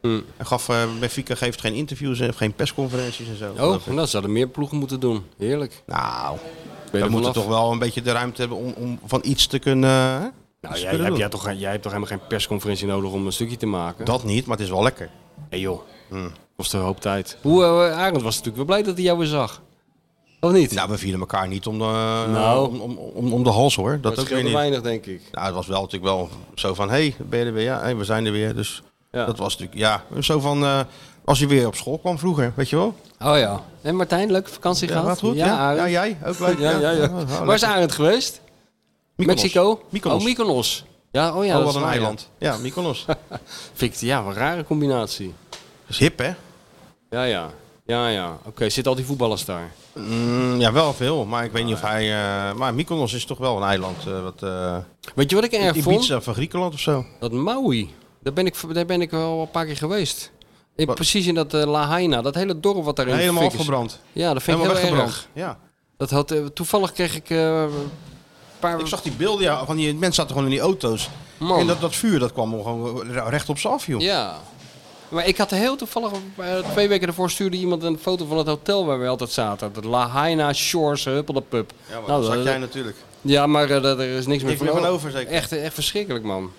Speaker 4: Hm.
Speaker 3: Hij gaf, eh Benfica geeft geen interviews en geen persconferenties en zo.
Speaker 4: Oh, nou zouden meer ploegen moeten doen. Heerlijk.
Speaker 3: Nou,
Speaker 4: Ben je
Speaker 3: we
Speaker 4: er
Speaker 3: moeten
Speaker 4: vanaf?
Speaker 3: toch wel een beetje de ruimte hebben om, om van iets te kunnen... eh,
Speaker 4: Nou,
Speaker 3: te
Speaker 4: jij,
Speaker 3: kunnen
Speaker 4: heb,
Speaker 3: doen.
Speaker 4: jij, toch, jij hebt toch helemaal geen persconferentie nodig om een stukje te maken?
Speaker 3: Dat Hmm. niet, maar het is wel lekker.
Speaker 4: Hé joh, kost een hoop tijd. Hoe, eh, Arend was natuurlijk wel blij dat hij jou weer zag. Of niet?
Speaker 3: Nou, we vielen elkaar niet om de,
Speaker 4: Nou.
Speaker 3: om, om, om, om de hals hoor. Dat,
Speaker 4: dat
Speaker 3: ook weer
Speaker 4: scheelde
Speaker 3: niet.
Speaker 4: weinig, denk ik.
Speaker 3: Nou, het was wel natuurlijk wel zo van, hé, hey, ben je er weer? Ja, hey, we zijn er weer. Dus
Speaker 4: Ja.
Speaker 3: dat was natuurlijk, ja, zo van, eh, als je weer op school kwam vroeger, weet je wel?
Speaker 4: Oh ja. En Martijn, leuke vakantie
Speaker 3: Ja,
Speaker 4: gehad?
Speaker 3: gaat goed. Ja,
Speaker 4: Arend.
Speaker 3: ja, jij ook leuk.
Speaker 4: Ja, ja, ja.
Speaker 3: Oh,
Speaker 4: Waar is
Speaker 3: lekker.
Speaker 4: Arend geweest?
Speaker 3: Mykonos.
Speaker 4: Mexico?
Speaker 3: Mykonos.
Speaker 4: Oh, Mykonos. Ja, oh ja.
Speaker 3: oh,
Speaker 4: dat
Speaker 3: wat
Speaker 4: is
Speaker 3: een
Speaker 4: waar, ja.
Speaker 3: eiland. Ja, Mykonos. Dat
Speaker 4: Vind ik, ja, wat een rare combinatie.
Speaker 3: is hip, hè?
Speaker 4: Ja, ja. Ja, ja. Oké, zitten al die voetballers daar?
Speaker 3: Mm, ja, wel veel, maar ik weet
Speaker 4: Ah,
Speaker 3: niet of hij... eh, maar Mykonos is toch wel een eiland, eh, wat... eh
Speaker 4: Weet je wat ik erg vond?
Speaker 3: Ibiza van Griekenland of zo.
Speaker 4: Dat Maui. Daar ben ik, daar ben ik wel een paar keer geweest. In,
Speaker 3: Wat?
Speaker 4: precies in dat eh, Lahaina, dat hele dorp wat daarin
Speaker 3: Helemaal
Speaker 4: fik is.
Speaker 3: afgebrand.
Speaker 4: Ja, dat vind
Speaker 3: Helemaal
Speaker 4: ik heel
Speaker 3: weggebrand.
Speaker 4: erg.
Speaker 3: Ja.
Speaker 4: Dat had, eh, toevallig kreeg ik eh, een paar...
Speaker 3: Ik zag die beelden ja, van die mensen zaten gewoon in die auto's.
Speaker 4: Man.
Speaker 3: En dat, dat vuur dat kwam gewoon recht op ze af, joh.
Speaker 4: Ja. Maar ik had heel toevallig, eh, twee weken ervoor stuurde iemand een foto van het hotel waar we altijd zaten. De Lahaina Shores Huppeldepup.
Speaker 3: Ja, maar
Speaker 4: Nou,
Speaker 3: dat zag
Speaker 4: dat-
Speaker 3: jij natuurlijk.
Speaker 4: Ja, maar eh, dat- er is niks,
Speaker 3: Niks meer van over, zeker?
Speaker 4: Echt, echt verschrikkelijk, man.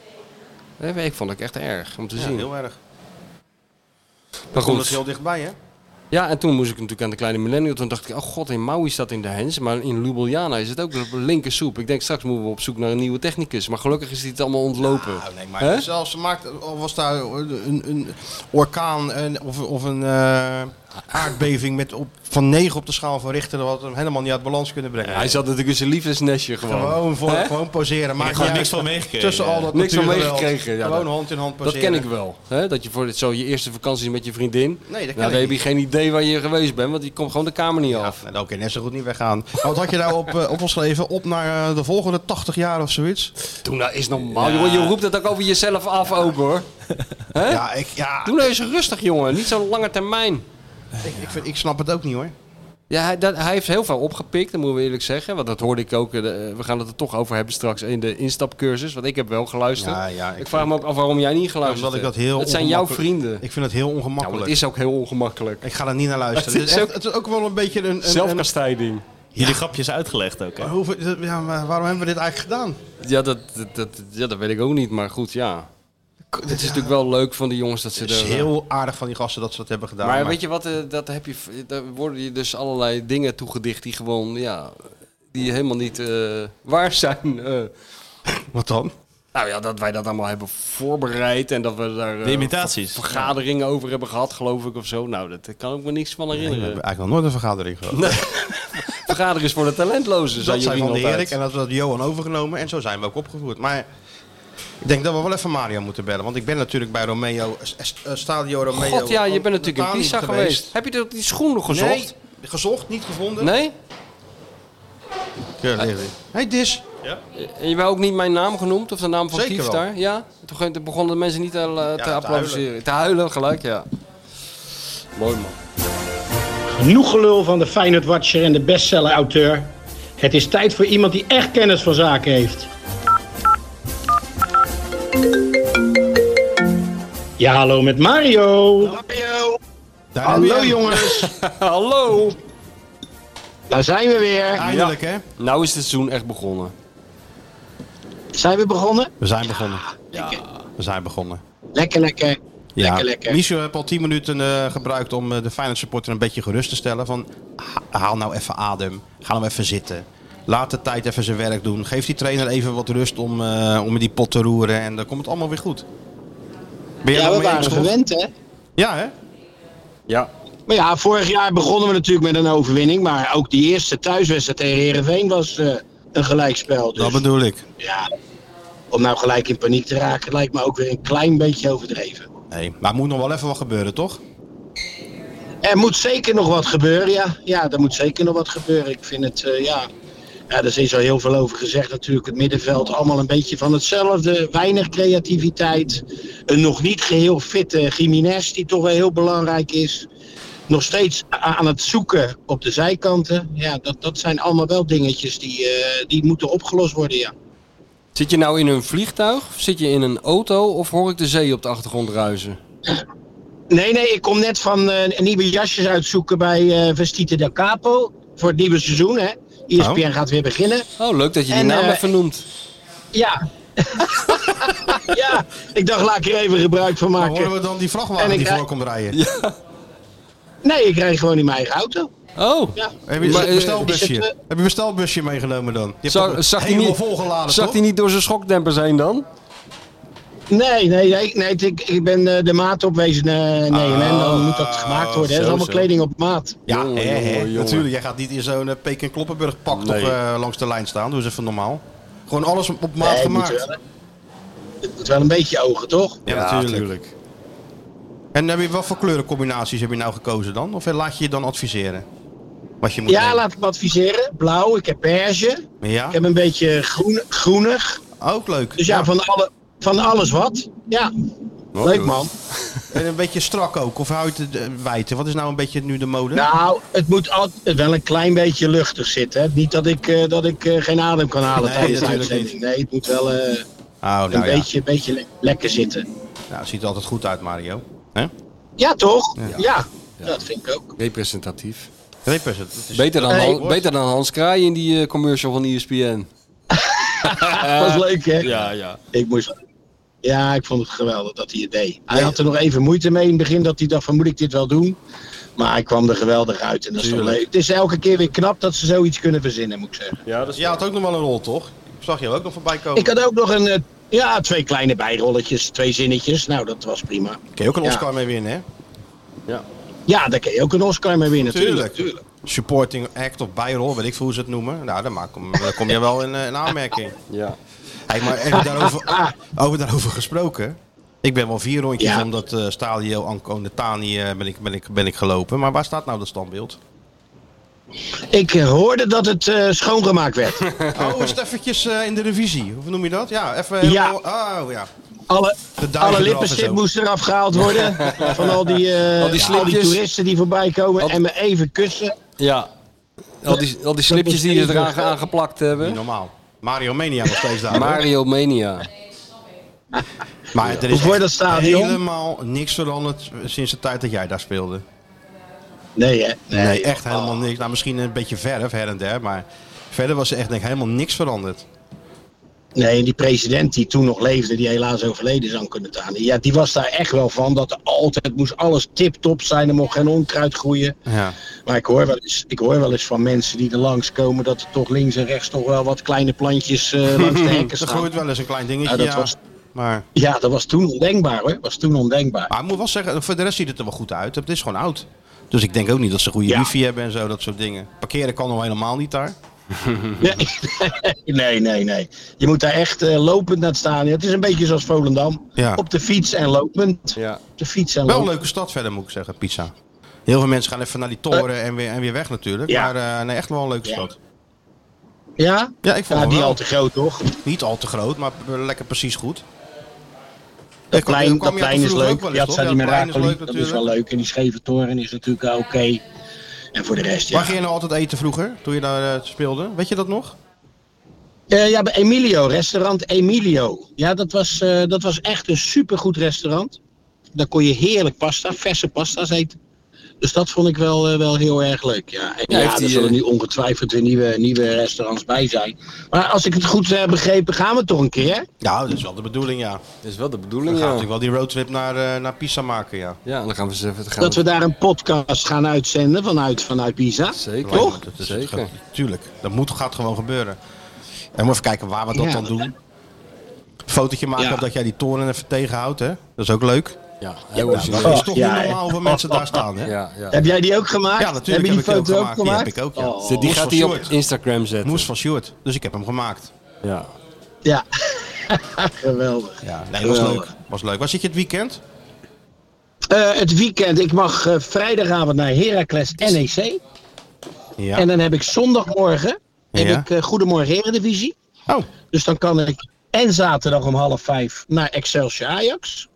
Speaker 4: Eh, Ik vond het echt erg om te
Speaker 3: Ja,
Speaker 4: zien.
Speaker 3: heel erg.
Speaker 4: maar
Speaker 3: Komt het
Speaker 4: goed.
Speaker 3: heel dichtbij, hè?
Speaker 4: Ja, en toen moest ik natuurlijk aan de kleine millennial. Toen dacht ik, oh god, in Maui staat in de hens. Maar in Ljubljana is het ook linker soep. Ik denk, straks moeten we op zoek naar een nieuwe technicus. Maar gelukkig is dit allemaal ontlopen.
Speaker 3: Nou, nee, maar
Speaker 4: Hè?
Speaker 3: zelfs ze maakt, al was daar een, een orkaan en, of, of een eh, aardbeving met op, van 9 op de schaal van Richter, dat had hem helemaal niet uit balans kunnen brengen.
Speaker 4: Hij zat natuurlijk in zijn liefdesnestje gewoon.
Speaker 3: gewoon, voor,
Speaker 4: Hè?
Speaker 3: gewoon poseren. Maar
Speaker 7: gewoon niks van meegekregen.
Speaker 3: Tussen al dat
Speaker 4: Niks van
Speaker 3: natuurgeweld.
Speaker 4: meegekregen, ja,
Speaker 3: gewoon
Speaker 4: dat-
Speaker 3: hand in hand
Speaker 4: Dat
Speaker 3: poseren.
Speaker 4: ken ik wel. Hè? Dat je voor dit, zo je eerste vakantie met je vriendin.
Speaker 3: Nee, dat ken
Speaker 4: nou,
Speaker 3: ik
Speaker 4: dan heb je geen idee waar je geweest bent, want je komt gewoon de kamer niet af.
Speaker 3: En dan kun je net zo goed niet weggaan. Maar wat had je daarop op opgeschreven? Op naar eh, de volgende 80 jaar of zoiets?
Speaker 4: Doe nou eens normaal. jongen. Je roept het ook over jezelf af ook hoor. Hè?
Speaker 3: Ja, ik, ja
Speaker 4: Doe nou eens rustig jongen, niet zo'n lange termijn.
Speaker 3: ik, ik, vind, ik snap het ook niet hoor.
Speaker 4: Ja, hij, dat, hij heeft heel veel opgepikt, dat moeten we eerlijk zeggen. Want dat hoorde ik ook. eh, de- we gaan het er toch over hebben straks in de instapcursus. Want ik heb wel geluisterd.
Speaker 3: Ja, ja,
Speaker 4: ik,
Speaker 3: ik
Speaker 4: vraag me ook af waarom jij niet geluisterd
Speaker 3: Omdat ik
Speaker 4: hebt.
Speaker 3: dat heel
Speaker 4: Het zijn jouw
Speaker 3: ongemakkelijk-
Speaker 4: vrienden.
Speaker 3: Ik vind het heel ongemakkelijk.
Speaker 4: Nou, het is ook heel ongemakkelijk.
Speaker 3: Ik ga er niet naar luisteren.
Speaker 4: Het
Speaker 3: Het
Speaker 4: is
Speaker 3: is, echt-
Speaker 4: ook-
Speaker 3: het is ook wel een beetje een... een, een
Speaker 4: Zelfkastijding.
Speaker 7: Jullie grapjes uitgelegd ook. Hè?
Speaker 3: Hoeveel- ja, maar waarom hebben we dit eigenlijk gedaan?
Speaker 4: Ja dat, dat, dat- ja, dat weet ik ook niet, maar goed, ja. Het is natuurlijk wel leuk van die jongens dat ze
Speaker 3: Het is
Speaker 4: er...
Speaker 3: heel aardig van die gasten dat ze dat hebben gedaan.
Speaker 4: maar, weet je wat, eh, dat heb je, daar worden je dus allerlei dingen toegedicht die gewoon, ja, die helemaal niet eh, waar zijn. eh.
Speaker 3: Wat dan?
Speaker 4: nou ja, dat wij dat allemaal hebben voorbereid en dat we daar eh,
Speaker 7: De imitaties.
Speaker 4: ver- vergaderingen over hebben gehad, geloof ik, of zo. Nou, dat kan ik me niks van
Speaker 3: Nee, we
Speaker 4: herinneren.
Speaker 3: hebben eigenlijk nog nooit een vergadering gehad.
Speaker 4: Vergaderingen voor de talentlozen, zei
Speaker 3: dat zijn
Speaker 4: Jorien
Speaker 3: van de
Speaker 4: altijd.
Speaker 3: Erik en dat we dat Johan overgenomen en zo zijn we ook opgevoerd. Maar ik denk dat we wel even Mario moeten bellen, want ik ben natuurlijk bij Romeo, S- S- eh, Stadio Romeo.
Speaker 4: God, ja, je bent natuurlijk in
Speaker 3: Natali
Speaker 4: Pisa geweest. Heb je dat- die schoenen gezocht?
Speaker 3: Nee, gezocht, niet gevonden.
Speaker 4: Nee?
Speaker 3: Ja, nee, nee. Hey Dis,
Speaker 4: En je wou ook niet mijn naam genoemd of de naam van
Speaker 3: Zeker
Speaker 4: Kief
Speaker 3: wel.
Speaker 4: daar? Ja? Toen ge- Toen begonnen de mensen niet te, eh, te
Speaker 3: te
Speaker 4: applaudisseren. Te huilen gelijk, ja. Mooi man.
Speaker 11: Genoeg gelul van de Feyenoord Watcher en de bestseller-auteur. Het is tijd voor iemand die echt kennis van zaken heeft. Ja, hallo met Mario.
Speaker 3: daar heb je
Speaker 11: Hallo
Speaker 3: hem.
Speaker 11: jongens,
Speaker 4: Hallo!
Speaker 11: daar zijn we weer.
Speaker 3: Eindelijk hè?
Speaker 4: Nou is het seizoen echt begonnen.
Speaker 11: Zijn we begonnen?
Speaker 3: We zijn begonnen.
Speaker 11: Ah,
Speaker 3: We zijn begonnen.
Speaker 11: Lekker, lekker.
Speaker 3: Ja.
Speaker 11: Lekker, lekker.
Speaker 3: Michel heeft al 10 minuten eh, gebruikt om eh, de Feyenoord supporter een beetje gerust te stellen. Van, ha- haal nou even adem. Ga nou even zitten. Laat de tijd even zijn werk doen. Geef die trainer even wat rust om, eh, om in die pot te roeren. En dan komt het allemaal weer goed. Ben jij
Speaker 11: Ja,
Speaker 3: het
Speaker 11: we
Speaker 3: wel mee eens,
Speaker 11: waren
Speaker 3: Rolf?
Speaker 11: gewend hè.
Speaker 3: Ja, hè?
Speaker 4: Ja.
Speaker 11: Maar ja, vorig jaar begonnen we natuurlijk met een overwinning. Maar ook die eerste thuiswedstrijd tegen Herenveen was eh, een gelijkspel. Dus
Speaker 3: Dat bedoel ik.
Speaker 11: ja, om nou gelijk in paniek te raken lijkt me ook weer een klein beetje overdreven.
Speaker 3: Nee, maar er moet nog wel even wat gebeuren, toch?
Speaker 11: Er moet zeker nog wat gebeuren, ja. Ja, er moet zeker nog wat gebeuren. Ik vind het, eh, ja... Ja, er is al heel veel over gezegd natuurlijk. Het middenveld allemaal een beetje van hetzelfde. Weinig creativiteit. Een nog niet geheel fitte Jiménez die toch wel heel belangrijk is. Nog steeds a- aan het zoeken op de zijkanten. Ja, dat, dat zijn allemaal wel dingetjes die, eh, die moeten opgelost worden, ja.
Speaker 4: Zit je nou in een vliegtuig? Of zit je in een auto? Of hoor ik de zee op de achtergrond ruisen?
Speaker 11: Nee, nee, ik kom net van eh, nieuwe jasjes uitzoeken bij eh Vestite del Capo. Voor het nieuwe seizoen, hè. E ESPN gaat weer beginnen.
Speaker 4: Oh, leuk dat je die
Speaker 11: En,
Speaker 4: naam
Speaker 11: eh,
Speaker 4: even noemt.
Speaker 11: Ja. ja, ik dacht laat ik er even gebruik van
Speaker 3: Dan horen
Speaker 11: maken.
Speaker 3: we dan die
Speaker 11: En
Speaker 3: vrachtwagen
Speaker 11: ik
Speaker 3: die
Speaker 11: rij-
Speaker 3: voor komt rijden.
Speaker 11: Nee, ik rijd gewoon in mijn eigen auto.
Speaker 4: Oh!
Speaker 11: Ja.
Speaker 3: Heb je
Speaker 4: Maar,
Speaker 3: een
Speaker 4: eh,
Speaker 3: bestelbusje?
Speaker 11: is het, eh,
Speaker 3: Heb je een bestelbusje meegenomen dan? Je hebt
Speaker 4: Zag-
Speaker 3: toch
Speaker 4: zag hij
Speaker 3: helemaal
Speaker 4: niet-
Speaker 3: volgeladen,
Speaker 4: Zag
Speaker 3: toch?
Speaker 4: hij niet door zijn schokdempers heen dan?
Speaker 11: Nee, nee, nee, nee ik, ik ben eh, de maat op wezen eh, nemen. en
Speaker 3: Ah,
Speaker 11: dan moet dat gemaakt worden. hè. Dat is allemaal kleding op maat.
Speaker 3: Ja,
Speaker 4: Jongen,
Speaker 3: hè, hè,
Speaker 4: jongen, jongen.
Speaker 3: natuurlijk. Jij gaat niet in zo'n eh, Peek en Kloppenburg pak toch,
Speaker 4: Nee.
Speaker 3: eh, langs de lijn staan. Doe eens even normaal. Gewoon alles op op maat
Speaker 11: Nee, het Eh, moet
Speaker 3: gemaakt.
Speaker 11: wel- Het moet wel een beetje ogen, toch?
Speaker 3: Ja, natuurlijk. En heb je, wat voor kleurencombinaties heb je nou gekozen dan? Of laat je je dan adviseren? Wat je moet
Speaker 11: Ja,
Speaker 3: nemen?
Speaker 11: laat ik me adviseren. Blauw, ik heb beige.
Speaker 3: Ja?
Speaker 11: Ik heb een beetje groen, groenig.
Speaker 3: Ook leuk.
Speaker 11: Dus ja, Van, alle, van alles wat. Ja, leuk man.
Speaker 3: En een beetje strak ook. Of hou je het eh, wijten? Wat is nou een beetje nu de mode?
Speaker 11: Nou, het moet altijd wel een klein beetje luchtig zitten. Hè. Niet dat ik, eh, dat ik eh, geen adem kan halen
Speaker 3: Nee,
Speaker 11: tijdens de
Speaker 3: natuurlijk
Speaker 11: uitzending. Nee, het moet wel eh,
Speaker 3: oh,
Speaker 11: een
Speaker 3: nou ja.
Speaker 11: beetje, beetje le- lekker zitten.
Speaker 3: Nou, ziet er altijd goed uit, Mario.
Speaker 11: Ja, toch? Ja. dat vind ik ook.
Speaker 4: Representatief.
Speaker 3: Rippers, het het is...
Speaker 4: Beter dan,
Speaker 11: Hey,
Speaker 4: Han-
Speaker 11: hoor.
Speaker 4: beter dan Hans Kraai in die eh, commercial van ESPN.
Speaker 11: dat was leuk, hè?
Speaker 4: Ja, ja.
Speaker 11: Ik moest... Ja, ik vond het geweldig dat hij het deed. Hij had er nog even moeite mee in het begin dat hij dacht van moet ik dit wel doen? Maar hij kwam er geweldig uit en dat is toch leuk. Het is elke keer weer knap dat ze zoiets kunnen verzinnen, moet ik zeggen.
Speaker 3: Jij had ook nog wel een rol, toch? Ik zag je ook nog voorbij komen.
Speaker 11: Ik had ook nog een, eh, ja, twee kleine bijrolletjes, twee zinnetjes. Nou, dat was prima.
Speaker 3: Kun je ook een
Speaker 11: Ja.
Speaker 3: Oscar mee winnen, hè?
Speaker 11: Ja, daar kun je ook een Oscar mee winnen.
Speaker 3: Tuurlijk.
Speaker 11: Tuurlijk.
Speaker 3: Supporting act of bijrol, weet ik veel hoe ze het noemen. Nou, dan, maak hem- dan kom je wel in, eh, in aanmerking.
Speaker 4: Ja.
Speaker 3: Hey, maar even daarover, over daarover gesproken. Ik ben wel vier rondjes
Speaker 11: Ja.
Speaker 3: om dat eh, stadio Anco Netani eh, ben, ik, ben, ik, ben ik gelopen. Maar waar staat nou dat standbeeld?
Speaker 11: Ik eh, hoorde dat het eh, schoongemaakt werd.
Speaker 3: Oh, is het eventjes eh, in de revisie? Hoe noem je dat? Ja, even...
Speaker 11: Ja.
Speaker 3: helemaal- Oh, ja.
Speaker 11: Alle,
Speaker 3: De duiven
Speaker 11: alle
Speaker 3: eraf en
Speaker 11: lippenstift
Speaker 3: zo.
Speaker 11: moest eraf gehaald worden. Van al die, eh,
Speaker 4: Al
Speaker 11: al
Speaker 4: die
Speaker 11: die,
Speaker 4: slipjes.
Speaker 11: toeristen die voorbij komen en me even kussen.
Speaker 4: Ja. Al die, al die slipjes die ze eraan ge- aangeplakt
Speaker 3: Niet
Speaker 4: hebben.
Speaker 3: normaal. Mario Mania nog steeds daar. hoor.
Speaker 4: Mario Mania.
Speaker 3: Maar er is
Speaker 11: Hoe voor
Speaker 3: echt
Speaker 11: dat stadion?
Speaker 3: helemaal niks veranderd sinds de tijd dat jij daar speelde.
Speaker 11: Nee, hè?
Speaker 3: Nee, echt helemaal niks. Nou, misschien een beetje verf her en der, maar verder was er echt denk ik, helemaal niks veranderd.
Speaker 11: Nee, die president die toen nog leefde, die helaas overleden is aan Kunetani. Ja, die was daar echt wel van. Dat er altijd moest alles tip-top zijn. Er mocht geen onkruid groeien.
Speaker 3: Ja.
Speaker 11: Maar ik hoor, wel eens, ik hoor wel eens van mensen die er langskomen... dat er toch links en rechts toch wel wat kleine plantjes eh, langs de hekken
Speaker 3: er
Speaker 11: staan.
Speaker 3: groeit wel eens een klein dingetje,
Speaker 11: Ja, dat
Speaker 3: ja.
Speaker 11: was-
Speaker 3: Maar...
Speaker 11: Ja, dat was toen ondenkbaar hoor. was toen ondenkbaar.
Speaker 3: Maar ik moet wel zeggen, voor de rest ziet het er wel goed uit. Het is gewoon oud. Dus ik denk ook niet dat ze goede wifi hebben en zo, dat soort dingen. Parkeren kan nog helemaal niet daar.
Speaker 11: Nee, nee, nee. Je moet daar echt eh, lopend naar het stadion. Het is een beetje zoals Volendam.
Speaker 3: Ja.
Speaker 11: Op de fiets en lopend.
Speaker 3: Ja.
Speaker 11: Op de fiets en
Speaker 3: Wel een
Speaker 11: lopend.
Speaker 3: leuke stad verder, moet ik zeggen, Pizza. Heel veel mensen gaan even naar die toren en, weer, en weer weg natuurlijk.
Speaker 11: Ja.
Speaker 3: Maar eh, nee, echt wel een leuke stad.
Speaker 11: Ja?
Speaker 3: Ja, ik vond
Speaker 11: ja,
Speaker 3: het
Speaker 11: niet
Speaker 3: wel.
Speaker 11: al te groot toch?
Speaker 3: Niet al te groot, maar p- lekker precies goed.
Speaker 11: Dat
Speaker 3: Ik kwam-
Speaker 11: plein,
Speaker 3: kwam
Speaker 11: dat
Speaker 3: je
Speaker 11: plein is
Speaker 3: vroeger
Speaker 11: leuk.
Speaker 3: ook wel eens,
Speaker 11: Ja,
Speaker 3: toch?
Speaker 11: het staat die
Speaker 3: Ja, dat plein is
Speaker 11: Miracoli.
Speaker 3: leuk
Speaker 11: Dat is wel leuk. En die scheve toren is natuurlijk wel oké. En voor de rest, ja.
Speaker 3: Waar ging je nou altijd eten vroeger, toen je daar eh, speelde? Weet je dat nog?
Speaker 11: Eh, ja, bij Emilio, restaurant Emilio. Ja, dat was, eh, dat was echt een supergoed restaurant. Daar kon je heerlijk pasta, verse pasta's eten. Dus dat vond ik wel, eh, wel heel erg leuk. Ja, en
Speaker 6: Ja,
Speaker 11: ja,
Speaker 6: heeft
Speaker 11: er
Speaker 6: die,
Speaker 11: zullen
Speaker 6: eh,
Speaker 11: nu ongetwijfeld weer nieuwe, nieuwe restaurants bij zijn. Maar als ik het goed heb begrepen, gaan we toch een keer?
Speaker 3: Ja, Nou, dat is wel de bedoeling, ja.
Speaker 4: Dat is wel de
Speaker 3: We
Speaker 4: bedoeling,
Speaker 3: gaan
Speaker 4: ja.
Speaker 3: natuurlijk wel die roadtrip naar, eh, naar Pisa maken, ja.
Speaker 4: Ja, dan gaan we ze even... Gaan
Speaker 11: Dat we daar een podcast gaan uitzenden vanuit, vanuit Pisa.
Speaker 4: Zeker.
Speaker 11: Toch?
Speaker 3: Dat is
Speaker 4: Zeker.
Speaker 3: het ge- tuurlijk, dat moet, gaat gewoon gebeuren. En we even kijken waar we dat
Speaker 11: Ja,
Speaker 3: dan
Speaker 11: dat-
Speaker 3: doen. Fotootje maken
Speaker 11: Ja.
Speaker 3: dat jij die toren even tegenhoudt, hè? Dat is ook leuk. Oh.
Speaker 4: Ja,
Speaker 3: Ja,
Speaker 4: heel
Speaker 3: dat
Speaker 4: origineel.
Speaker 3: is toch
Speaker 11: Ja,
Speaker 3: niet
Speaker 11: ja.
Speaker 3: normaal hoeveel mensen daar staan, hè?
Speaker 4: Ja, ja.
Speaker 11: Heb jij die ook gemaakt?
Speaker 3: Ja, natuurlijk
Speaker 11: Heb je die
Speaker 3: heb ik die
Speaker 11: foto
Speaker 3: ook
Speaker 11: ook
Speaker 3: gemaakt. Die
Speaker 11: gemaakt?
Speaker 3: heb ik ook, ja.
Speaker 11: Oh.
Speaker 4: Die
Speaker 3: Moest
Speaker 4: gaat
Speaker 3: van
Speaker 4: hij op
Speaker 3: Sjoerd.
Speaker 4: Instagram zetten.
Speaker 3: Moes van Sjoerd, dus ik heb hem gemaakt.
Speaker 4: Ja.
Speaker 11: Ja. Geweldig.
Speaker 3: Ja, nee, was
Speaker 11: Geweldig.
Speaker 3: leuk. Was leuk. Was zit je het weekend?
Speaker 11: Eh, het weekend, ik mag eh, vrijdagavond naar Heracles NEC.
Speaker 3: Ja.
Speaker 11: En dan heb ik zondagmorgen heb
Speaker 3: Ja.
Speaker 11: ik, eh, Goedemorgen Eredivisie.
Speaker 3: Oh.
Speaker 11: Dus dan kan ik en zaterdag om half vijf naar Excelsior Ajax.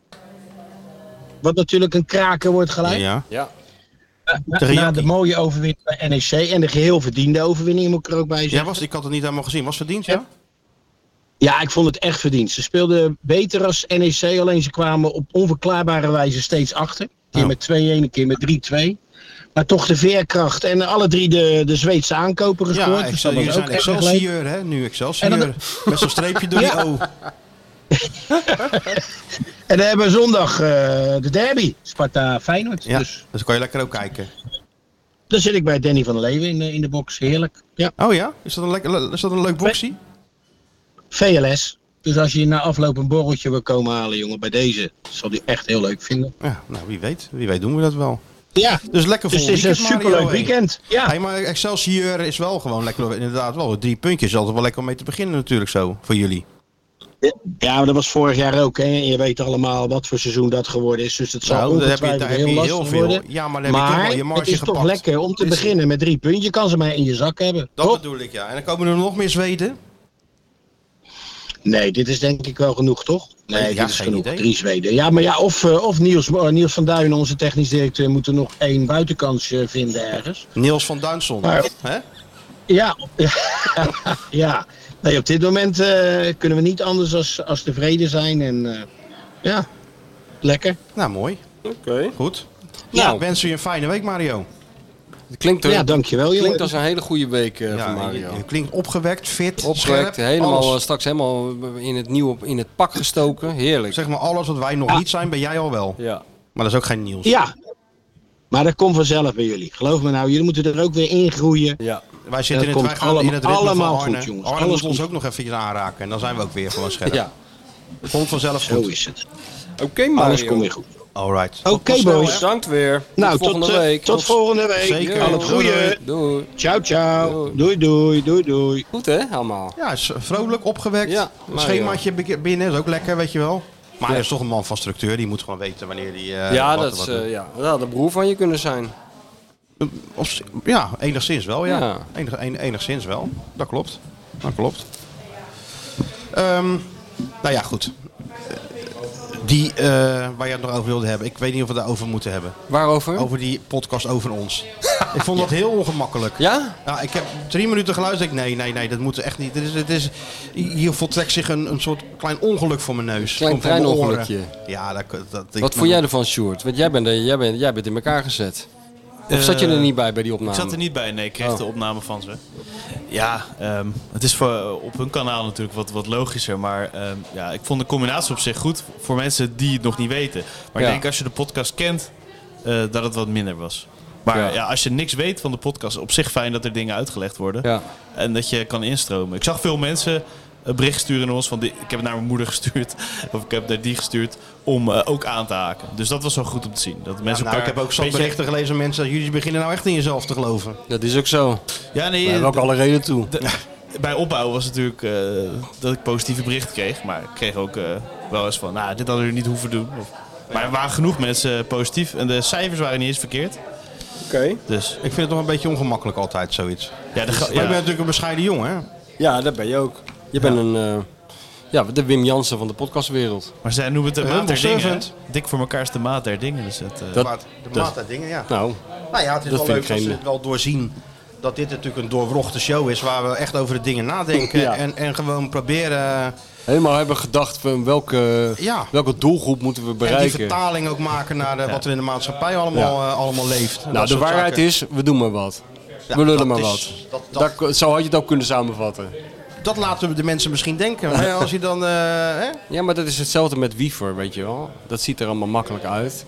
Speaker 11: Wat natuurlijk een kraker wordt gelijk.
Speaker 3: Ja.
Speaker 4: Ja.
Speaker 11: Na,
Speaker 3: Tegen
Speaker 11: na
Speaker 3: Jackie.
Speaker 11: de mooie overwinning bij NEC en de geheel verdiende overwinning moet ik er ook bij
Speaker 3: Jij
Speaker 11: zeggen.
Speaker 3: was, ik had het niet helemaal gezien. Was verdiend, ja?
Speaker 11: Ja, ik vond het echt verdiend. Ze speelden beter als NEC, alleen ze kwamen op onverklaarbare wijze steeds achter. Een keer
Speaker 3: Oh.
Speaker 11: met 2-1, een keer met 3-2. Maar toch de veerkracht en alle drie de, de Zweedse aankopen gescoord.
Speaker 3: Ja,
Speaker 11: dus dat
Speaker 3: Excel,
Speaker 11: was
Speaker 3: jullie zijn
Speaker 11: ook erg leuk.
Speaker 3: Excelsior, hè? Nu Excelsior.
Speaker 11: En dan-
Speaker 3: Met zo'n streepje door die
Speaker 11: Ja.
Speaker 3: O.
Speaker 11: En dan hebben we zondag eh, de derby, Sparta-Feyenoord.
Speaker 3: Ja,
Speaker 11: Dus
Speaker 3: dus kan je lekker ook kijken.
Speaker 11: daar zit ik bij Danny van der Leeuwen in, de- in de box. Heerlijk. Ja,
Speaker 3: Oh ja? Is dat een, lekker, is dat een leuk boxie?
Speaker 11: VLS. Dus als je na afloop een borreltje wil komen halen, jongen, bij deze, zal die echt heel leuk vinden.
Speaker 3: Ja, nou wie weet. Wie weet doen we dat wel.
Speaker 11: Ja,
Speaker 3: Dus lekker vol
Speaker 11: dus het is een
Speaker 3: weekend, Mario,
Speaker 11: superleuk
Speaker 3: hé.
Speaker 11: weekend. Ja.
Speaker 3: Hey, maar Excelsior is wel gewoon lekker, inderdaad wel. Drie puntjes is altijd wel lekker om mee te beginnen natuurlijk zo, voor jullie.
Speaker 11: Ja, maar dat was vorig jaar ook. Hè. En je weet allemaal wat voor seizoen dat geworden is. Dus dat zal
Speaker 3: Nou, daar heb je-
Speaker 11: ongetwijfeld
Speaker 3: daar heb
Speaker 11: heel
Speaker 3: je
Speaker 11: lastig
Speaker 3: heel veel.
Speaker 11: worden.
Speaker 3: Ja, maar dan heb je
Speaker 11: maar
Speaker 3: toch wel je marge
Speaker 11: het is toch
Speaker 3: gepakt.
Speaker 11: lekker om te
Speaker 3: Is-
Speaker 11: beginnen met drie punten. Je kan ze maar in je zak hebben.
Speaker 3: Dat
Speaker 11: toch?
Speaker 3: bedoel ik, ja. En dan komen er nog meer Zweden.
Speaker 11: Nee, dit is denk ik wel genoeg, toch? Nee,
Speaker 3: Nee, ja,
Speaker 11: dit is
Speaker 3: geen
Speaker 11: genoeg.
Speaker 3: idee.
Speaker 11: Drie Zweden. Ja, maar ja, of, eh, of Niels, eh, Niels van Duin, onze technisch directeur, moet er nog één buitenkansje vinden ergens.
Speaker 3: Niels van Duinson.
Speaker 11: Maar-
Speaker 3: hè?
Speaker 11: Ja, ja. Nee, op dit moment eh, kunnen we niet anders als, als tevreden zijn. En eh, ja, lekker.
Speaker 3: Nou, mooi.
Speaker 4: Oké.
Speaker 3: Goed. Nou,
Speaker 4: Nou.
Speaker 3: ik wens je een fijne week, Mario.
Speaker 4: Het klinkt, er,
Speaker 11: Ja, dankjewel. jongen.
Speaker 4: klinkt als een hele goede week eh,
Speaker 3: Ja,
Speaker 4: voor Mario.
Speaker 3: je, je klinkt opgewekt, fit,
Speaker 4: Opgewekt,
Speaker 3: scherp,
Speaker 4: helemaal, eh,
Speaker 3: alles.
Speaker 4: straks helemaal in het nieuw in het pak gestoken. Heerlijk.
Speaker 3: Zeg maar alles wat wij nog niet zijn, ben jij al wel.
Speaker 4: Ja.
Speaker 3: Maar dat is ook geen nieuws.
Speaker 11: Ja, maar dat komt vanzelf bij jullie. Geloof me nou, jullie moeten er ook weer in groeien.
Speaker 4: Ja.
Speaker 3: Wij
Speaker 11: Dat
Speaker 3: zitten in het, wij
Speaker 11: komt
Speaker 3: gaan in het ritme
Speaker 11: allemaal- allemaal
Speaker 3: van Arne.
Speaker 11: goed, jongens.
Speaker 3: Arne
Speaker 11: Alles
Speaker 3: moet ons
Speaker 11: goed.
Speaker 3: ook nog eventjes aanraken. En dan zijn we ook weer gewoon scherp.
Speaker 4: ja.
Speaker 3: Komt vanzelf
Speaker 11: Zo
Speaker 3: goed.
Speaker 11: is het.
Speaker 4: Oké Mario.
Speaker 11: Alles komt weer goed.
Speaker 3: All right.
Speaker 11: Oké, boys.
Speaker 4: Bedankt weer.
Speaker 11: Nou,
Speaker 4: tot
Speaker 11: tot,
Speaker 4: volgende
Speaker 11: eh,
Speaker 4: week.
Speaker 11: tot volgende week.
Speaker 3: Zeker.
Speaker 11: Al het goede.
Speaker 4: Doei.
Speaker 11: Ciao, ciao. Doei, doei, doei, doei.
Speaker 4: Goed hè, allemaal.
Speaker 3: Ja, is eh, vrolijk, opgewekt.
Speaker 4: Ja,
Speaker 3: Een
Speaker 4: Mario.
Speaker 11: eh,
Speaker 3: schemaatje bi- binnen is ook lekker, weet je wel. Maar hij is toch een man van structuur. Die moet gewoon weten wanneer hij... eh,
Speaker 4: ja,
Speaker 3: wat-
Speaker 4: dat is
Speaker 3: wat-
Speaker 4: eh, ja, dat had de broer van je kunnen zijn.
Speaker 3: Op z- ja, enigszins wel, ja.
Speaker 4: Ja.
Speaker 3: Enig, en- enigszins wel. Dat klopt. Dat klopt. Ehm, nou ja, goed. Die eh, waar je het nog over wilde hebben. Ik weet niet of we het daarover moeten hebben.
Speaker 4: Waarover?
Speaker 11: Oh.
Speaker 3: Over die podcast over ons. ik vond dat heel ongemakkelijk.
Speaker 4: Ja?
Speaker 3: Ja, ik heb drie minuten geluisterd. Ik, nee, nee, nee, dat moet echt niet. Dit is, dit is, hier voltrekt zich een, een soort klein ongeluk voor mijn neus.
Speaker 4: Klein
Speaker 3: Voor- voor mijn oren.
Speaker 4: treinongelukje.
Speaker 3: Ja, dat... dat ik-
Speaker 4: Wat vond jij ervan, Sjoerd? Want jij bent, er- jij, bent, jij bent in elkaar gezet. Of zat je
Speaker 7: Eh,
Speaker 4: er niet bij bij die opname?
Speaker 7: Ik zat er niet bij, nee. Ik kreeg
Speaker 4: Oh.
Speaker 7: de opname van ze. Ja, ehm, het is voor, op hun kanaal natuurlijk wat, wat logischer. Maar ehm, ja, ik vond de combinatie op zich goed voor mensen die het nog niet weten. Maar
Speaker 5: Ja.
Speaker 7: ik denk als je de podcast kent, eh, dat het wat minder was. Maar ja.
Speaker 5: Ja.
Speaker 7: als je niks weet van de podcast, op zich fijn dat er dingen uitgelegd worden. En dat je kan instromen. Ik zag veel mensen een bericht sturen naar ons van... die- ik heb het naar mijn moeder gestuurd. Of ik heb naar die gestuurd. Om eh, ook aan te haken. Dus dat was wel goed om te zien. Dat mensen
Speaker 3: nou, ik
Speaker 7: elkaar
Speaker 3: heb ook
Speaker 7: een
Speaker 3: zo'n
Speaker 7: beetje-
Speaker 3: berichten gelezen van mensen. Jullie beginnen nou echt in jezelf te geloven.
Speaker 4: Dat is ook zo.
Speaker 7: Ja, nee.
Speaker 3: We hebben ook
Speaker 7: d-
Speaker 3: alle reden toe.
Speaker 7: d- bij opbouw was natuurlijk eh, dat ik positieve berichten kreeg. Maar ik kreeg ook eh, wel eens van, nou, dit hadden we niet hoeven doen. Of, maar er waren genoeg mensen positief. En de cijfers waren niet eens verkeerd.
Speaker 4: Oké.
Speaker 7: Dus. Ik
Speaker 3: vind het nog een beetje ongemakkelijk altijd, zoiets.
Speaker 7: Ja, de,
Speaker 3: Maar
Speaker 7: ga-
Speaker 3: je bent
Speaker 7: ja.
Speaker 3: natuurlijk een bescheiden jongen, hè?
Speaker 4: Ja, dat ben je ook. Je bent een... eh, ja, de Wim Jansen van de podcastwereld.
Speaker 7: Maar zij noemen het de maat
Speaker 4: Humble
Speaker 7: der dingen.
Speaker 4: servant.
Speaker 7: Dik voor elkaar is de maat der dingen. Dus het, eh,
Speaker 3: De maat- de maat der dingen, ja.
Speaker 4: Nou,
Speaker 3: Nou ja, het is
Speaker 4: dat
Speaker 3: wel
Speaker 4: vind
Speaker 3: leuk
Speaker 4: ik
Speaker 3: dat
Speaker 4: geen-
Speaker 3: ze het wel doorzien dat dit natuurlijk een doorwrochte show is waar we echt over de dingen nadenken
Speaker 4: Ja.
Speaker 3: en, en gewoon proberen
Speaker 4: Helemaal hebben gedacht van welke,
Speaker 3: Ja.
Speaker 4: welke doelgroep moeten we
Speaker 3: en die
Speaker 4: bereiken.
Speaker 3: vertaling ook maken naar eh, wat er in de maatschappij allemaal,
Speaker 4: Ja.
Speaker 3: eh, allemaal leeft. En
Speaker 4: Nou,
Speaker 3: dat
Speaker 4: de
Speaker 3: soort
Speaker 4: waarheid
Speaker 3: zaken.
Speaker 4: is, we doen maar wat.
Speaker 3: Ja,
Speaker 4: we
Speaker 3: dat
Speaker 4: lullen maar
Speaker 3: is-
Speaker 4: wat.
Speaker 3: dat-
Speaker 4: Daar ko- zo had je het ook kunnen samenvatten.
Speaker 3: Dat laten we de mensen misschien denken. Maar als je dan... eh, hè?
Speaker 4: Ja, maar dat is hetzelfde met wiever, weet je wel. Dat ziet er allemaal makkelijk uit.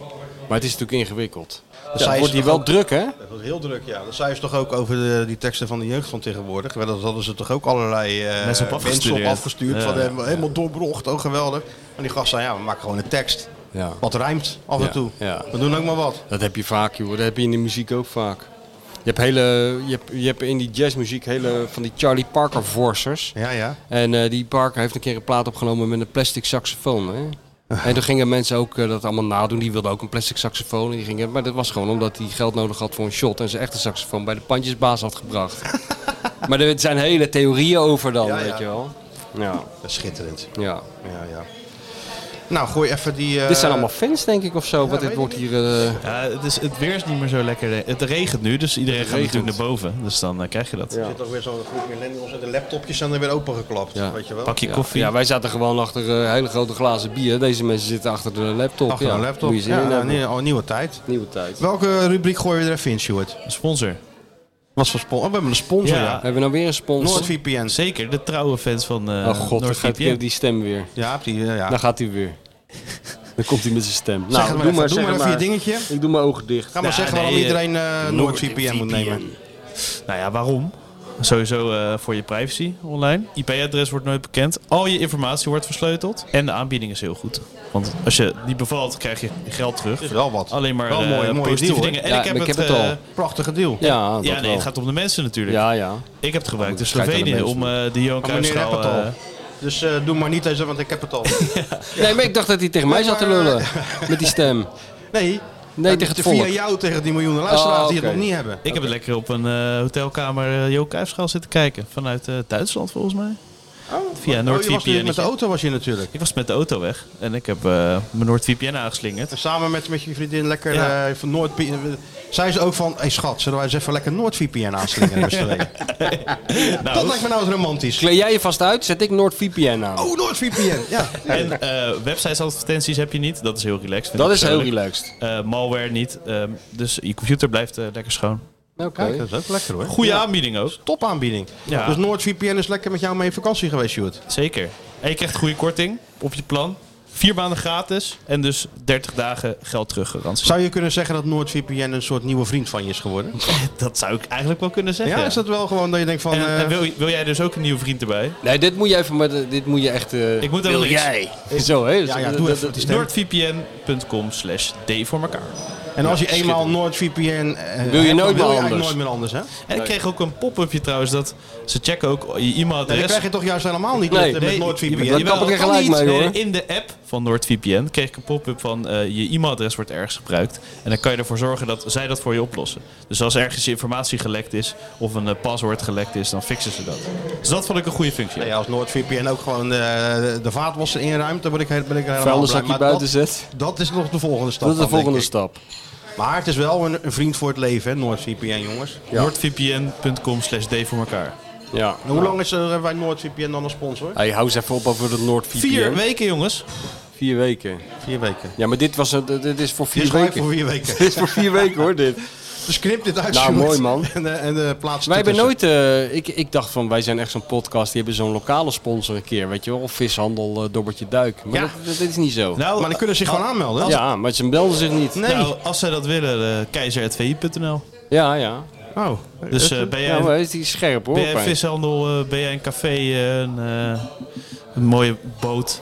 Speaker 4: Maar het is natuurlijk ingewikkeld.
Speaker 3: zij
Speaker 4: Dus ja,
Speaker 3: is
Speaker 4: wordt hier
Speaker 3: toch
Speaker 4: wel
Speaker 3: ook-
Speaker 4: druk, hè?
Speaker 3: Dat wordt heel druk, ja. Dat zei ze toch ook over de- die teksten van de jeugd van tegenwoordig. Wel, Dat hadden ze toch ook allerlei eh,
Speaker 7: Mensen op afgestudeerd.
Speaker 3: afgestuurd.
Speaker 7: Ja.
Speaker 3: Van, eh, helemaal doorbrocht, oh geweldig. En die gast zei, ja, we maken gewoon een tekst.
Speaker 4: Ja.
Speaker 3: Wat rijmt af
Speaker 4: Ja,
Speaker 3: en toe.
Speaker 4: ja.
Speaker 3: We doen ook maar wat.
Speaker 4: Dat heb je vaak, joh. Dat heb je in de muziek ook vaak. Je hebt, hele, je hebt, je hebt in die jazzmuziek hele, van die Charlie Parker vorsers.
Speaker 3: Ja, ja.
Speaker 4: En eh, die Parker heeft een keer een plaat opgenomen met een plastic saxofoon. Hè? En toen gingen mensen ook eh, dat allemaal nadoen. Die wilden ook een plastic saxofoon. En Die gingen, maar dat was gewoon omdat hij geld nodig had voor een shot. En zijn echte saxofoon bij de pandjesbaas had gebracht. maar er zijn hele theorieën over dan,
Speaker 3: Ja, ja.
Speaker 4: weet je wel. Ja.
Speaker 3: Dat is schitterend.
Speaker 4: Ja.
Speaker 3: Ja, ja. Nou, gooi even die... eh,
Speaker 4: Dit zijn allemaal fans, denk ik, of zo. Want dit wordt hier... eh,
Speaker 7: Ja, het, is, het weer is niet meer zo lekker. Het regent nu, dus iedereen
Speaker 4: Het
Speaker 7: gaat natuurlijk naar
Speaker 4: regent.
Speaker 7: boven. Dus dan eh, krijg je dat.
Speaker 3: Er zit toch weer zo'n groep millennials en de laptopjes zijn er weer opengeklapt. Weet je wel?
Speaker 7: Pak je
Speaker 4: ja.
Speaker 7: koffie.
Speaker 4: Ja, wij zaten gewoon achter eh, hele grote glazen bier. Deze mensen zitten achter de laptop.
Speaker 3: Achter
Speaker 4: ja.
Speaker 3: een laptop.
Speaker 4: Moet je zin
Speaker 3: Ja,
Speaker 4: in hebben.
Speaker 3: nee, al nieuwe tijd.
Speaker 4: Nieuwe tijd.
Speaker 3: Welke rubriek gooien we er even in, Stuart?
Speaker 7: Sponsor.
Speaker 3: Was voor spon- oh, we hebben een sponsor,
Speaker 7: Ja.
Speaker 3: ja.
Speaker 4: Hebben we nou weer een sponsor?
Speaker 3: NoordVPN.
Speaker 7: Zeker, de trouwe fans van eh
Speaker 4: oh god, dan gaat
Speaker 7: NordVPN.
Speaker 4: die, die stem weer.
Speaker 3: Ja, heb die, eh, ja.
Speaker 4: Dan gaat hij weer. Dan komt hij met zijn stem.
Speaker 3: Zeg het maar even. Doe
Speaker 4: nou, zeg
Speaker 3: maar
Speaker 4: het
Speaker 3: even je dingetje.
Speaker 4: Ik doe mijn ogen dicht.
Speaker 3: Ga maar
Speaker 7: Ja,
Speaker 3: zeggen
Speaker 7: nee,
Speaker 3: waarom
Speaker 7: eh,
Speaker 3: iedereen eh NoordVPN moet nemen.
Speaker 7: Nou ja, waarom? Sowieso eh, voor je privacy online. IP-adres wordt nooit bekend. Al je informatie wordt versleuteld. En de aanbieding is heel goed. Want als je die bevalt, krijg je je geld terug.
Speaker 3: Is wel wat.
Speaker 7: Alleen maar
Speaker 3: Wel
Speaker 7: eh,
Speaker 3: mooi, mooie
Speaker 7: positieve
Speaker 3: deal,
Speaker 7: dingen.
Speaker 3: hoor.
Speaker 7: En
Speaker 4: Ja,
Speaker 7: ik heb
Speaker 4: ik
Speaker 7: het,
Speaker 4: heb het al.
Speaker 7: eh,
Speaker 3: Prachtige deal.
Speaker 4: Ja, dat
Speaker 7: ja, nee,
Speaker 4: wel.
Speaker 7: het gaat om de mensen natuurlijk.
Speaker 4: Ja, ja.
Speaker 7: Ik heb het gebruikt. Dus
Speaker 4: Het schijnt aan de
Speaker 7: Slovenië om eh die Johan
Speaker 3: Maar meneer heb
Speaker 7: Cruijffschaal...
Speaker 3: het al.
Speaker 7: eh,
Speaker 3: Dus eh, doe maar niet deze, want ik heb het al.
Speaker 4: Nee, maar ik dacht dat hij tegen mij
Speaker 3: Ja,
Speaker 4: zat te
Speaker 3: maar-
Speaker 4: lullen. Met die stem.
Speaker 3: Nee.
Speaker 4: Nee,
Speaker 3: dat-
Speaker 4: tegen het
Speaker 3: Via
Speaker 4: volk.
Speaker 3: jou tegen die miljoenen luisteraars
Speaker 4: Oh,
Speaker 3: die het
Speaker 4: oké.
Speaker 3: nog niet hebben.
Speaker 7: Ik heb het lekker op een eh, hotelkamer eh Johan Cruijffschaal zitten kijken. Vanuit eh, Duitsland volgens mij. Via
Speaker 3: Oh, je was
Speaker 7: NordVPN.
Speaker 3: natuurlijk met de auto was je natuurlijk.
Speaker 7: Ik was met de auto weg. En ik heb eh, mijn NordVPN aangeslingerd.
Speaker 3: Samen met, met je vriendin lekker
Speaker 7: Ja.
Speaker 3: eh, van Noord... Zei ze ook van, hey, schat, zullen wij eens even lekker NoordVPN aanslingen met z'n tweeën? Dat lijkt me nou eens romantisch.
Speaker 4: Kleed jij je vast uit, zet ik NoordVPN aan.
Speaker 3: Oh, NoordVPN, ja.
Speaker 7: En eh websites advertenties heb je niet. Dat is heel relaxed. vind
Speaker 4: dat
Speaker 7: ik
Speaker 4: is heel
Speaker 7: persoonlijk.
Speaker 4: relaxed.
Speaker 7: Eh, malware niet. Ehm, dus je computer blijft eh, lekker schoon.
Speaker 4: Oké.
Speaker 3: Kijk, dat is ook lekker hoor.
Speaker 7: Goede aanbieding ook.
Speaker 3: Top aanbieding.
Speaker 7: Ja.
Speaker 3: Dus NoordVPN is lekker met jou mee op vakantie geweest, Sjoerd.
Speaker 7: Zeker. En je krijgt goede korting op je plan. Vier maanden gratis. En dus 30 dagen geld teruggarantie.
Speaker 3: Zou je kunnen zeggen dat NoordVPN een soort nieuwe vriend van je is geworden?
Speaker 7: Dat zou ik eigenlijk wel kunnen
Speaker 3: Ja,
Speaker 7: zeggen.
Speaker 3: is dat wel gewoon dat je denkt van...
Speaker 7: En,
Speaker 3: eh,
Speaker 7: en wil, wil jij dus ook een nieuwe vriend erbij?
Speaker 4: Nee, dit moet je even... Maar dit moet je echt... eh,
Speaker 7: Ik moet even niks.
Speaker 4: Zo, hè?
Speaker 3: ja, ja, doe even die stem.
Speaker 7: NordVPN.com slash D voor elkaar.
Speaker 3: En als je eenmaal NoordVPN... eh,
Speaker 4: Wil je
Speaker 3: hebt, dan
Speaker 4: nooit meer
Speaker 3: wil je eigenlijk
Speaker 4: anders.
Speaker 3: nooit meer anders, hè?
Speaker 7: En ik kreeg ook een pop-upje trouwens dat ze checken ook je
Speaker 3: Nee,
Speaker 7: e-mailadres.
Speaker 3: dat krijg je toch juist helemaal niet
Speaker 4: Nee.
Speaker 3: met,
Speaker 7: Nee,
Speaker 3: met NoordVPN.
Speaker 7: jawel,
Speaker 4: Dat kap ik er
Speaker 7: kan
Speaker 4: gelijk
Speaker 7: niet.
Speaker 4: mee,
Speaker 7: Nee,
Speaker 4: hoor.
Speaker 7: In de app van NoordVPN kreeg ik een pop-up van eh, je e-mailadres wordt ergens gebruikt. En dan kan je ervoor zorgen dat zij dat voor je oplossen. Dus als ergens je informatie gelekt is of een eh, paswoord gelekt is, dan fixen ze dat. Dus dat vond ik een goede functie.
Speaker 3: Nee, als NoordVPN ook gewoon eh, de vaatwasser inruimt, dan ben ik, he- ben ik er helemaal
Speaker 4: Vuilniszakje
Speaker 3: blij. Maar
Speaker 4: buiten
Speaker 3: dat-
Speaker 4: zet.
Speaker 3: Dat is nog de volgende stap.
Speaker 4: Dat is de
Speaker 3: dan, denk
Speaker 4: volgende
Speaker 3: ik.
Speaker 4: stap.
Speaker 3: Maar het is wel een, een vriend voor het leven, hè, NoordVPN, jongens.
Speaker 4: Ja.
Speaker 7: NoordVPN.com slash D voor elkaar.
Speaker 4: Ja.
Speaker 3: En hoe lang is er, eh, hebben wij NoordVPN dan als sponsor?
Speaker 4: Hey, hou eens even op over het NoordVPN.
Speaker 7: Vier weken jongens.
Speaker 4: Vier weken.
Speaker 3: Vier weken.
Speaker 4: Ja, maar dit, was, een- dit is voor
Speaker 3: Dit
Speaker 4: vier
Speaker 3: is gelijk
Speaker 4: weken.
Speaker 3: voor vier weken.
Speaker 4: Dit is voor vier weken hoor, dit.
Speaker 3: Dus knip dit uit.
Speaker 4: Nou,
Speaker 3: Sjoerd.
Speaker 4: mooi, man.
Speaker 3: En, eh, en eh, plaats
Speaker 4: Wij
Speaker 3: het
Speaker 4: hebben
Speaker 3: ertussen.
Speaker 4: nooit, eh, ik, ik dacht van, wij zijn echt zo'n podcast, die hebben zo'n lokale sponsor een keer, weet je wel. Of vishandel, eh, dobbertje duik. Maar
Speaker 3: Ja.
Speaker 4: dat, dat is niet zo.
Speaker 3: Nou, Maar die kunnen zich eh, gewoon al- aanmelden. als-
Speaker 4: Ja, maar ze melden zich niet.
Speaker 7: Nou, als zij dat willen, eh keizertvi.nl.
Speaker 4: Ja, ja.
Speaker 3: Oh.
Speaker 7: Dus eh, ben jij...
Speaker 4: Ja, maar is die scherp hoor.
Speaker 7: Ben jij
Speaker 4: Pijn.
Speaker 7: vishandel, eh, ben jij een café, eh, een, eh, een mooie boot?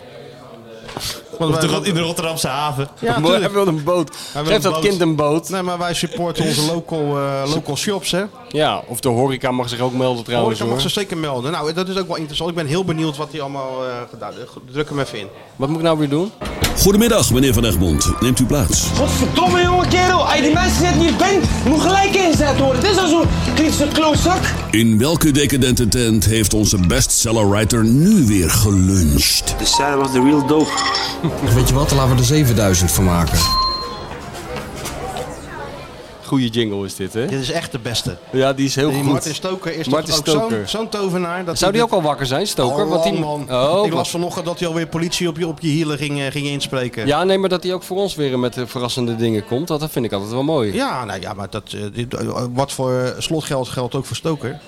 Speaker 3: Want
Speaker 7: Of de
Speaker 3: wij-
Speaker 7: Rot- in de Rotterdamse haven.
Speaker 3: Ja,
Speaker 4: Mooi,
Speaker 3: tuurlijk.
Speaker 4: hij wil een boot.
Speaker 3: Hij wil
Speaker 4: Geef
Speaker 3: een
Speaker 4: dat
Speaker 3: boot. Nou.
Speaker 4: kind een boot.
Speaker 3: Nee, maar wij supporten onze local, eh, local shops, hè.
Speaker 4: Ja, of de horeca mag zich ook melden trouwens
Speaker 3: Horeca mag ze
Speaker 4: hoor.
Speaker 3: zeker melden. Nou, dat is ook wel interessant. Ik ben heel benieuwd wat die allemaal eh, gedaan hebben. Druk hem even in.
Speaker 4: Wat moet ik nou weer doen?
Speaker 8: Goedemiddag, meneer Van Egmond. Neemt u plaats.
Speaker 12: Godverdomme jonge kerel, als je die mensen net niet bent, moet gelijk ingezet worden. Het is al zo'n kritische klootzak.
Speaker 8: In welke decadente tent heeft onze bestsellerwriter nu weer geluncht?
Speaker 9: De Sarah was de real dope. Weet je wat, laten we er 7000 van maken.
Speaker 4: Goeie jingle is dit hè? Dit
Speaker 3: is echt de beste.
Speaker 4: Ja, die is heel
Speaker 3: Die
Speaker 4: goed.
Speaker 3: Martin Stoker is
Speaker 4: Martin
Speaker 3: toch ook zo'n
Speaker 4: Stoker.
Speaker 3: zo'n tovenaar. Dat
Speaker 4: Zou die
Speaker 3: dit-
Speaker 4: ook al wakker zijn, Stoker?
Speaker 3: Oh,
Speaker 4: Want die-
Speaker 3: man.
Speaker 4: Oh,
Speaker 3: ik las
Speaker 4: wat-
Speaker 3: vanochtend dat hij alweer politie op je, op je hielen ging, eh, ging inspreken.
Speaker 4: Ja, nee, maar dat hij ook voor ons weer met eh, verrassende dingen komt, dat dat vind ik altijd wel mooi.
Speaker 3: Ja, nou ja, maar dat, eh, dit- eh, wat voor slotgeld geldt ook voor Stoker?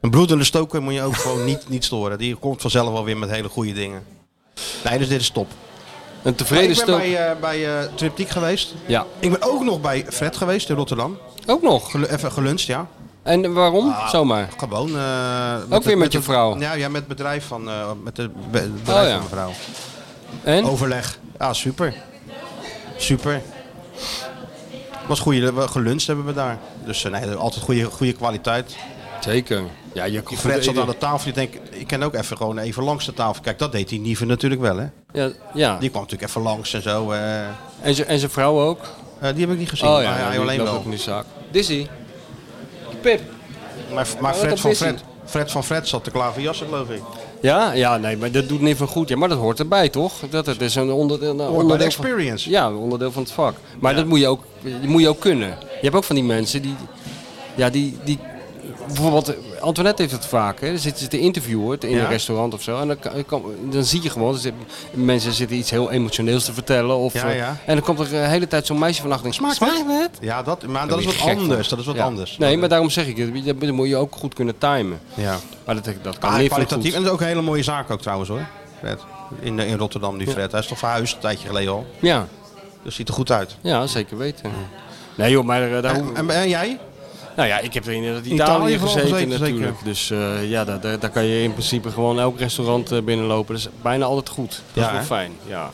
Speaker 3: Een bloedende Stoker moet je ook gewoon niet, niet storen. Die komt vanzelf wel weer met hele goede dingen. Nee, dus dit is top.
Speaker 4: Een
Speaker 3: Maar
Speaker 4: tevreden
Speaker 3: ik ben
Speaker 4: Stoker.
Speaker 3: bij, eh bij eh, Triptiek geweest.
Speaker 4: Ja.
Speaker 3: Ik ben ook nog bij Fred geweest in Rotterdam.
Speaker 4: Ook nog?
Speaker 3: even geluncht, ja.
Speaker 4: En waarom?
Speaker 3: Ah.
Speaker 4: Zomaar?
Speaker 3: Gewoon. eh,
Speaker 4: Ook weer
Speaker 3: het-
Speaker 4: met je
Speaker 3: het-
Speaker 4: vrouw?
Speaker 3: Ja, ja, met het bedrijf van, eh, met de, be- het bedrijf
Speaker 4: Oh, ja.
Speaker 3: van mijn vrouw.
Speaker 4: En?
Speaker 3: Overleg. Ja, super. Super. Was goede, we geluncht hebben we daar. Dus eh, nee, altijd goede, goede kwaliteit.
Speaker 4: Zeker. Ja, je
Speaker 3: Die Fred zat aan de tafel. Ik denk, ik kan ook even gewoon even langs de tafel. Kijk, dat deed die Nieven natuurlijk wel, hè?
Speaker 4: Ja, ja.
Speaker 3: Die kwam natuurlijk even langs en zo. eh.
Speaker 4: En zijn en zijn vrouw ook?
Speaker 3: die heb ik niet gezien,
Speaker 4: Oh
Speaker 3: maar
Speaker 4: ja,
Speaker 3: hij
Speaker 4: die
Speaker 3: Ah, alleen
Speaker 4: loopt
Speaker 3: wel.
Speaker 4: ook in die zaak. Dizzy. Pip.
Speaker 3: Maar, maar
Speaker 4: Oh,
Speaker 3: Fred,
Speaker 4: dat
Speaker 3: van
Speaker 4: is hij.
Speaker 3: Fred, Fred van Fred zat te klaverjassen, geloof ik.
Speaker 4: Ja, ja, nee, maar dat doet niet van goed. Ja, maar dat hoort erbij, toch? Dat, dat is een onderdeel, een
Speaker 3: bij de
Speaker 4: onderdeel
Speaker 3: experience.
Speaker 4: Van, ja, een onderdeel van het vak. Maar dat moet je, ook, die moet je ook kunnen. Je hebt ook van die mensen die... Ja, die, die bijvoorbeeld, Antoinette heeft het vaak. Hè. Dan zitten ze te interviewen te- in
Speaker 3: Ja.
Speaker 4: een restaurant of zo. En dan, kan- kan- dan zie je gewoon, er zit- mensen zitten iets heel emotioneels te vertellen. Of,
Speaker 3: Ja,
Speaker 4: eh,
Speaker 3: ja.
Speaker 4: En dan komt er de hele tijd zo'n meisje van achter. en denkt, Smaakt het?
Speaker 3: Ja, dat, maar dat
Speaker 4: Daar
Speaker 3: is
Speaker 4: word
Speaker 3: wat
Speaker 4: je gek van.
Speaker 3: anders. Dat is wat
Speaker 4: Ja.
Speaker 3: anders.
Speaker 4: Nee, maar daarom zeg ik, het, dat, dat moet je ook goed kunnen timen.
Speaker 3: Ja.
Speaker 4: Maar dat, dat kan
Speaker 3: Ah,
Speaker 4: niet van
Speaker 3: kwalitatief.
Speaker 4: goed.
Speaker 3: En dat is ook een hele mooie zaak ook trouwens hoor. Fred. In, eh, in Rotterdam die
Speaker 4: Ja.
Speaker 3: Fred. Hij is toch verhuisd een tijdje geleden al.
Speaker 4: Ja.
Speaker 3: Dus ziet er goed uit.
Speaker 4: Ja, zeker weten. Nee joh, maar eh, daar...
Speaker 3: En, en, en jij?
Speaker 4: Nou ja, ik heb in eh, Italië,
Speaker 3: Italië vooral
Speaker 4: gezeten,
Speaker 3: gezeten, zeker.
Speaker 4: natuurlijk. Dus eh, ja, daar, daar, daar kan je in principe gewoon elk restaurant eh, binnenlopen. Dat is bijna altijd goed. Dat
Speaker 3: Ja,
Speaker 4: is wel
Speaker 3: hè?
Speaker 4: fijn, ja.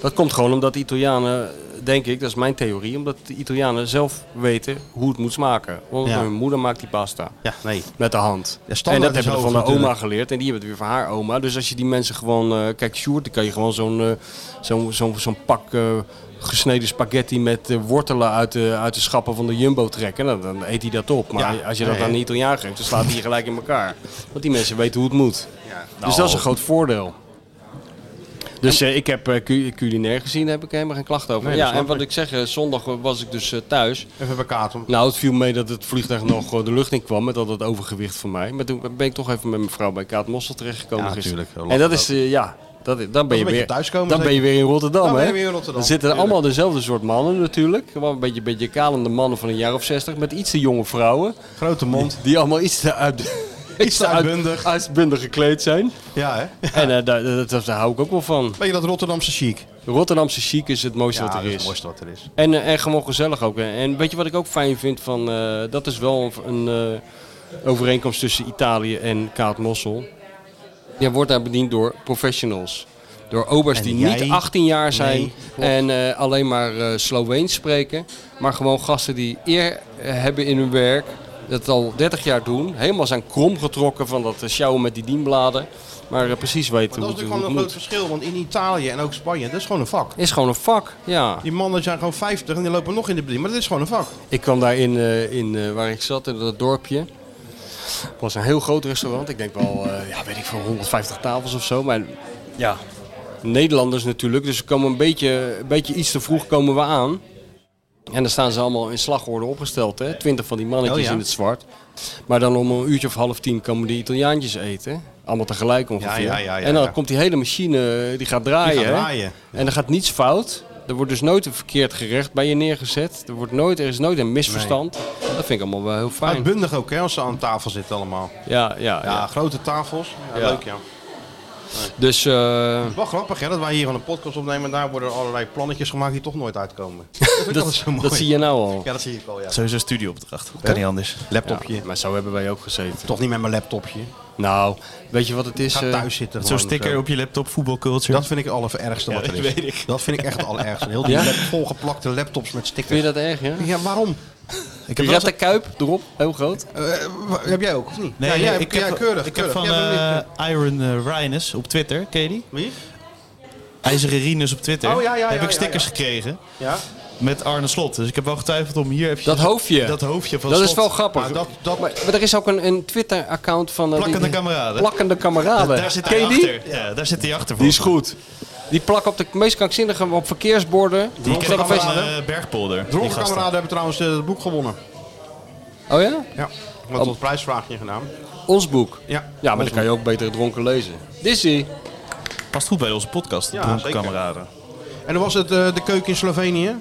Speaker 4: Dat komt gewoon omdat de Italianen, denk ik, dat is mijn theorie, omdat de Italianen zelf weten hoe het moet smaken. Want
Speaker 3: Ja.
Speaker 4: hun moeder maakt die pasta.
Speaker 3: Ja, nee.
Speaker 4: Met de hand.
Speaker 3: Ja,
Speaker 4: en
Speaker 3: standaard
Speaker 4: dat
Speaker 3: is
Speaker 4: hebben we van
Speaker 3: hoog
Speaker 4: de oma
Speaker 3: natuurlijk.
Speaker 4: geleerd. En die hebben het weer van haar oma. Dus als je die mensen gewoon... eh, kijk, Sjoerd, dan kan je gewoon zo'n eh, zo'n zo'n zo'n pak eh, gesneden spaghetti met eh, wortelen uit de, uit de schappen van de Jumbo trekken. Nou, dan eet hij dat op. Maar
Speaker 3: Ja.
Speaker 4: als je dat
Speaker 3: Nee,
Speaker 4: aan
Speaker 3: hè?
Speaker 4: een Italiaan geeft, dan slaat hij je gelijk in elkaar. Want die mensen weten hoe het moet. Dus
Speaker 3: Nou.
Speaker 4: dat is een groot voordeel. Dus eh, ik heb eh, cu- culinair gezien, daar heb ik helemaal geen klacht over.
Speaker 3: Nee, dat
Speaker 4: ja,
Speaker 3: snap
Speaker 4: en wat ik zeg, eh, zondag was ik dus eh, thuis.
Speaker 3: Even bij Kato.
Speaker 4: Nou, het viel mee dat het vliegtuig nog eh, de lucht in kwam met al dat overgewicht van mij. Maar toen ben ik toch even met mijn vrouw bij Kaat Mossel terechtgekomen
Speaker 3: Ja,
Speaker 4: gisteren.
Speaker 3: tuurlijk. Dat
Speaker 4: En dat
Speaker 3: lacht
Speaker 4: is, eh, ja, dat, is- dan ben
Speaker 3: een
Speaker 4: je
Speaker 3: beetje
Speaker 4: weer
Speaker 3: thuiskomen,
Speaker 4: Dan ben je
Speaker 3: zeker.
Speaker 4: weer in Rotterdam,
Speaker 3: Dan
Speaker 4: hè?
Speaker 3: ben je weer in Rotterdam,
Speaker 4: Dan zitten er
Speaker 3: tuurlijk.
Speaker 4: allemaal dezelfde soort mannen natuurlijk. Gewoon een beetje, beetje kalende mannen van een jaar of zestig met iets te jonge vrouwen.
Speaker 3: Grote mond.
Speaker 4: Die allemaal iets te uit... Iets te
Speaker 3: uitbundig.
Speaker 4: uit- uitbundig gekleed zijn.
Speaker 3: Ja, hè?
Speaker 4: En eh, daar, daar, daar- daar hou ik ook wel van.
Speaker 3: Weet je dat Rotterdamse chic?
Speaker 4: Rotterdamse chic is het mooiste
Speaker 3: Ja,
Speaker 4: wat
Speaker 3: dat
Speaker 4: er
Speaker 3: is
Speaker 4: is.
Speaker 3: het mooiste wat er is.
Speaker 4: En, eh, en gewoon gezellig ook. hè. En weet je wat ik ook fijn vind van... eh, dat is wel een eh, overeenkomst tussen Italië en Kaat Mossel. Je wordt daar bediend door professionals. Door obers
Speaker 3: En
Speaker 4: die
Speaker 3: jij?
Speaker 4: niet 18 jaar zijn
Speaker 3: Nee,
Speaker 4: en eh, alleen maar eh, Sloveens spreken. Maar gewoon gasten die eer eh, hebben in hun werk. Dat al 30 jaar doen. Helemaal zijn krom getrokken van dat eh, sjouwen met die dienbladen. Maar eh, precies weten
Speaker 3: Maar dat
Speaker 4: hoe
Speaker 3: is natuurlijk
Speaker 4: het hoe
Speaker 3: gewoon
Speaker 4: het
Speaker 3: een groot
Speaker 4: moet.
Speaker 3: verschil. Want in Italië en ook Spanje, dat is gewoon een vak.
Speaker 4: Is gewoon een vak, ja.
Speaker 3: Die mannen zijn gewoon 50 en die lopen nog in de bediening. Maar dat is gewoon een vak.
Speaker 4: Ik kwam daar in, eh, in eh, waar ik zat, in dat dorpje. Het was een heel groot restaurant. Ik denk wel, eh, ja, weet ik veel, 150 tafels of zo. Maar ja, Nederlanders natuurlijk. Dus we komen een beetje, een beetje iets te vroeg komen we aan. En dan staan ze allemaal in slagorde opgesteld. Hè? Twintig van die mannetjes
Speaker 3: Oh ja.
Speaker 4: in het zwart. Maar dan om een uurtje of half tien komen de Italiaantjes eten. Allemaal tegelijk ongeveer.
Speaker 3: Ja, ja, ja, ja,
Speaker 4: en dan
Speaker 3: ja.
Speaker 4: komt die hele machine, eh, die gaat draaien. hè.
Speaker 3: draaien.
Speaker 4: En dan gaat niets fout. Er wordt dus nooit een verkeerd gerecht bij je neergezet. Er, wordt nooit, er is nooit een misverstand. Dat vind ik allemaal wel heel fijn.
Speaker 3: Uitbundig ook, hè, als ze aan tafel zitten allemaal.
Speaker 4: Ja, ja,
Speaker 3: Ah, Ja, grote tafels. Ja,
Speaker 4: Ja.
Speaker 3: Leuk, ja.
Speaker 4: Dus, eh,
Speaker 3: Wel grappig, hè, dat wij hier van een podcast opnemen. en Daar worden allerlei plannetjes gemaakt die toch nooit uitkomen. dat, vind ik
Speaker 4: dat,
Speaker 3: altijd zo mooi.
Speaker 4: dat zie je nou al.
Speaker 3: Ja, dat zie ik al, ja.
Speaker 4: Sowieso studieopdracht.
Speaker 3: Kan niet anders. Laptopje.
Speaker 4: maar zo hebben wij ook gezeten.
Speaker 3: Toch niet met mijn laptopje.
Speaker 4: Nou, weet je wat het is?
Speaker 3: Ga
Speaker 4: eh,
Speaker 3: thuis zitten
Speaker 4: zo'n
Speaker 3: gewoon
Speaker 4: sticker
Speaker 3: zo.
Speaker 4: op je laptop, voetbalculture.
Speaker 3: Dat vind ik het allerergste wat
Speaker 4: Ja,
Speaker 3: er is.
Speaker 4: dat weet ik.
Speaker 3: Dat vind ik echt het allerergste. Heel die
Speaker 4: Ja?
Speaker 3: lap- volgeplakte laptops met stickers.
Speaker 4: Vind je dat erg, ja?
Speaker 3: Ja, waarom?
Speaker 4: Ik
Speaker 3: heb
Speaker 4: heb
Speaker 3: wel eens-
Speaker 4: de Kuip erop, heel groot.
Speaker 3: Eh, heb jij ook, of niet?
Speaker 7: Nee,
Speaker 3: ja, jij,
Speaker 7: ik
Speaker 3: ja,
Speaker 7: heb,
Speaker 3: keurig.
Speaker 7: Ik heb
Speaker 3: keurig.
Speaker 7: van
Speaker 3: Jij hebt hem niet-
Speaker 7: eh, Iron eh, Rhinus op Twitter, ken je die?
Speaker 3: Wie?
Speaker 7: IJzeren Rhinus op Twitter.
Speaker 3: Oh, ja, ja,
Speaker 7: heb
Speaker 3: ja,
Speaker 7: ik
Speaker 3: ja,
Speaker 7: stickers
Speaker 3: ja.
Speaker 7: gekregen
Speaker 3: Ja?
Speaker 7: met Arne Slot. Dus ik heb wel getwijfeld om hier heb je
Speaker 4: Dat hoofdje.
Speaker 7: Dat hoofdje van
Speaker 4: Dat
Speaker 7: Slot.
Speaker 4: is wel grappig.
Speaker 7: Maar
Speaker 4: Maar,
Speaker 7: dat-
Speaker 4: maar, er is ook een, een Twitter-account van... eh, die-
Speaker 7: Plakkende
Speaker 4: die-
Speaker 7: kameraden.
Speaker 4: Plakkende kameraden.
Speaker 7: Daar zit
Speaker 4: Ken
Speaker 7: hij
Speaker 4: je die?
Speaker 7: achter. Ja, daar zit hij achter
Speaker 4: Die is goed. Die plakken op de meest krankzinnige op verkeersborden.
Speaker 7: Die
Speaker 4: Op
Speaker 7: ken ik van
Speaker 4: festivals.
Speaker 7: eh, Bergpolder. die
Speaker 3: Dronken
Speaker 7: gasten.
Speaker 3: kameraden hebben trouwens eh, het boek gewonnen.
Speaker 4: Oh ja?
Speaker 3: Ja. Wat tot prijsvraagje gedaan.
Speaker 4: Ons boek.
Speaker 3: Ja.
Speaker 4: Ja, maar dan kan je ook beter dronken lezen. Dizzy.
Speaker 7: Past goed bij onze podcast,
Speaker 3: Ja,
Speaker 7: dronken
Speaker 3: zeker.
Speaker 7: kameraden.
Speaker 3: En dan was het eh, de keuken in Slovenië.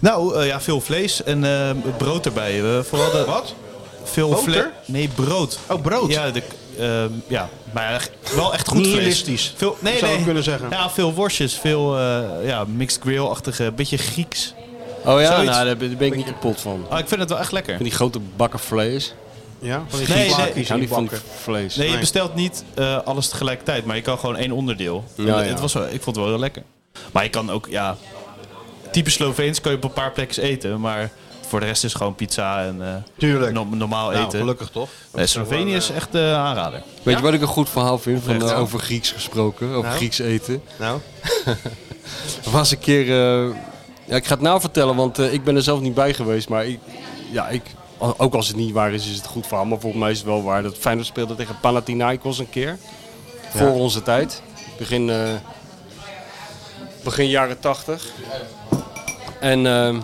Speaker 7: Nou, eh, ja, veel vlees en eh, brood erbij. Eh, vooral de,
Speaker 3: Wat?
Speaker 7: Veel
Speaker 3: Boter?
Speaker 7: vlees. Nee, brood.
Speaker 3: Oh, brood.
Speaker 7: Ja, de, eh, ja. maar ja, echt- wel echt goed vlees.
Speaker 3: Nihilistisch,
Speaker 7: Veel, nee,
Speaker 3: zou ik
Speaker 7: nee.
Speaker 3: kunnen zeggen.
Speaker 7: Ja, veel worstjes. Veel eh, ja, mixed grill-achtige, beetje Grieks.
Speaker 4: Oh ja?
Speaker 7: Zoiets.
Speaker 4: Nou, daar ben daar ben ik niet kapot van.
Speaker 7: Oh, ik vind het wel echt lekker.
Speaker 4: Van die grote bakken vlees.
Speaker 3: Ja, van
Speaker 7: Nee,
Speaker 3: die
Speaker 7: nee.
Speaker 3: nee,
Speaker 4: Ik hou niet van vlees.
Speaker 7: Nee, je bestelt niet eh, alles tegelijkertijd, maar je kan gewoon één onderdeel. En
Speaker 4: Ja, ja.
Speaker 7: Het was wel, ik vond het wel heel lekker. Maar je kan ook, ja, type Sloveens kan je op een paar plekken eten, maar voor de rest is gewoon pizza en eh,
Speaker 3: Tuurlijk.
Speaker 7: no- normaal
Speaker 3: Nou,
Speaker 7: eten.
Speaker 3: gelukkig toch?
Speaker 7: Nee, Slovenië is echt eh aanrader.
Speaker 4: Weet je wat ik een goed verhaal vind? Van,
Speaker 7: Oprecht,
Speaker 4: eh,
Speaker 7: ja.
Speaker 4: over Grieks gesproken, over
Speaker 3: Nou?
Speaker 4: Grieks eten.
Speaker 3: Nou?
Speaker 4: Er was een keer... eh, ja, ik ga het nou vertellen, want eh, ik ben er zelf niet bij geweest. Maar ik, ja, ik, al- ook als het niet waar is, is het een goed verhaal. Maar volgens mij is het wel waar. Dat Feyenoord speelde tegen Panathinaikos een keer. Voor onze tijd. Begin, eh, begin jaren tachtig. En eh,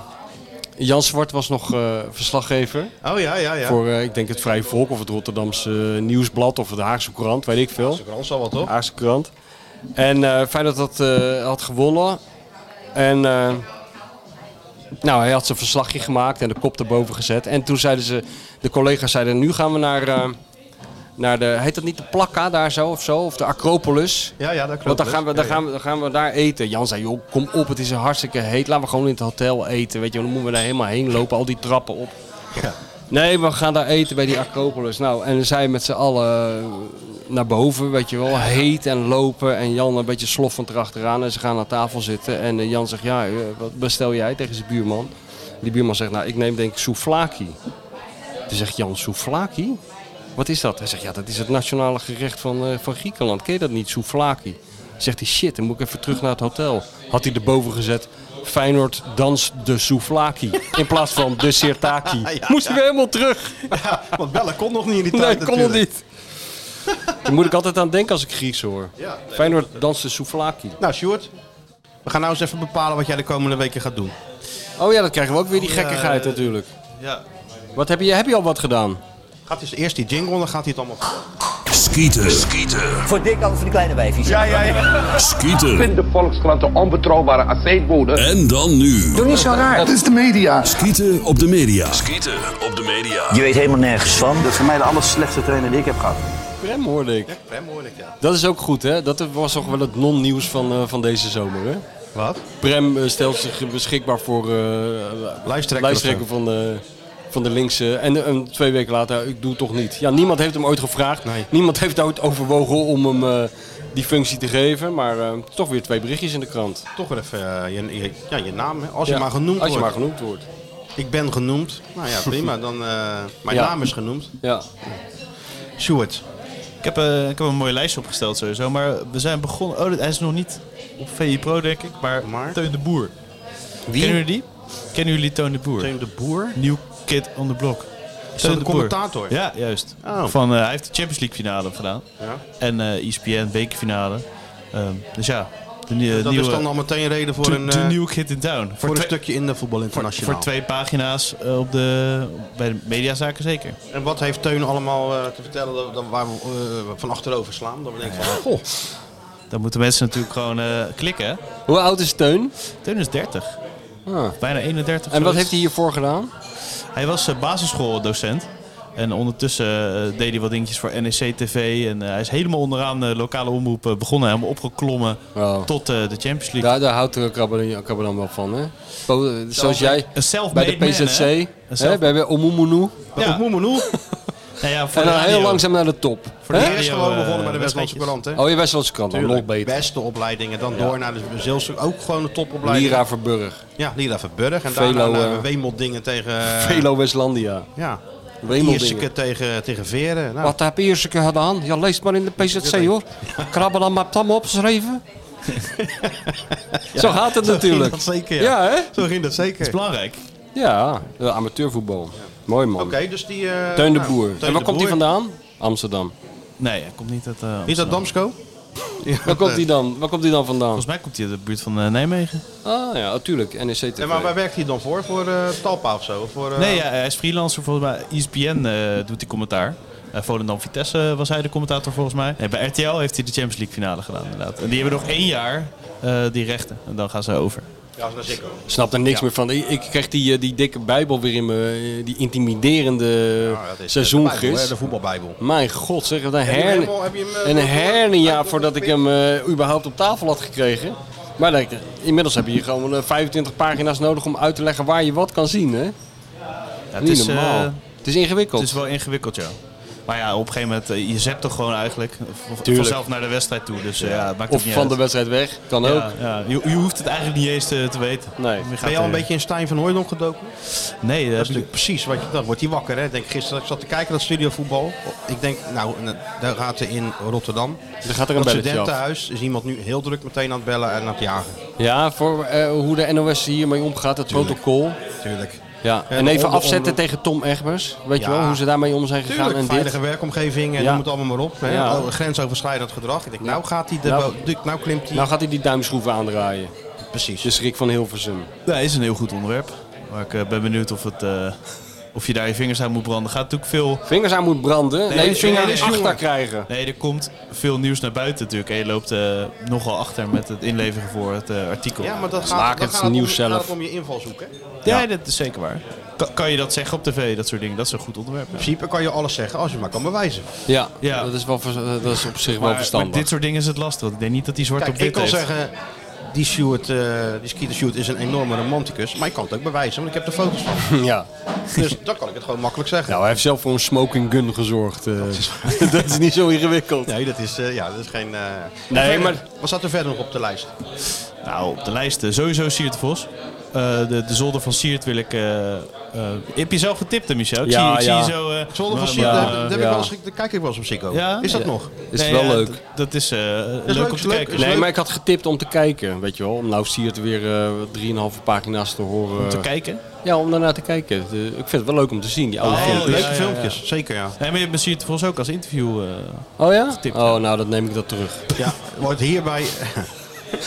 Speaker 4: Jan Zwart was nog eh, verslaggever.
Speaker 3: Oh ja, ja, ja.
Speaker 4: Voor, eh, ik denk, het Vrije Volk of het Rotterdamse eh, Nieuwsblad of de Haagse Courant, weet ik veel.
Speaker 3: Krant zal wel toch?
Speaker 4: Haagse Courant. En eh Feyenoord had, eh, had gewonnen. En eh, nou, hij had zijn verslagje gemaakt en de kop erboven gezet. En toen zeiden ze, de collega's zeiden, nu gaan we naar, eh, naar de, heet dat niet de Plakka daar zo of zo? Of de Acropolis?
Speaker 3: Ja, ja, dat klopt.
Speaker 4: Want dan
Speaker 3: hè?
Speaker 4: gaan, we, dan,
Speaker 3: Ja, ja.
Speaker 4: gaan we, dan gaan we daar eten. Jan zei, joh, kom op, het is hartstikke heet. Laten we gewoon in het hotel eten. Weet je, dan moeten we daar helemaal heen lopen, al die trappen op. Nee, we gaan daar eten bij die Acropolis. Nou, en dan zijn we met z'n allen naar boven, weet je wel. Heet en lopen. En Jan een beetje sloffend erachteraan. En ze gaan aan tafel zitten. En eh, Jan zegt, ja, eh, wat bestel jij tegen zijn buurman? Die buurman zegt, nou, ik neem denk ik souvlaki. Toen zegt Jan, souvlaki? Wat is dat? Hij zegt, ja, dat is het nationale gerecht van, eh, van Griekenland. Ken je dat niet, souvlaki? Zegt hij, shit, dan moet ik even terug naar het hotel. Had hij erboven gezet, Feyenoord danst de souvlaki. In plaats van de sirtaki.
Speaker 3: ja.
Speaker 4: Moesten we helemaal terug.
Speaker 3: Ja, want bellen kon nog niet in die
Speaker 4: Nee,
Speaker 3: tijd
Speaker 4: kon nog
Speaker 3: natuurlijk.
Speaker 4: niet. Daar moet ik altijd aan denken als ik Grieks hoor.
Speaker 3: Ja, nee,
Speaker 4: Feyenoord danst de souvlaki.
Speaker 3: Nou, Sjoerd. We gaan nou eens even bepalen wat jij de komende weken gaat doen.
Speaker 4: Oh ja, dat krijgen we ook weer die gekkigheid
Speaker 7: eh,
Speaker 4: natuurlijk.
Speaker 7: Ja.
Speaker 4: Wat heb je, heb je al wat gedaan?
Speaker 3: Gaat hij eerst die jingle, dan gaat hij het allemaal...
Speaker 8: Skieten. Skieten.
Speaker 13: Voor dik als voor de kleine wijfjes. Ja, ja, ja.
Speaker 8: Skieten.
Speaker 13: Vind de Volkskrant een onbetrouwbare aceetbode.
Speaker 8: En dan nu.
Speaker 13: Doe niet zo raar. Dat is de media.
Speaker 8: Skieten op de media. Skieten op de media.
Speaker 13: Je weet helemaal nergens van. Dat is voor mij de aller slechtste trainer die ik heb gehad.
Speaker 4: Prem hoorde ik.
Speaker 3: Prem hoor ik, ja.
Speaker 4: Dat is ook goed, hè? Dat was toch wel het non-nieuws van, eh, van deze zomer, hè?
Speaker 3: Wat?
Speaker 4: Prem eh, stelt zich beschikbaar voor eh
Speaker 3: Lijsttrekker
Speaker 4: lijsttrekker
Speaker 3: of
Speaker 4: van de, van de linkse. En eh, en twee weken later, ik doe het toch niet. Ja, niemand heeft hem ooit gevraagd. Niemand heeft ooit overwogen om hem eh, die functie te geven. Maar eh, toch weer twee berichtjes in de krant.
Speaker 3: Toch weer even eh, je, je- ja, je naam, hè. als je
Speaker 4: Ja,
Speaker 3: maar genoemd
Speaker 4: als je
Speaker 3: wordt.
Speaker 4: maar genoemd wordt.
Speaker 3: Ik ben genoemd. Nou ja, prima. Dan, eh, mijn
Speaker 4: Ja.
Speaker 3: naam is genoemd.
Speaker 4: Ja.
Speaker 3: Sjoerd.
Speaker 7: Ik heb, eh, ik heb een mooie lijst opgesteld sowieso, maar we zijn begonnen... Oh, hij is nog niet op VI Pro, denk ik, maar, Teun de Boer.
Speaker 3: Wie?
Speaker 7: Kennen jullie die? Kennen jullie Teun de Boer?
Speaker 3: Teun de Boer?
Speaker 7: New Kid on the Block.
Speaker 3: dat
Speaker 7: Teun
Speaker 3: de
Speaker 7: Boer.
Speaker 3: commentator?
Speaker 7: Ja, juist.
Speaker 3: Oh.
Speaker 7: Van, eh, hij heeft de Champions League finale gedaan.
Speaker 3: Ja.
Speaker 7: En eh ESPN bekerfinale. Ehm, dus ja, de, nie-
Speaker 3: dat
Speaker 7: nieuwe...
Speaker 3: is dan al meteen reden voor
Speaker 7: to-
Speaker 3: een,
Speaker 7: to
Speaker 3: eh,
Speaker 7: new kid in town.
Speaker 3: voor een
Speaker 7: twee-
Speaker 3: stukje in de voetbal
Speaker 7: voor,
Speaker 3: internationaal.
Speaker 7: voor twee pagina's eh, op de, bij de mediazaken zeker.
Speaker 3: En wat heeft Teun allemaal eh, te vertellen dat, dat waar we eh, van achterover slaan? Dat we denken van, goh,
Speaker 7: Dan moeten mensen natuurlijk gewoon eh, klikken.
Speaker 4: Hoe oud is Teun?
Speaker 7: Teun is 30.
Speaker 3: Ah.
Speaker 7: Bijna 31.
Speaker 4: En wat
Speaker 7: zoiets.
Speaker 4: heeft hij hiervoor gedaan?
Speaker 7: Hij was eh, basisschooldocent. En ondertussen eh, deed hij wat dingetjes voor NEC TV. En eh, hij is helemaal onderaan de lokale omroep eh, begonnen. Helemaal opgeklommen tot eh, de Champions League.
Speaker 4: Daar, daar houdt de Krabbe- Krabbe dan wel van, hè? Po- eh, Zoals jij
Speaker 7: Een self-made
Speaker 4: bij de
Speaker 7: man, hè?
Speaker 4: PZC,
Speaker 7: Een
Speaker 4: hè?
Speaker 7: self-
Speaker 4: bij bij Omumunu.
Speaker 7: Ja.
Speaker 3: "Oh,
Speaker 7: Nou ja, voor
Speaker 4: en
Speaker 7: de
Speaker 4: dan heel
Speaker 7: radio.
Speaker 4: langzaam naar de top.
Speaker 7: Voor de
Speaker 4: Hè?
Speaker 7: radio, eh, wedstrijdjes.
Speaker 3: Krant, hè?
Speaker 4: Oh, je Westlandse krant, dan nog
Speaker 3: Tuurlijk,
Speaker 4: beter.
Speaker 3: Beste opleidingen, dan door naar de Zeelse, ook gewoon de topopleiding.
Speaker 4: Lira Verburg.
Speaker 3: Ja, Lira Verburg. En
Speaker 4: Velo,
Speaker 3: daarna naar
Speaker 4: eh,
Speaker 3: Wemeldingen tegen... eh,
Speaker 4: Velo Westlandia.
Speaker 3: Ja.
Speaker 4: Wemeldingen.
Speaker 3: Ierseke tegen, tegen Veren. Nou,
Speaker 4: Wat heb je eerst gedaan? Ja, lees maar in de PZC, hoor. Krabben dan maar tam opschrijven. Zo gaat het
Speaker 3: zo
Speaker 4: natuurlijk.
Speaker 3: Ging dat zeker, ja.
Speaker 4: Ja, hè?
Speaker 3: Zo ging dat zeker.
Speaker 4: Dat is belangrijk. Ja, de amateurvoetbal. Mooi man.
Speaker 3: Oké, dus die... eh,
Speaker 4: Teun de
Speaker 3: nou,
Speaker 4: Boer.
Speaker 3: Teun
Speaker 4: en waar
Speaker 3: de
Speaker 4: komt
Speaker 3: Boer.
Speaker 4: hij vandaan? Amsterdam.
Speaker 7: Nee, hij komt niet uit eh,
Speaker 3: Is dat
Speaker 7: Amsterdam.
Speaker 3: Damsko?
Speaker 4: Waar komt hij dan, waar komt hij dan vandaan?
Speaker 7: Volgens mij komt hij uit de buurt van eh, Nijmegen.
Speaker 4: Ah ja, natuurlijk. NEC TV.
Speaker 3: Ja, maar waar werkt hij dan voor? Voor eh, Talpa of zo? Voor, eh,
Speaker 7: Nee, ja, hij is freelancer volgens mij. ESPN eh, doet die commentaar. Eh Volendam Vitesse was hij de commentator volgens mij. Nee, bij RTL heeft hij de Champions League finale gedaan inderdaad. En die hebben nog één jaar eh, die rechten. En dan gaan ze over.
Speaker 3: Ja, dat is Nou, zeker.
Speaker 4: Snap er niks meer van. Ik, ik kreeg die, eh, die dikke bijbel weer in me. eh, Die intimiderende
Speaker 3: dat is eh,
Speaker 4: seizoengis.
Speaker 3: de Bijbel, hè, de voetbalbijbel.
Speaker 4: Mijn god, zeg. Wat een
Speaker 3: Heb je hem
Speaker 4: herne,
Speaker 3: helemaal- heb je hem, eh,
Speaker 4: een
Speaker 3: doorgemaakt?
Speaker 4: hernia voordat ik hem eh, überhaupt op tafel had gekregen. Maar dat- eh, inmiddels heb je hier gewoon eh, 25 pagina's nodig om uit te leggen waar je wat kan zien. Hè?
Speaker 7: Ja,
Speaker 4: Niet normaal.
Speaker 7: eh,
Speaker 4: het is ingewikkeld.
Speaker 7: Het is wel ingewikkeld, ja. Maar ja, op een gegeven moment, eh, je zept toch gewoon eigenlijk v-
Speaker 4: Tuurlijk.
Speaker 7: vanzelf naar de wedstrijd toe. Dus eh, ja, het maakt
Speaker 4: of
Speaker 7: ook niet
Speaker 4: van
Speaker 7: uit.
Speaker 4: de wedstrijd weg. Kan
Speaker 7: Ja,
Speaker 4: ook.
Speaker 7: Ja, je, je hoeft het eigenlijk niet eens eh, te, te weten.
Speaker 4: Nee.
Speaker 3: Ben je al een beetje in Stijn van Hooydonk gedoken?
Speaker 7: Nee, dat,
Speaker 3: is
Speaker 7: heb ik-
Speaker 3: natuurlijk precies wat je... Dan wordt hij wakker, hè. Ik denk, gisteren ik zat te kijken naar studiovoetbal. Ik denk, nou, en, eh, daar gaat ze in Rotterdam.
Speaker 4: Er gaat er een
Speaker 3: Dat
Speaker 4: belletje af.
Speaker 3: studentenhuis is iemand nu heel druk meteen aan het bellen en aan het jagen.
Speaker 4: Ja, voor eh, hoe de NOS hiermee omgaat, het protocol.
Speaker 3: Tuurlijk.
Speaker 4: Ja, en,
Speaker 3: En de
Speaker 4: even
Speaker 3: onder-
Speaker 4: afzetten
Speaker 3: onder-
Speaker 4: tegen Tom Egbers. Weet je
Speaker 3: Ja.
Speaker 4: wel, hoe ze daarmee om zijn gegaan
Speaker 3: Tuurlijk,
Speaker 4: en dit.
Speaker 3: veilige werkomgeving en
Speaker 4: Ja.
Speaker 3: noem het allemaal maar op. Hè.
Speaker 4: Ja.
Speaker 3: Al- Grensoverschrijdend gedrag. Ik denk, nou gaat hij de...
Speaker 4: Nou.
Speaker 3: bo- du- nou klimt hij...
Speaker 4: Nou gaat hij die duimschroeven aandraaien.
Speaker 3: Precies.
Speaker 4: De schrik van Hilversum.
Speaker 7: Ja, is een heel goed onderwerp. Maar ik eh, ben benieuwd of, het, eh, of je daar je vingers aan moet branden. Gaat natuurlijk veel...
Speaker 4: Vingers aan moet branden? Nee,
Speaker 7: er-
Speaker 4: vinger
Speaker 7: er is
Speaker 4: achter
Speaker 7: jongen.
Speaker 4: krijgen.
Speaker 7: Nee, er komt veel nieuws naar buiten natuurlijk. En je loopt eh, nogal achter met het inleveren voor het eh, artikel.
Speaker 3: Ja, maar dat gaat,
Speaker 7: Maak
Speaker 3: dan
Speaker 7: het
Speaker 3: gaat om-
Speaker 7: nieuws
Speaker 3: gaat
Speaker 7: zelf.
Speaker 3: het om je invalshoek, hè.
Speaker 7: Ja, dat is zeker waar. Kan, kan je dat zeggen op tv, dat soort dingen? Dat is een goed onderwerp.
Speaker 3: In principe kan je alles zeggen als je maar kan bewijzen.
Speaker 4: Ja, Dat, is wel, vers- dat is op zich wel verstandig.
Speaker 7: dit soort dingen is het lastig. want Ik denk niet dat die zwart
Speaker 3: Kijk,
Speaker 7: op wit
Speaker 3: ik kan
Speaker 7: heeft.
Speaker 3: zeggen, die, Stuart, eh, die Skeeter Stewart is een enorme romanticus. Maar ik kan het ook bewijzen, want ik heb de foto's van.
Speaker 4: ja.
Speaker 3: Dus dan kan ik het gewoon makkelijk zeggen.
Speaker 4: Nou, hij heeft zelf voor een smoking gun gezorgd. eh. Dat is, niet zo ingewikkeld.
Speaker 3: Nee, dat is, eh, ja, dat is geen... eh, en
Speaker 4: Nee,
Speaker 3: verder,
Speaker 4: maar-
Speaker 3: Wat staat er verder nog op de lijst?
Speaker 7: Nou, op de lijst eh, sowieso Siert de Vos. Eh, de, de zolder van Siert wil ik... eh, eh, heb je zelf getipt, hè, Michel? Ik zie,
Speaker 4: Ja,
Speaker 7: ik
Speaker 4: ja.
Speaker 7: zie je zo... eh,
Speaker 3: Zolder van
Speaker 7: maar- maar-
Speaker 3: Siert, daar, heb- daar heb ik
Speaker 4: ja.
Speaker 3: wel eens- daar kijk ik wel eens op Psycho.
Speaker 7: Ja?
Speaker 3: Oh. Is dat
Speaker 7: Ja.
Speaker 3: nog?
Speaker 4: Is
Speaker 7: Nee,
Speaker 4: wel
Speaker 7: ja,
Speaker 4: leuk.
Speaker 7: d- Dat is, eh, leuk,
Speaker 3: leuk,
Speaker 7: om
Speaker 3: is
Speaker 7: te
Speaker 3: leuk,
Speaker 7: kijken.
Speaker 3: is
Speaker 4: Nee,
Speaker 3: leuk.
Speaker 4: maar ik had getipt om te kijken, weet je wel. Om nou Siert weer eh 3,5 pagina's te horen.
Speaker 7: Om te kijken?
Speaker 4: Ja, om daarna te kijken. De- ik vind het wel leuk om te zien, die oude
Speaker 7: Oh,
Speaker 4: filmpjes.
Speaker 7: leuke filmpjes.
Speaker 3: Zeker, ja.
Speaker 7: Nee, maar je hebt me Siert de Vos ook als interview eh,
Speaker 4: Oh ja?
Speaker 7: getipt.
Speaker 4: Oh, nou, dat neem ik dat terug.
Speaker 3: Ja, wordt hierbij...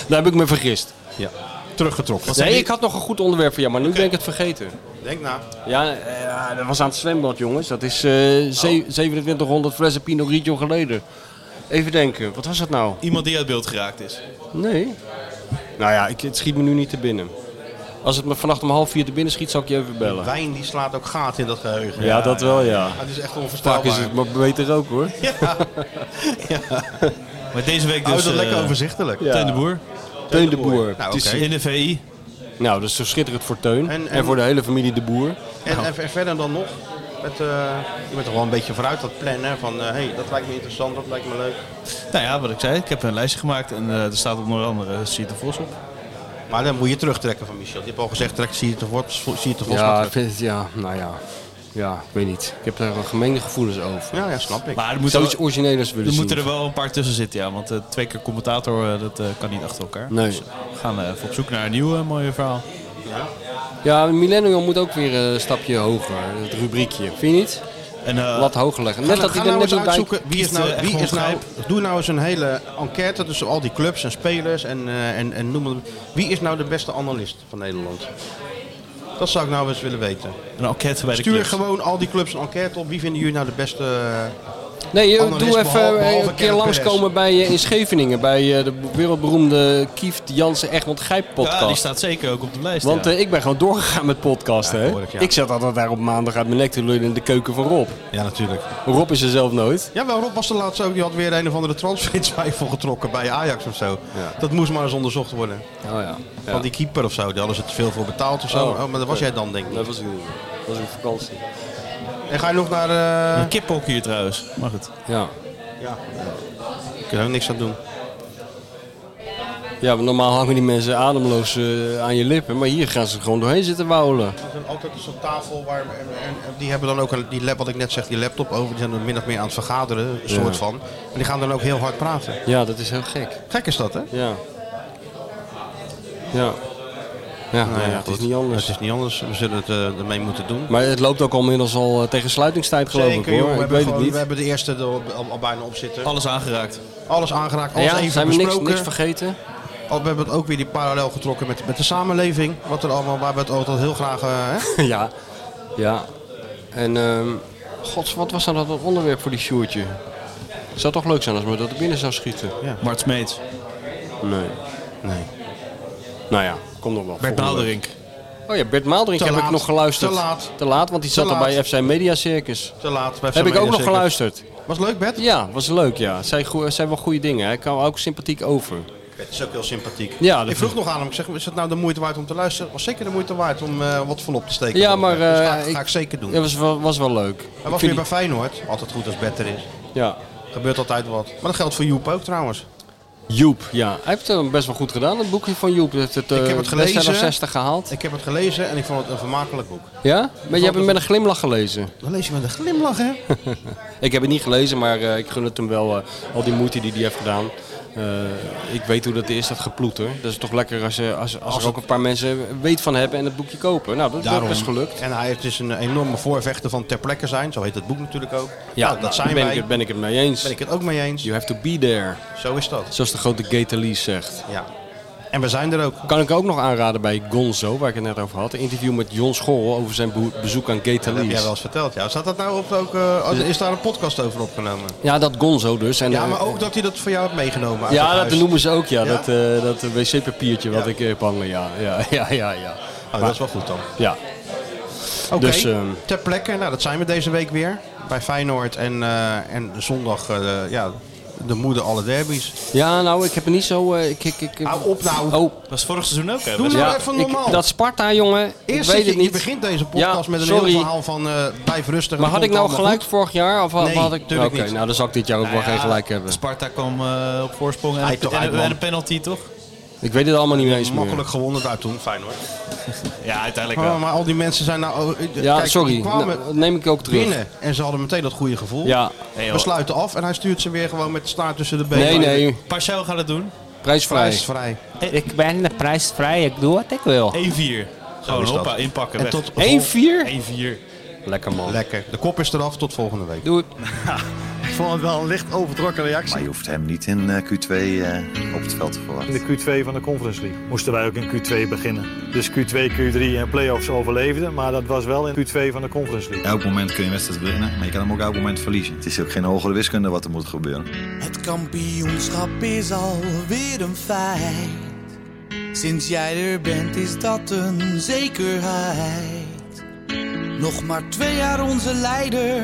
Speaker 4: Daar heb ik me vergist.
Speaker 3: ja, teruggetrokken.
Speaker 4: Nee, ik had nog een goed onderwerp voor jou, maar nu ben ik het vergeten.
Speaker 3: Denk na.
Speaker 4: Ja, eh, ja, dat was aan het zwembad, jongens. Dat is eh, ze- 2700 flessen Pinot Grigio geleden. Even denken, wat was dat nou?
Speaker 7: Iemand die uit beeld geraakt is.
Speaker 4: Nee. Nou ja, ik, het schiet me nu niet te binnen. Als het me vannacht om half vier te binnen schiet, zal ik je even bellen.
Speaker 3: Wijn die slaat ook gaten in dat geheugen.
Speaker 4: Ja, dat wel, ja.
Speaker 3: Het is echt
Speaker 4: Vaak
Speaker 3: onverstaanbaar.
Speaker 4: is het maar beter ook, hoor.
Speaker 7: Maar deze week
Speaker 3: Hou
Speaker 7: dus...
Speaker 3: dat
Speaker 7: eh,
Speaker 3: lekker overzichtelijk.
Speaker 4: Ja.
Speaker 7: Teun de Boer.
Speaker 4: Teun de Boer.
Speaker 3: Nou,
Speaker 4: Het is-
Speaker 3: oké.
Speaker 7: In de VI.
Speaker 4: Nou, dat is zo schitterend voor Teun. En,
Speaker 3: En-
Speaker 4: voor de hele familie de Boer.
Speaker 3: En, en, en verder dan nog? Met, eh, Nou. je bent toch wel een beetje vooruit dat plannen van eh, hey, dat lijkt me interessant, dat lijkt me leuk.
Speaker 7: Nou ja, wat ik zei. Ik heb een lijstje gemaakt en eh, er staat onder andere Siert de Vos op.
Speaker 3: Maar dan moet je terugtrekken van Michel. Je hebt al gezegd, trek zie je te Vos zie je te Vos maar
Speaker 4: Ja, ik
Speaker 3: terug.
Speaker 4: vind het, ja, nou ja. Ja, ik weet niet. Ik heb daar wel gemengde gevoelens over.
Speaker 3: ja, ja, snap ik.
Speaker 7: Maar er moeten,
Speaker 4: Zoiets
Speaker 7: wel-
Speaker 4: origineels willen
Speaker 7: er,
Speaker 4: zien.
Speaker 7: moeten er wel een paar tussen zitten, ja. Want eh, twee keer commentator, eh, dat eh, kan niet achter elkaar.
Speaker 4: Nee.
Speaker 7: Dus we gaan eh, even op zoek naar een nieuw eh, mooi verhaal.
Speaker 4: Ja, Millennium moet ook weer eh, een stapje hoger. Het rubriekje. Vind je niet?
Speaker 7: En, eh,
Speaker 4: Wat hoger leggen.
Speaker 3: Ga
Speaker 4: Net
Speaker 3: nou,
Speaker 4: dat
Speaker 3: ga
Speaker 4: hij er
Speaker 3: nou
Speaker 4: net
Speaker 3: eens
Speaker 4: een bij...
Speaker 3: uitzoeken wie is
Speaker 7: kiest, eh,
Speaker 3: nou,
Speaker 7: echt
Speaker 3: wie
Speaker 7: gewoon
Speaker 3: is nou doe nou eens een hele enquête tussen al die clubs en spelers en, eh, en, en noem maar op. Wie is nou de beste analist van Nederland? Dat zou ik nou eens willen weten.
Speaker 7: een enquête bij de
Speaker 3: Stuur
Speaker 7: clubs.
Speaker 3: gewoon al die clubs een enquête op. Wie vinden jullie nou de beste eh,
Speaker 4: Nee, joh,
Speaker 3: Analist,
Speaker 4: doe even
Speaker 3: behal-
Speaker 4: eh,
Speaker 3: behalve
Speaker 4: een keer
Speaker 3: Kenneth
Speaker 4: langskomen bij, eh, in Scheveningen. Bij eh, de wereldberoemde Kieft Jansen Egmond Gijp podcast.
Speaker 5: Ja, die staat zeker ook op de lijst.
Speaker 4: Want
Speaker 5: ja.
Speaker 4: eh, ik ben gewoon doorgegaan met podcasten. hè?
Speaker 5: hoor ik, ja.
Speaker 4: ik zat altijd daar op maandag uit mijn nek te lullen in de keuken van Rob.
Speaker 3: Ja, natuurlijk.
Speaker 4: Rob is er zelf nooit.
Speaker 3: Ja, wel, Rob was de laatste ook. Die had weer een of andere transfertwijfel getrokken bij Ajax of zo. Dat moest maar eens onderzocht worden.
Speaker 4: Oh ja. Ja.
Speaker 3: Van die keeper of zo, die hadden ze te veel voor betaald of zo.
Speaker 4: Oh.
Speaker 3: Oh, maar dat was jij dan, denk ik.
Speaker 4: Dat was ik niet. Dat was een vakantie.
Speaker 3: En ga je nog naar... eh
Speaker 5: Een kiphok hier trouwens. Mag het?
Speaker 4: Ja.
Speaker 3: Ja. Ik kan er ook niks aan doen.
Speaker 4: Ja, want normaal hangen die mensen ademloos eh, aan je lippen. Maar hier gaan ze gewoon doorheen zitten wauwelen.
Speaker 3: Er is altijd zo'n tafel waar... En, en- en die hebben dan ook een- die lab, wat ik net zeg, die laptop over. Die zijn er min of meer aan het vergaderen, een
Speaker 4: Ja.
Speaker 3: soort van. En die gaan dan ook heel hard praten.
Speaker 4: Ja, dat is heel gek.
Speaker 3: Gek is dat, hè?
Speaker 4: Ja. Ja. Ja, nou ja, het is niet anders.
Speaker 3: Het is niet anders. We zullen het eh, ermee moeten doen.
Speaker 4: Maar het loopt ook inmiddels al eh, tegen sluitingstijd geloof
Speaker 3: Zeker,
Speaker 4: ik
Speaker 3: joh.
Speaker 4: hoor.
Speaker 3: We,
Speaker 4: ik
Speaker 3: hebben
Speaker 4: weet
Speaker 3: gewoon-
Speaker 4: het niet.
Speaker 3: we hebben de eerste er al, al- al bijna op zitten.
Speaker 5: Alles aangeraakt.
Speaker 3: Alles aangeraakt, alles
Speaker 4: Ja,
Speaker 3: even
Speaker 4: zijn we niks-
Speaker 3: besproken.
Speaker 4: niks vergeten?
Speaker 3: Al, Oh, we hebben het ook weer die parallel getrokken met, met de samenleving. Wat er allemaal, waar we het altijd heel graag... eh, hè?
Speaker 4: ja. Ja. En ehm gods, wat was nou dat een onderwerp voor die Sjoertje? Het zou toch leuk zijn als we dat er binnen zou schieten.
Speaker 3: Ja.
Speaker 5: Mart Smeets.
Speaker 4: Nee. Nee. Nou ja, kom nog wel.
Speaker 5: Bert
Speaker 4: Volgende week.
Speaker 5: Maalderink.
Speaker 4: Oh ja, Bert Maalderink
Speaker 3: Te
Speaker 4: heb ik
Speaker 3: laat,
Speaker 4: nog geluisterd.
Speaker 3: te laat.
Speaker 4: Te laat, want die
Speaker 3: Te
Speaker 4: zat
Speaker 3: laat.
Speaker 4: er bij FC Media Circus.
Speaker 3: Te laat. bij
Speaker 4: heb ik ook
Speaker 3: Media
Speaker 4: nog
Speaker 3: Circus.
Speaker 4: geluisterd.
Speaker 3: Was leuk, Bert?
Speaker 4: Ja, was leuk ja. Zijn, goe- zijn wel goede dingen. Hij kwam ook sympathiek over.
Speaker 3: Bert is ook heel sympathiek.
Speaker 4: Ja, dat
Speaker 3: ik vroeg
Speaker 4: is-
Speaker 3: nog aan hem, ik zeg, is het nou de moeite waard om te luisteren? Was zeker de moeite waard om eh, wat volop te steken.
Speaker 4: Ja,
Speaker 3: voor
Speaker 4: maar...
Speaker 3: Bert. Dus
Speaker 4: eh,
Speaker 3: ga, ik, ga ik zeker doen.
Speaker 4: Ja, was wel, was wel leuk.
Speaker 3: Hij
Speaker 4: Ik
Speaker 3: was weer
Speaker 4: vind
Speaker 3: bij Feyenoord. Altijd goed als Bert er is.
Speaker 4: die- Ja.
Speaker 3: Gebeurt altijd wat. Maar dat geldt voor Joep ook trouwens.
Speaker 4: Joep, ja. Hij heeft het best wel goed gedaan, het boekje van Joep. Hij heeft het, eh,
Speaker 3: ik heb het gelezen.
Speaker 4: 60 gehaald.
Speaker 3: Ik heb het gelezen en ik vond het een vermakelijk boek.
Speaker 4: Ja? Maar je hebt hem met een glimlach gelezen.
Speaker 3: Dan lees je met een glimlach, hè?
Speaker 4: Ik heb het niet gelezen, maar eh, ik gun het hem wel. eh, al die moeite die hij heeft gedaan. Eh, ik weet hoe dat is, dat geploeter. Dat is toch lekker als, eh, als, als,
Speaker 3: Als
Speaker 4: er ook een paar mensen weet van hebben en het boekje kopen. Nou, dat, dat is gelukt.
Speaker 3: En hij het is een enorme voorvechter van ter plekke zijn. Zo heet het boek natuurlijk ook.
Speaker 4: Ja,
Speaker 3: Nou, dat zijn
Speaker 4: ben
Speaker 3: wij.
Speaker 4: Ik, het- ben ik het mee eens.
Speaker 3: Ben ik het ook mee eens.
Speaker 4: You have to be there.
Speaker 3: Zo is dat.
Speaker 4: Zoals de grote Gator Lee zegt.
Speaker 3: Ja. En we zijn er ook.
Speaker 4: Kan ik ook nog aanraden bij Gonzo, waar ik het net over had. Een interview met Jon Schorl over zijn beho- bezoek aan Gator
Speaker 3: Dat heb
Speaker 4: Lee's.
Speaker 3: jij wel eens verteld. Ja. Staat dat nou op ook, eh, oh, is daar een podcast over opgenomen?
Speaker 4: Ja, dat Gonzo dus. En,
Speaker 3: ja,
Speaker 4: eh,
Speaker 3: maar ook dat hij dat voor jou hebt meegenomen. uit het
Speaker 4: Ja, dat
Speaker 3: huis.
Speaker 4: noemen ze ook, ja.
Speaker 3: Ja?
Speaker 4: Dat, eh, dat wc-papiertje wat ik eh, heb hangen, ja. Ja, ja, ja. ja.
Speaker 3: Oh, dat is wel goed dan.
Speaker 4: Ja.
Speaker 3: Oké,
Speaker 4: Dus, ehm,
Speaker 3: ter plekke. Nou, dat zijn we deze week weer. Bij Feyenoord en, eh, en zondag eh, ja, de moeder alle derbies.
Speaker 4: ja, nou, ik heb er niet zo... eh, ik, ik, ik,
Speaker 3: Hou op nou.
Speaker 4: Oh,
Speaker 5: Dat was vorig seizoen ook, hè?
Speaker 3: Doe nou
Speaker 4: ja,
Speaker 3: even
Speaker 4: ik-
Speaker 3: normaal.
Speaker 4: dat Sparta, jongen, ik
Speaker 3: Eerst zit
Speaker 4: weet
Speaker 3: je,
Speaker 4: het niet.
Speaker 3: je begint deze podcast
Speaker 4: Ja,
Speaker 3: met een
Speaker 4: sorry.
Speaker 3: heel verhaal van eh blijf rustig.
Speaker 4: Maar
Speaker 3: het
Speaker 4: had ik
Speaker 3: komt
Speaker 4: nou
Speaker 3: allemaal
Speaker 4: gelijk
Speaker 3: goed.
Speaker 4: vorig jaar? Of had,
Speaker 3: Nee,
Speaker 4: had ik...
Speaker 3: tuurlijk
Speaker 4: Oké,
Speaker 3: niet.
Speaker 4: nou, dan zal ik dit jaar ook wel geen gelijk hebben.
Speaker 5: Sparta kwam eh, op voorsprong en,
Speaker 3: Hij
Speaker 5: een-
Speaker 3: toch
Speaker 5: en een-
Speaker 3: uit, man.
Speaker 5: en een penalty, toch?
Speaker 4: Ik weet het allemaal niet eens meer.
Speaker 3: Makkelijk gewonnen daar toen, Feyenoord.
Speaker 5: Ja, uiteindelijk
Speaker 3: Oh, Maar,
Speaker 5: wel.
Speaker 3: maar al die mensen zijn nou... eh,
Speaker 4: Ja,
Speaker 3: kijk,
Speaker 4: sorry.
Speaker 3: Die kwamen
Speaker 4: Nou, dat neem ik ook terug.
Speaker 3: binnen en ze hadden meteen dat goede gevoel.
Speaker 4: Ja.
Speaker 5: joh.
Speaker 3: We sluiten af en hij stuurt ze weer gewoon met de staart tussen de benen.
Speaker 4: Nee, nee.
Speaker 5: Parcel gaat het doen.
Speaker 4: Prijsvrij.
Speaker 3: Prijsvrij.
Speaker 6: Ik ben prijsvrij, ik doe wat ik wil.
Speaker 5: 1-4. Gewoon
Speaker 3: is dat.
Speaker 5: hoppa, inpakken,
Speaker 3: En
Speaker 5: weg.
Speaker 3: tot
Speaker 4: 1-4?
Speaker 5: 1-4.
Speaker 4: Lekker, man.
Speaker 3: Lekker. De kop is eraf. Tot volgende week.
Speaker 4: Doe het.
Speaker 1: Ik vond het wel een licht overtrokken reactie.
Speaker 13: Maar je hoeft hem niet in eh, Q2 eh, op het veld te
Speaker 1: In
Speaker 13: verwachten.
Speaker 1: de Q2 van de Conference League moesten wij ook in Q2 beginnen. Dus Q2, Q3 en play-offs overleefden, maar dat was wel in Q2 van de Conference League.
Speaker 10: Elk moment kun je een wedstrijd winnen, maar je kan hem ook elk moment verliezen.
Speaker 13: Het is ook geen hogere wiskunde wat er moet gebeuren.
Speaker 2: Het kampioenschap is alweer een feit. Sinds jij er bent is dat een zekerheid. Nog maar twee jaar onze leider,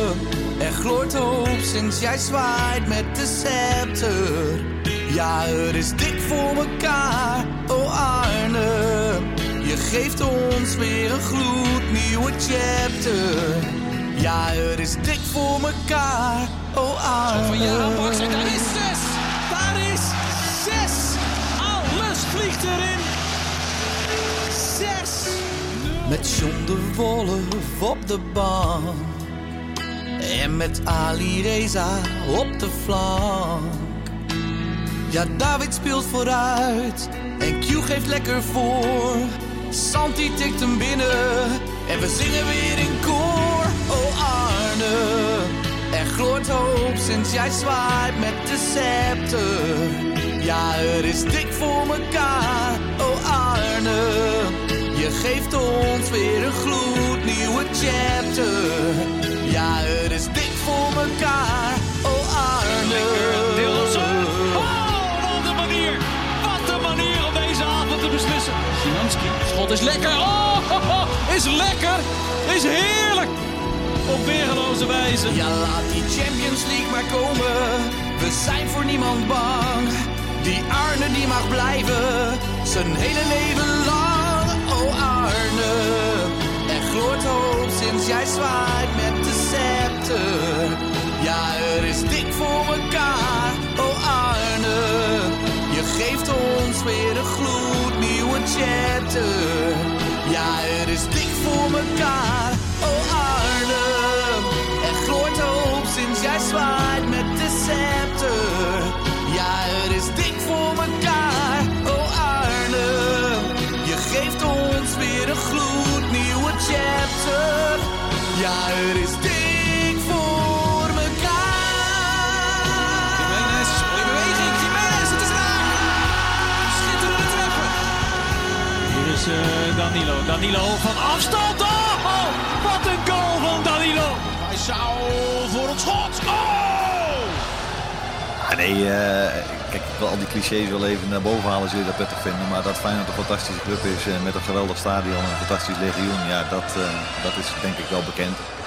Speaker 2: er gloort hoop sinds jij zwaait met de scepter. Ja, er is dik voor elkaar, oh Arne. Je geeft ons weer een gloednieuwe chapter. Ja, er is dik voor elkaar, oh Arne.
Speaker 14: Van Jaren Baks en daar is zes! Daar is zes! Alles vliegt erin! Zes!
Speaker 2: Met John de Wolf op de bank. En met Ali Reza op de flank. Ja, David speelt vooruit en Q geeft lekker voor. Santi tikt hem binnen en we zingen weer in koor. Oh Arne, er gloort hoop sinds jij zwaait met de scepter. Ja, er is dik voor mekaar. Oh Arne, je geeft ons weer een gloednieuwe chapter. Ja, het is dik voor elkaar. Oh Arne.
Speaker 14: Dillersen. Oh, wat een manier. Wat een manier om deze avond te beslissen. Szymanski. Schot is lekker. Oh, is lekker. Is heerlijk.
Speaker 2: Op weergeloze wijze. Ja, laat die Champions League maar komen. We zijn voor niemand bang. Die Arne die mag blijven. Zijn hele leven lang. Oh Arne. Er gloort hoop sinds jij zwaait met de scepter. Ja, er is dik voor elkaar. Oh Arne. Je geeft ons weer een gloednieuwe chapter. Ja, er is dik voor elkaar. Oh Arnhem, er gloort hoop sinds jij zwaait met de scepter. Ja, het is dik voor elkaar. Oh Arnhem, je geeft ons weer een gloednieuwe chapter. Ja, het is dik voor elkaar.
Speaker 14: Jiménez, in beweging. Jiménez, het is raak. Schitterende treffer.
Speaker 15: Hier is eh, Danilo. Danilo van
Speaker 14: Afstand. Oh, oh, wat een goal van Danilo. Hij zou voor het schot. Oh!
Speaker 13: Ah, nee, eh, kijk, ik wil al die clichés wel even naar boven halen, zul je dat prettig vinden. Maar dat Feyenoord een fantastische club is eh, met een geweldig stadion en een fantastisch legioen, ja, dat, eh, dat is denk ik wel bekend.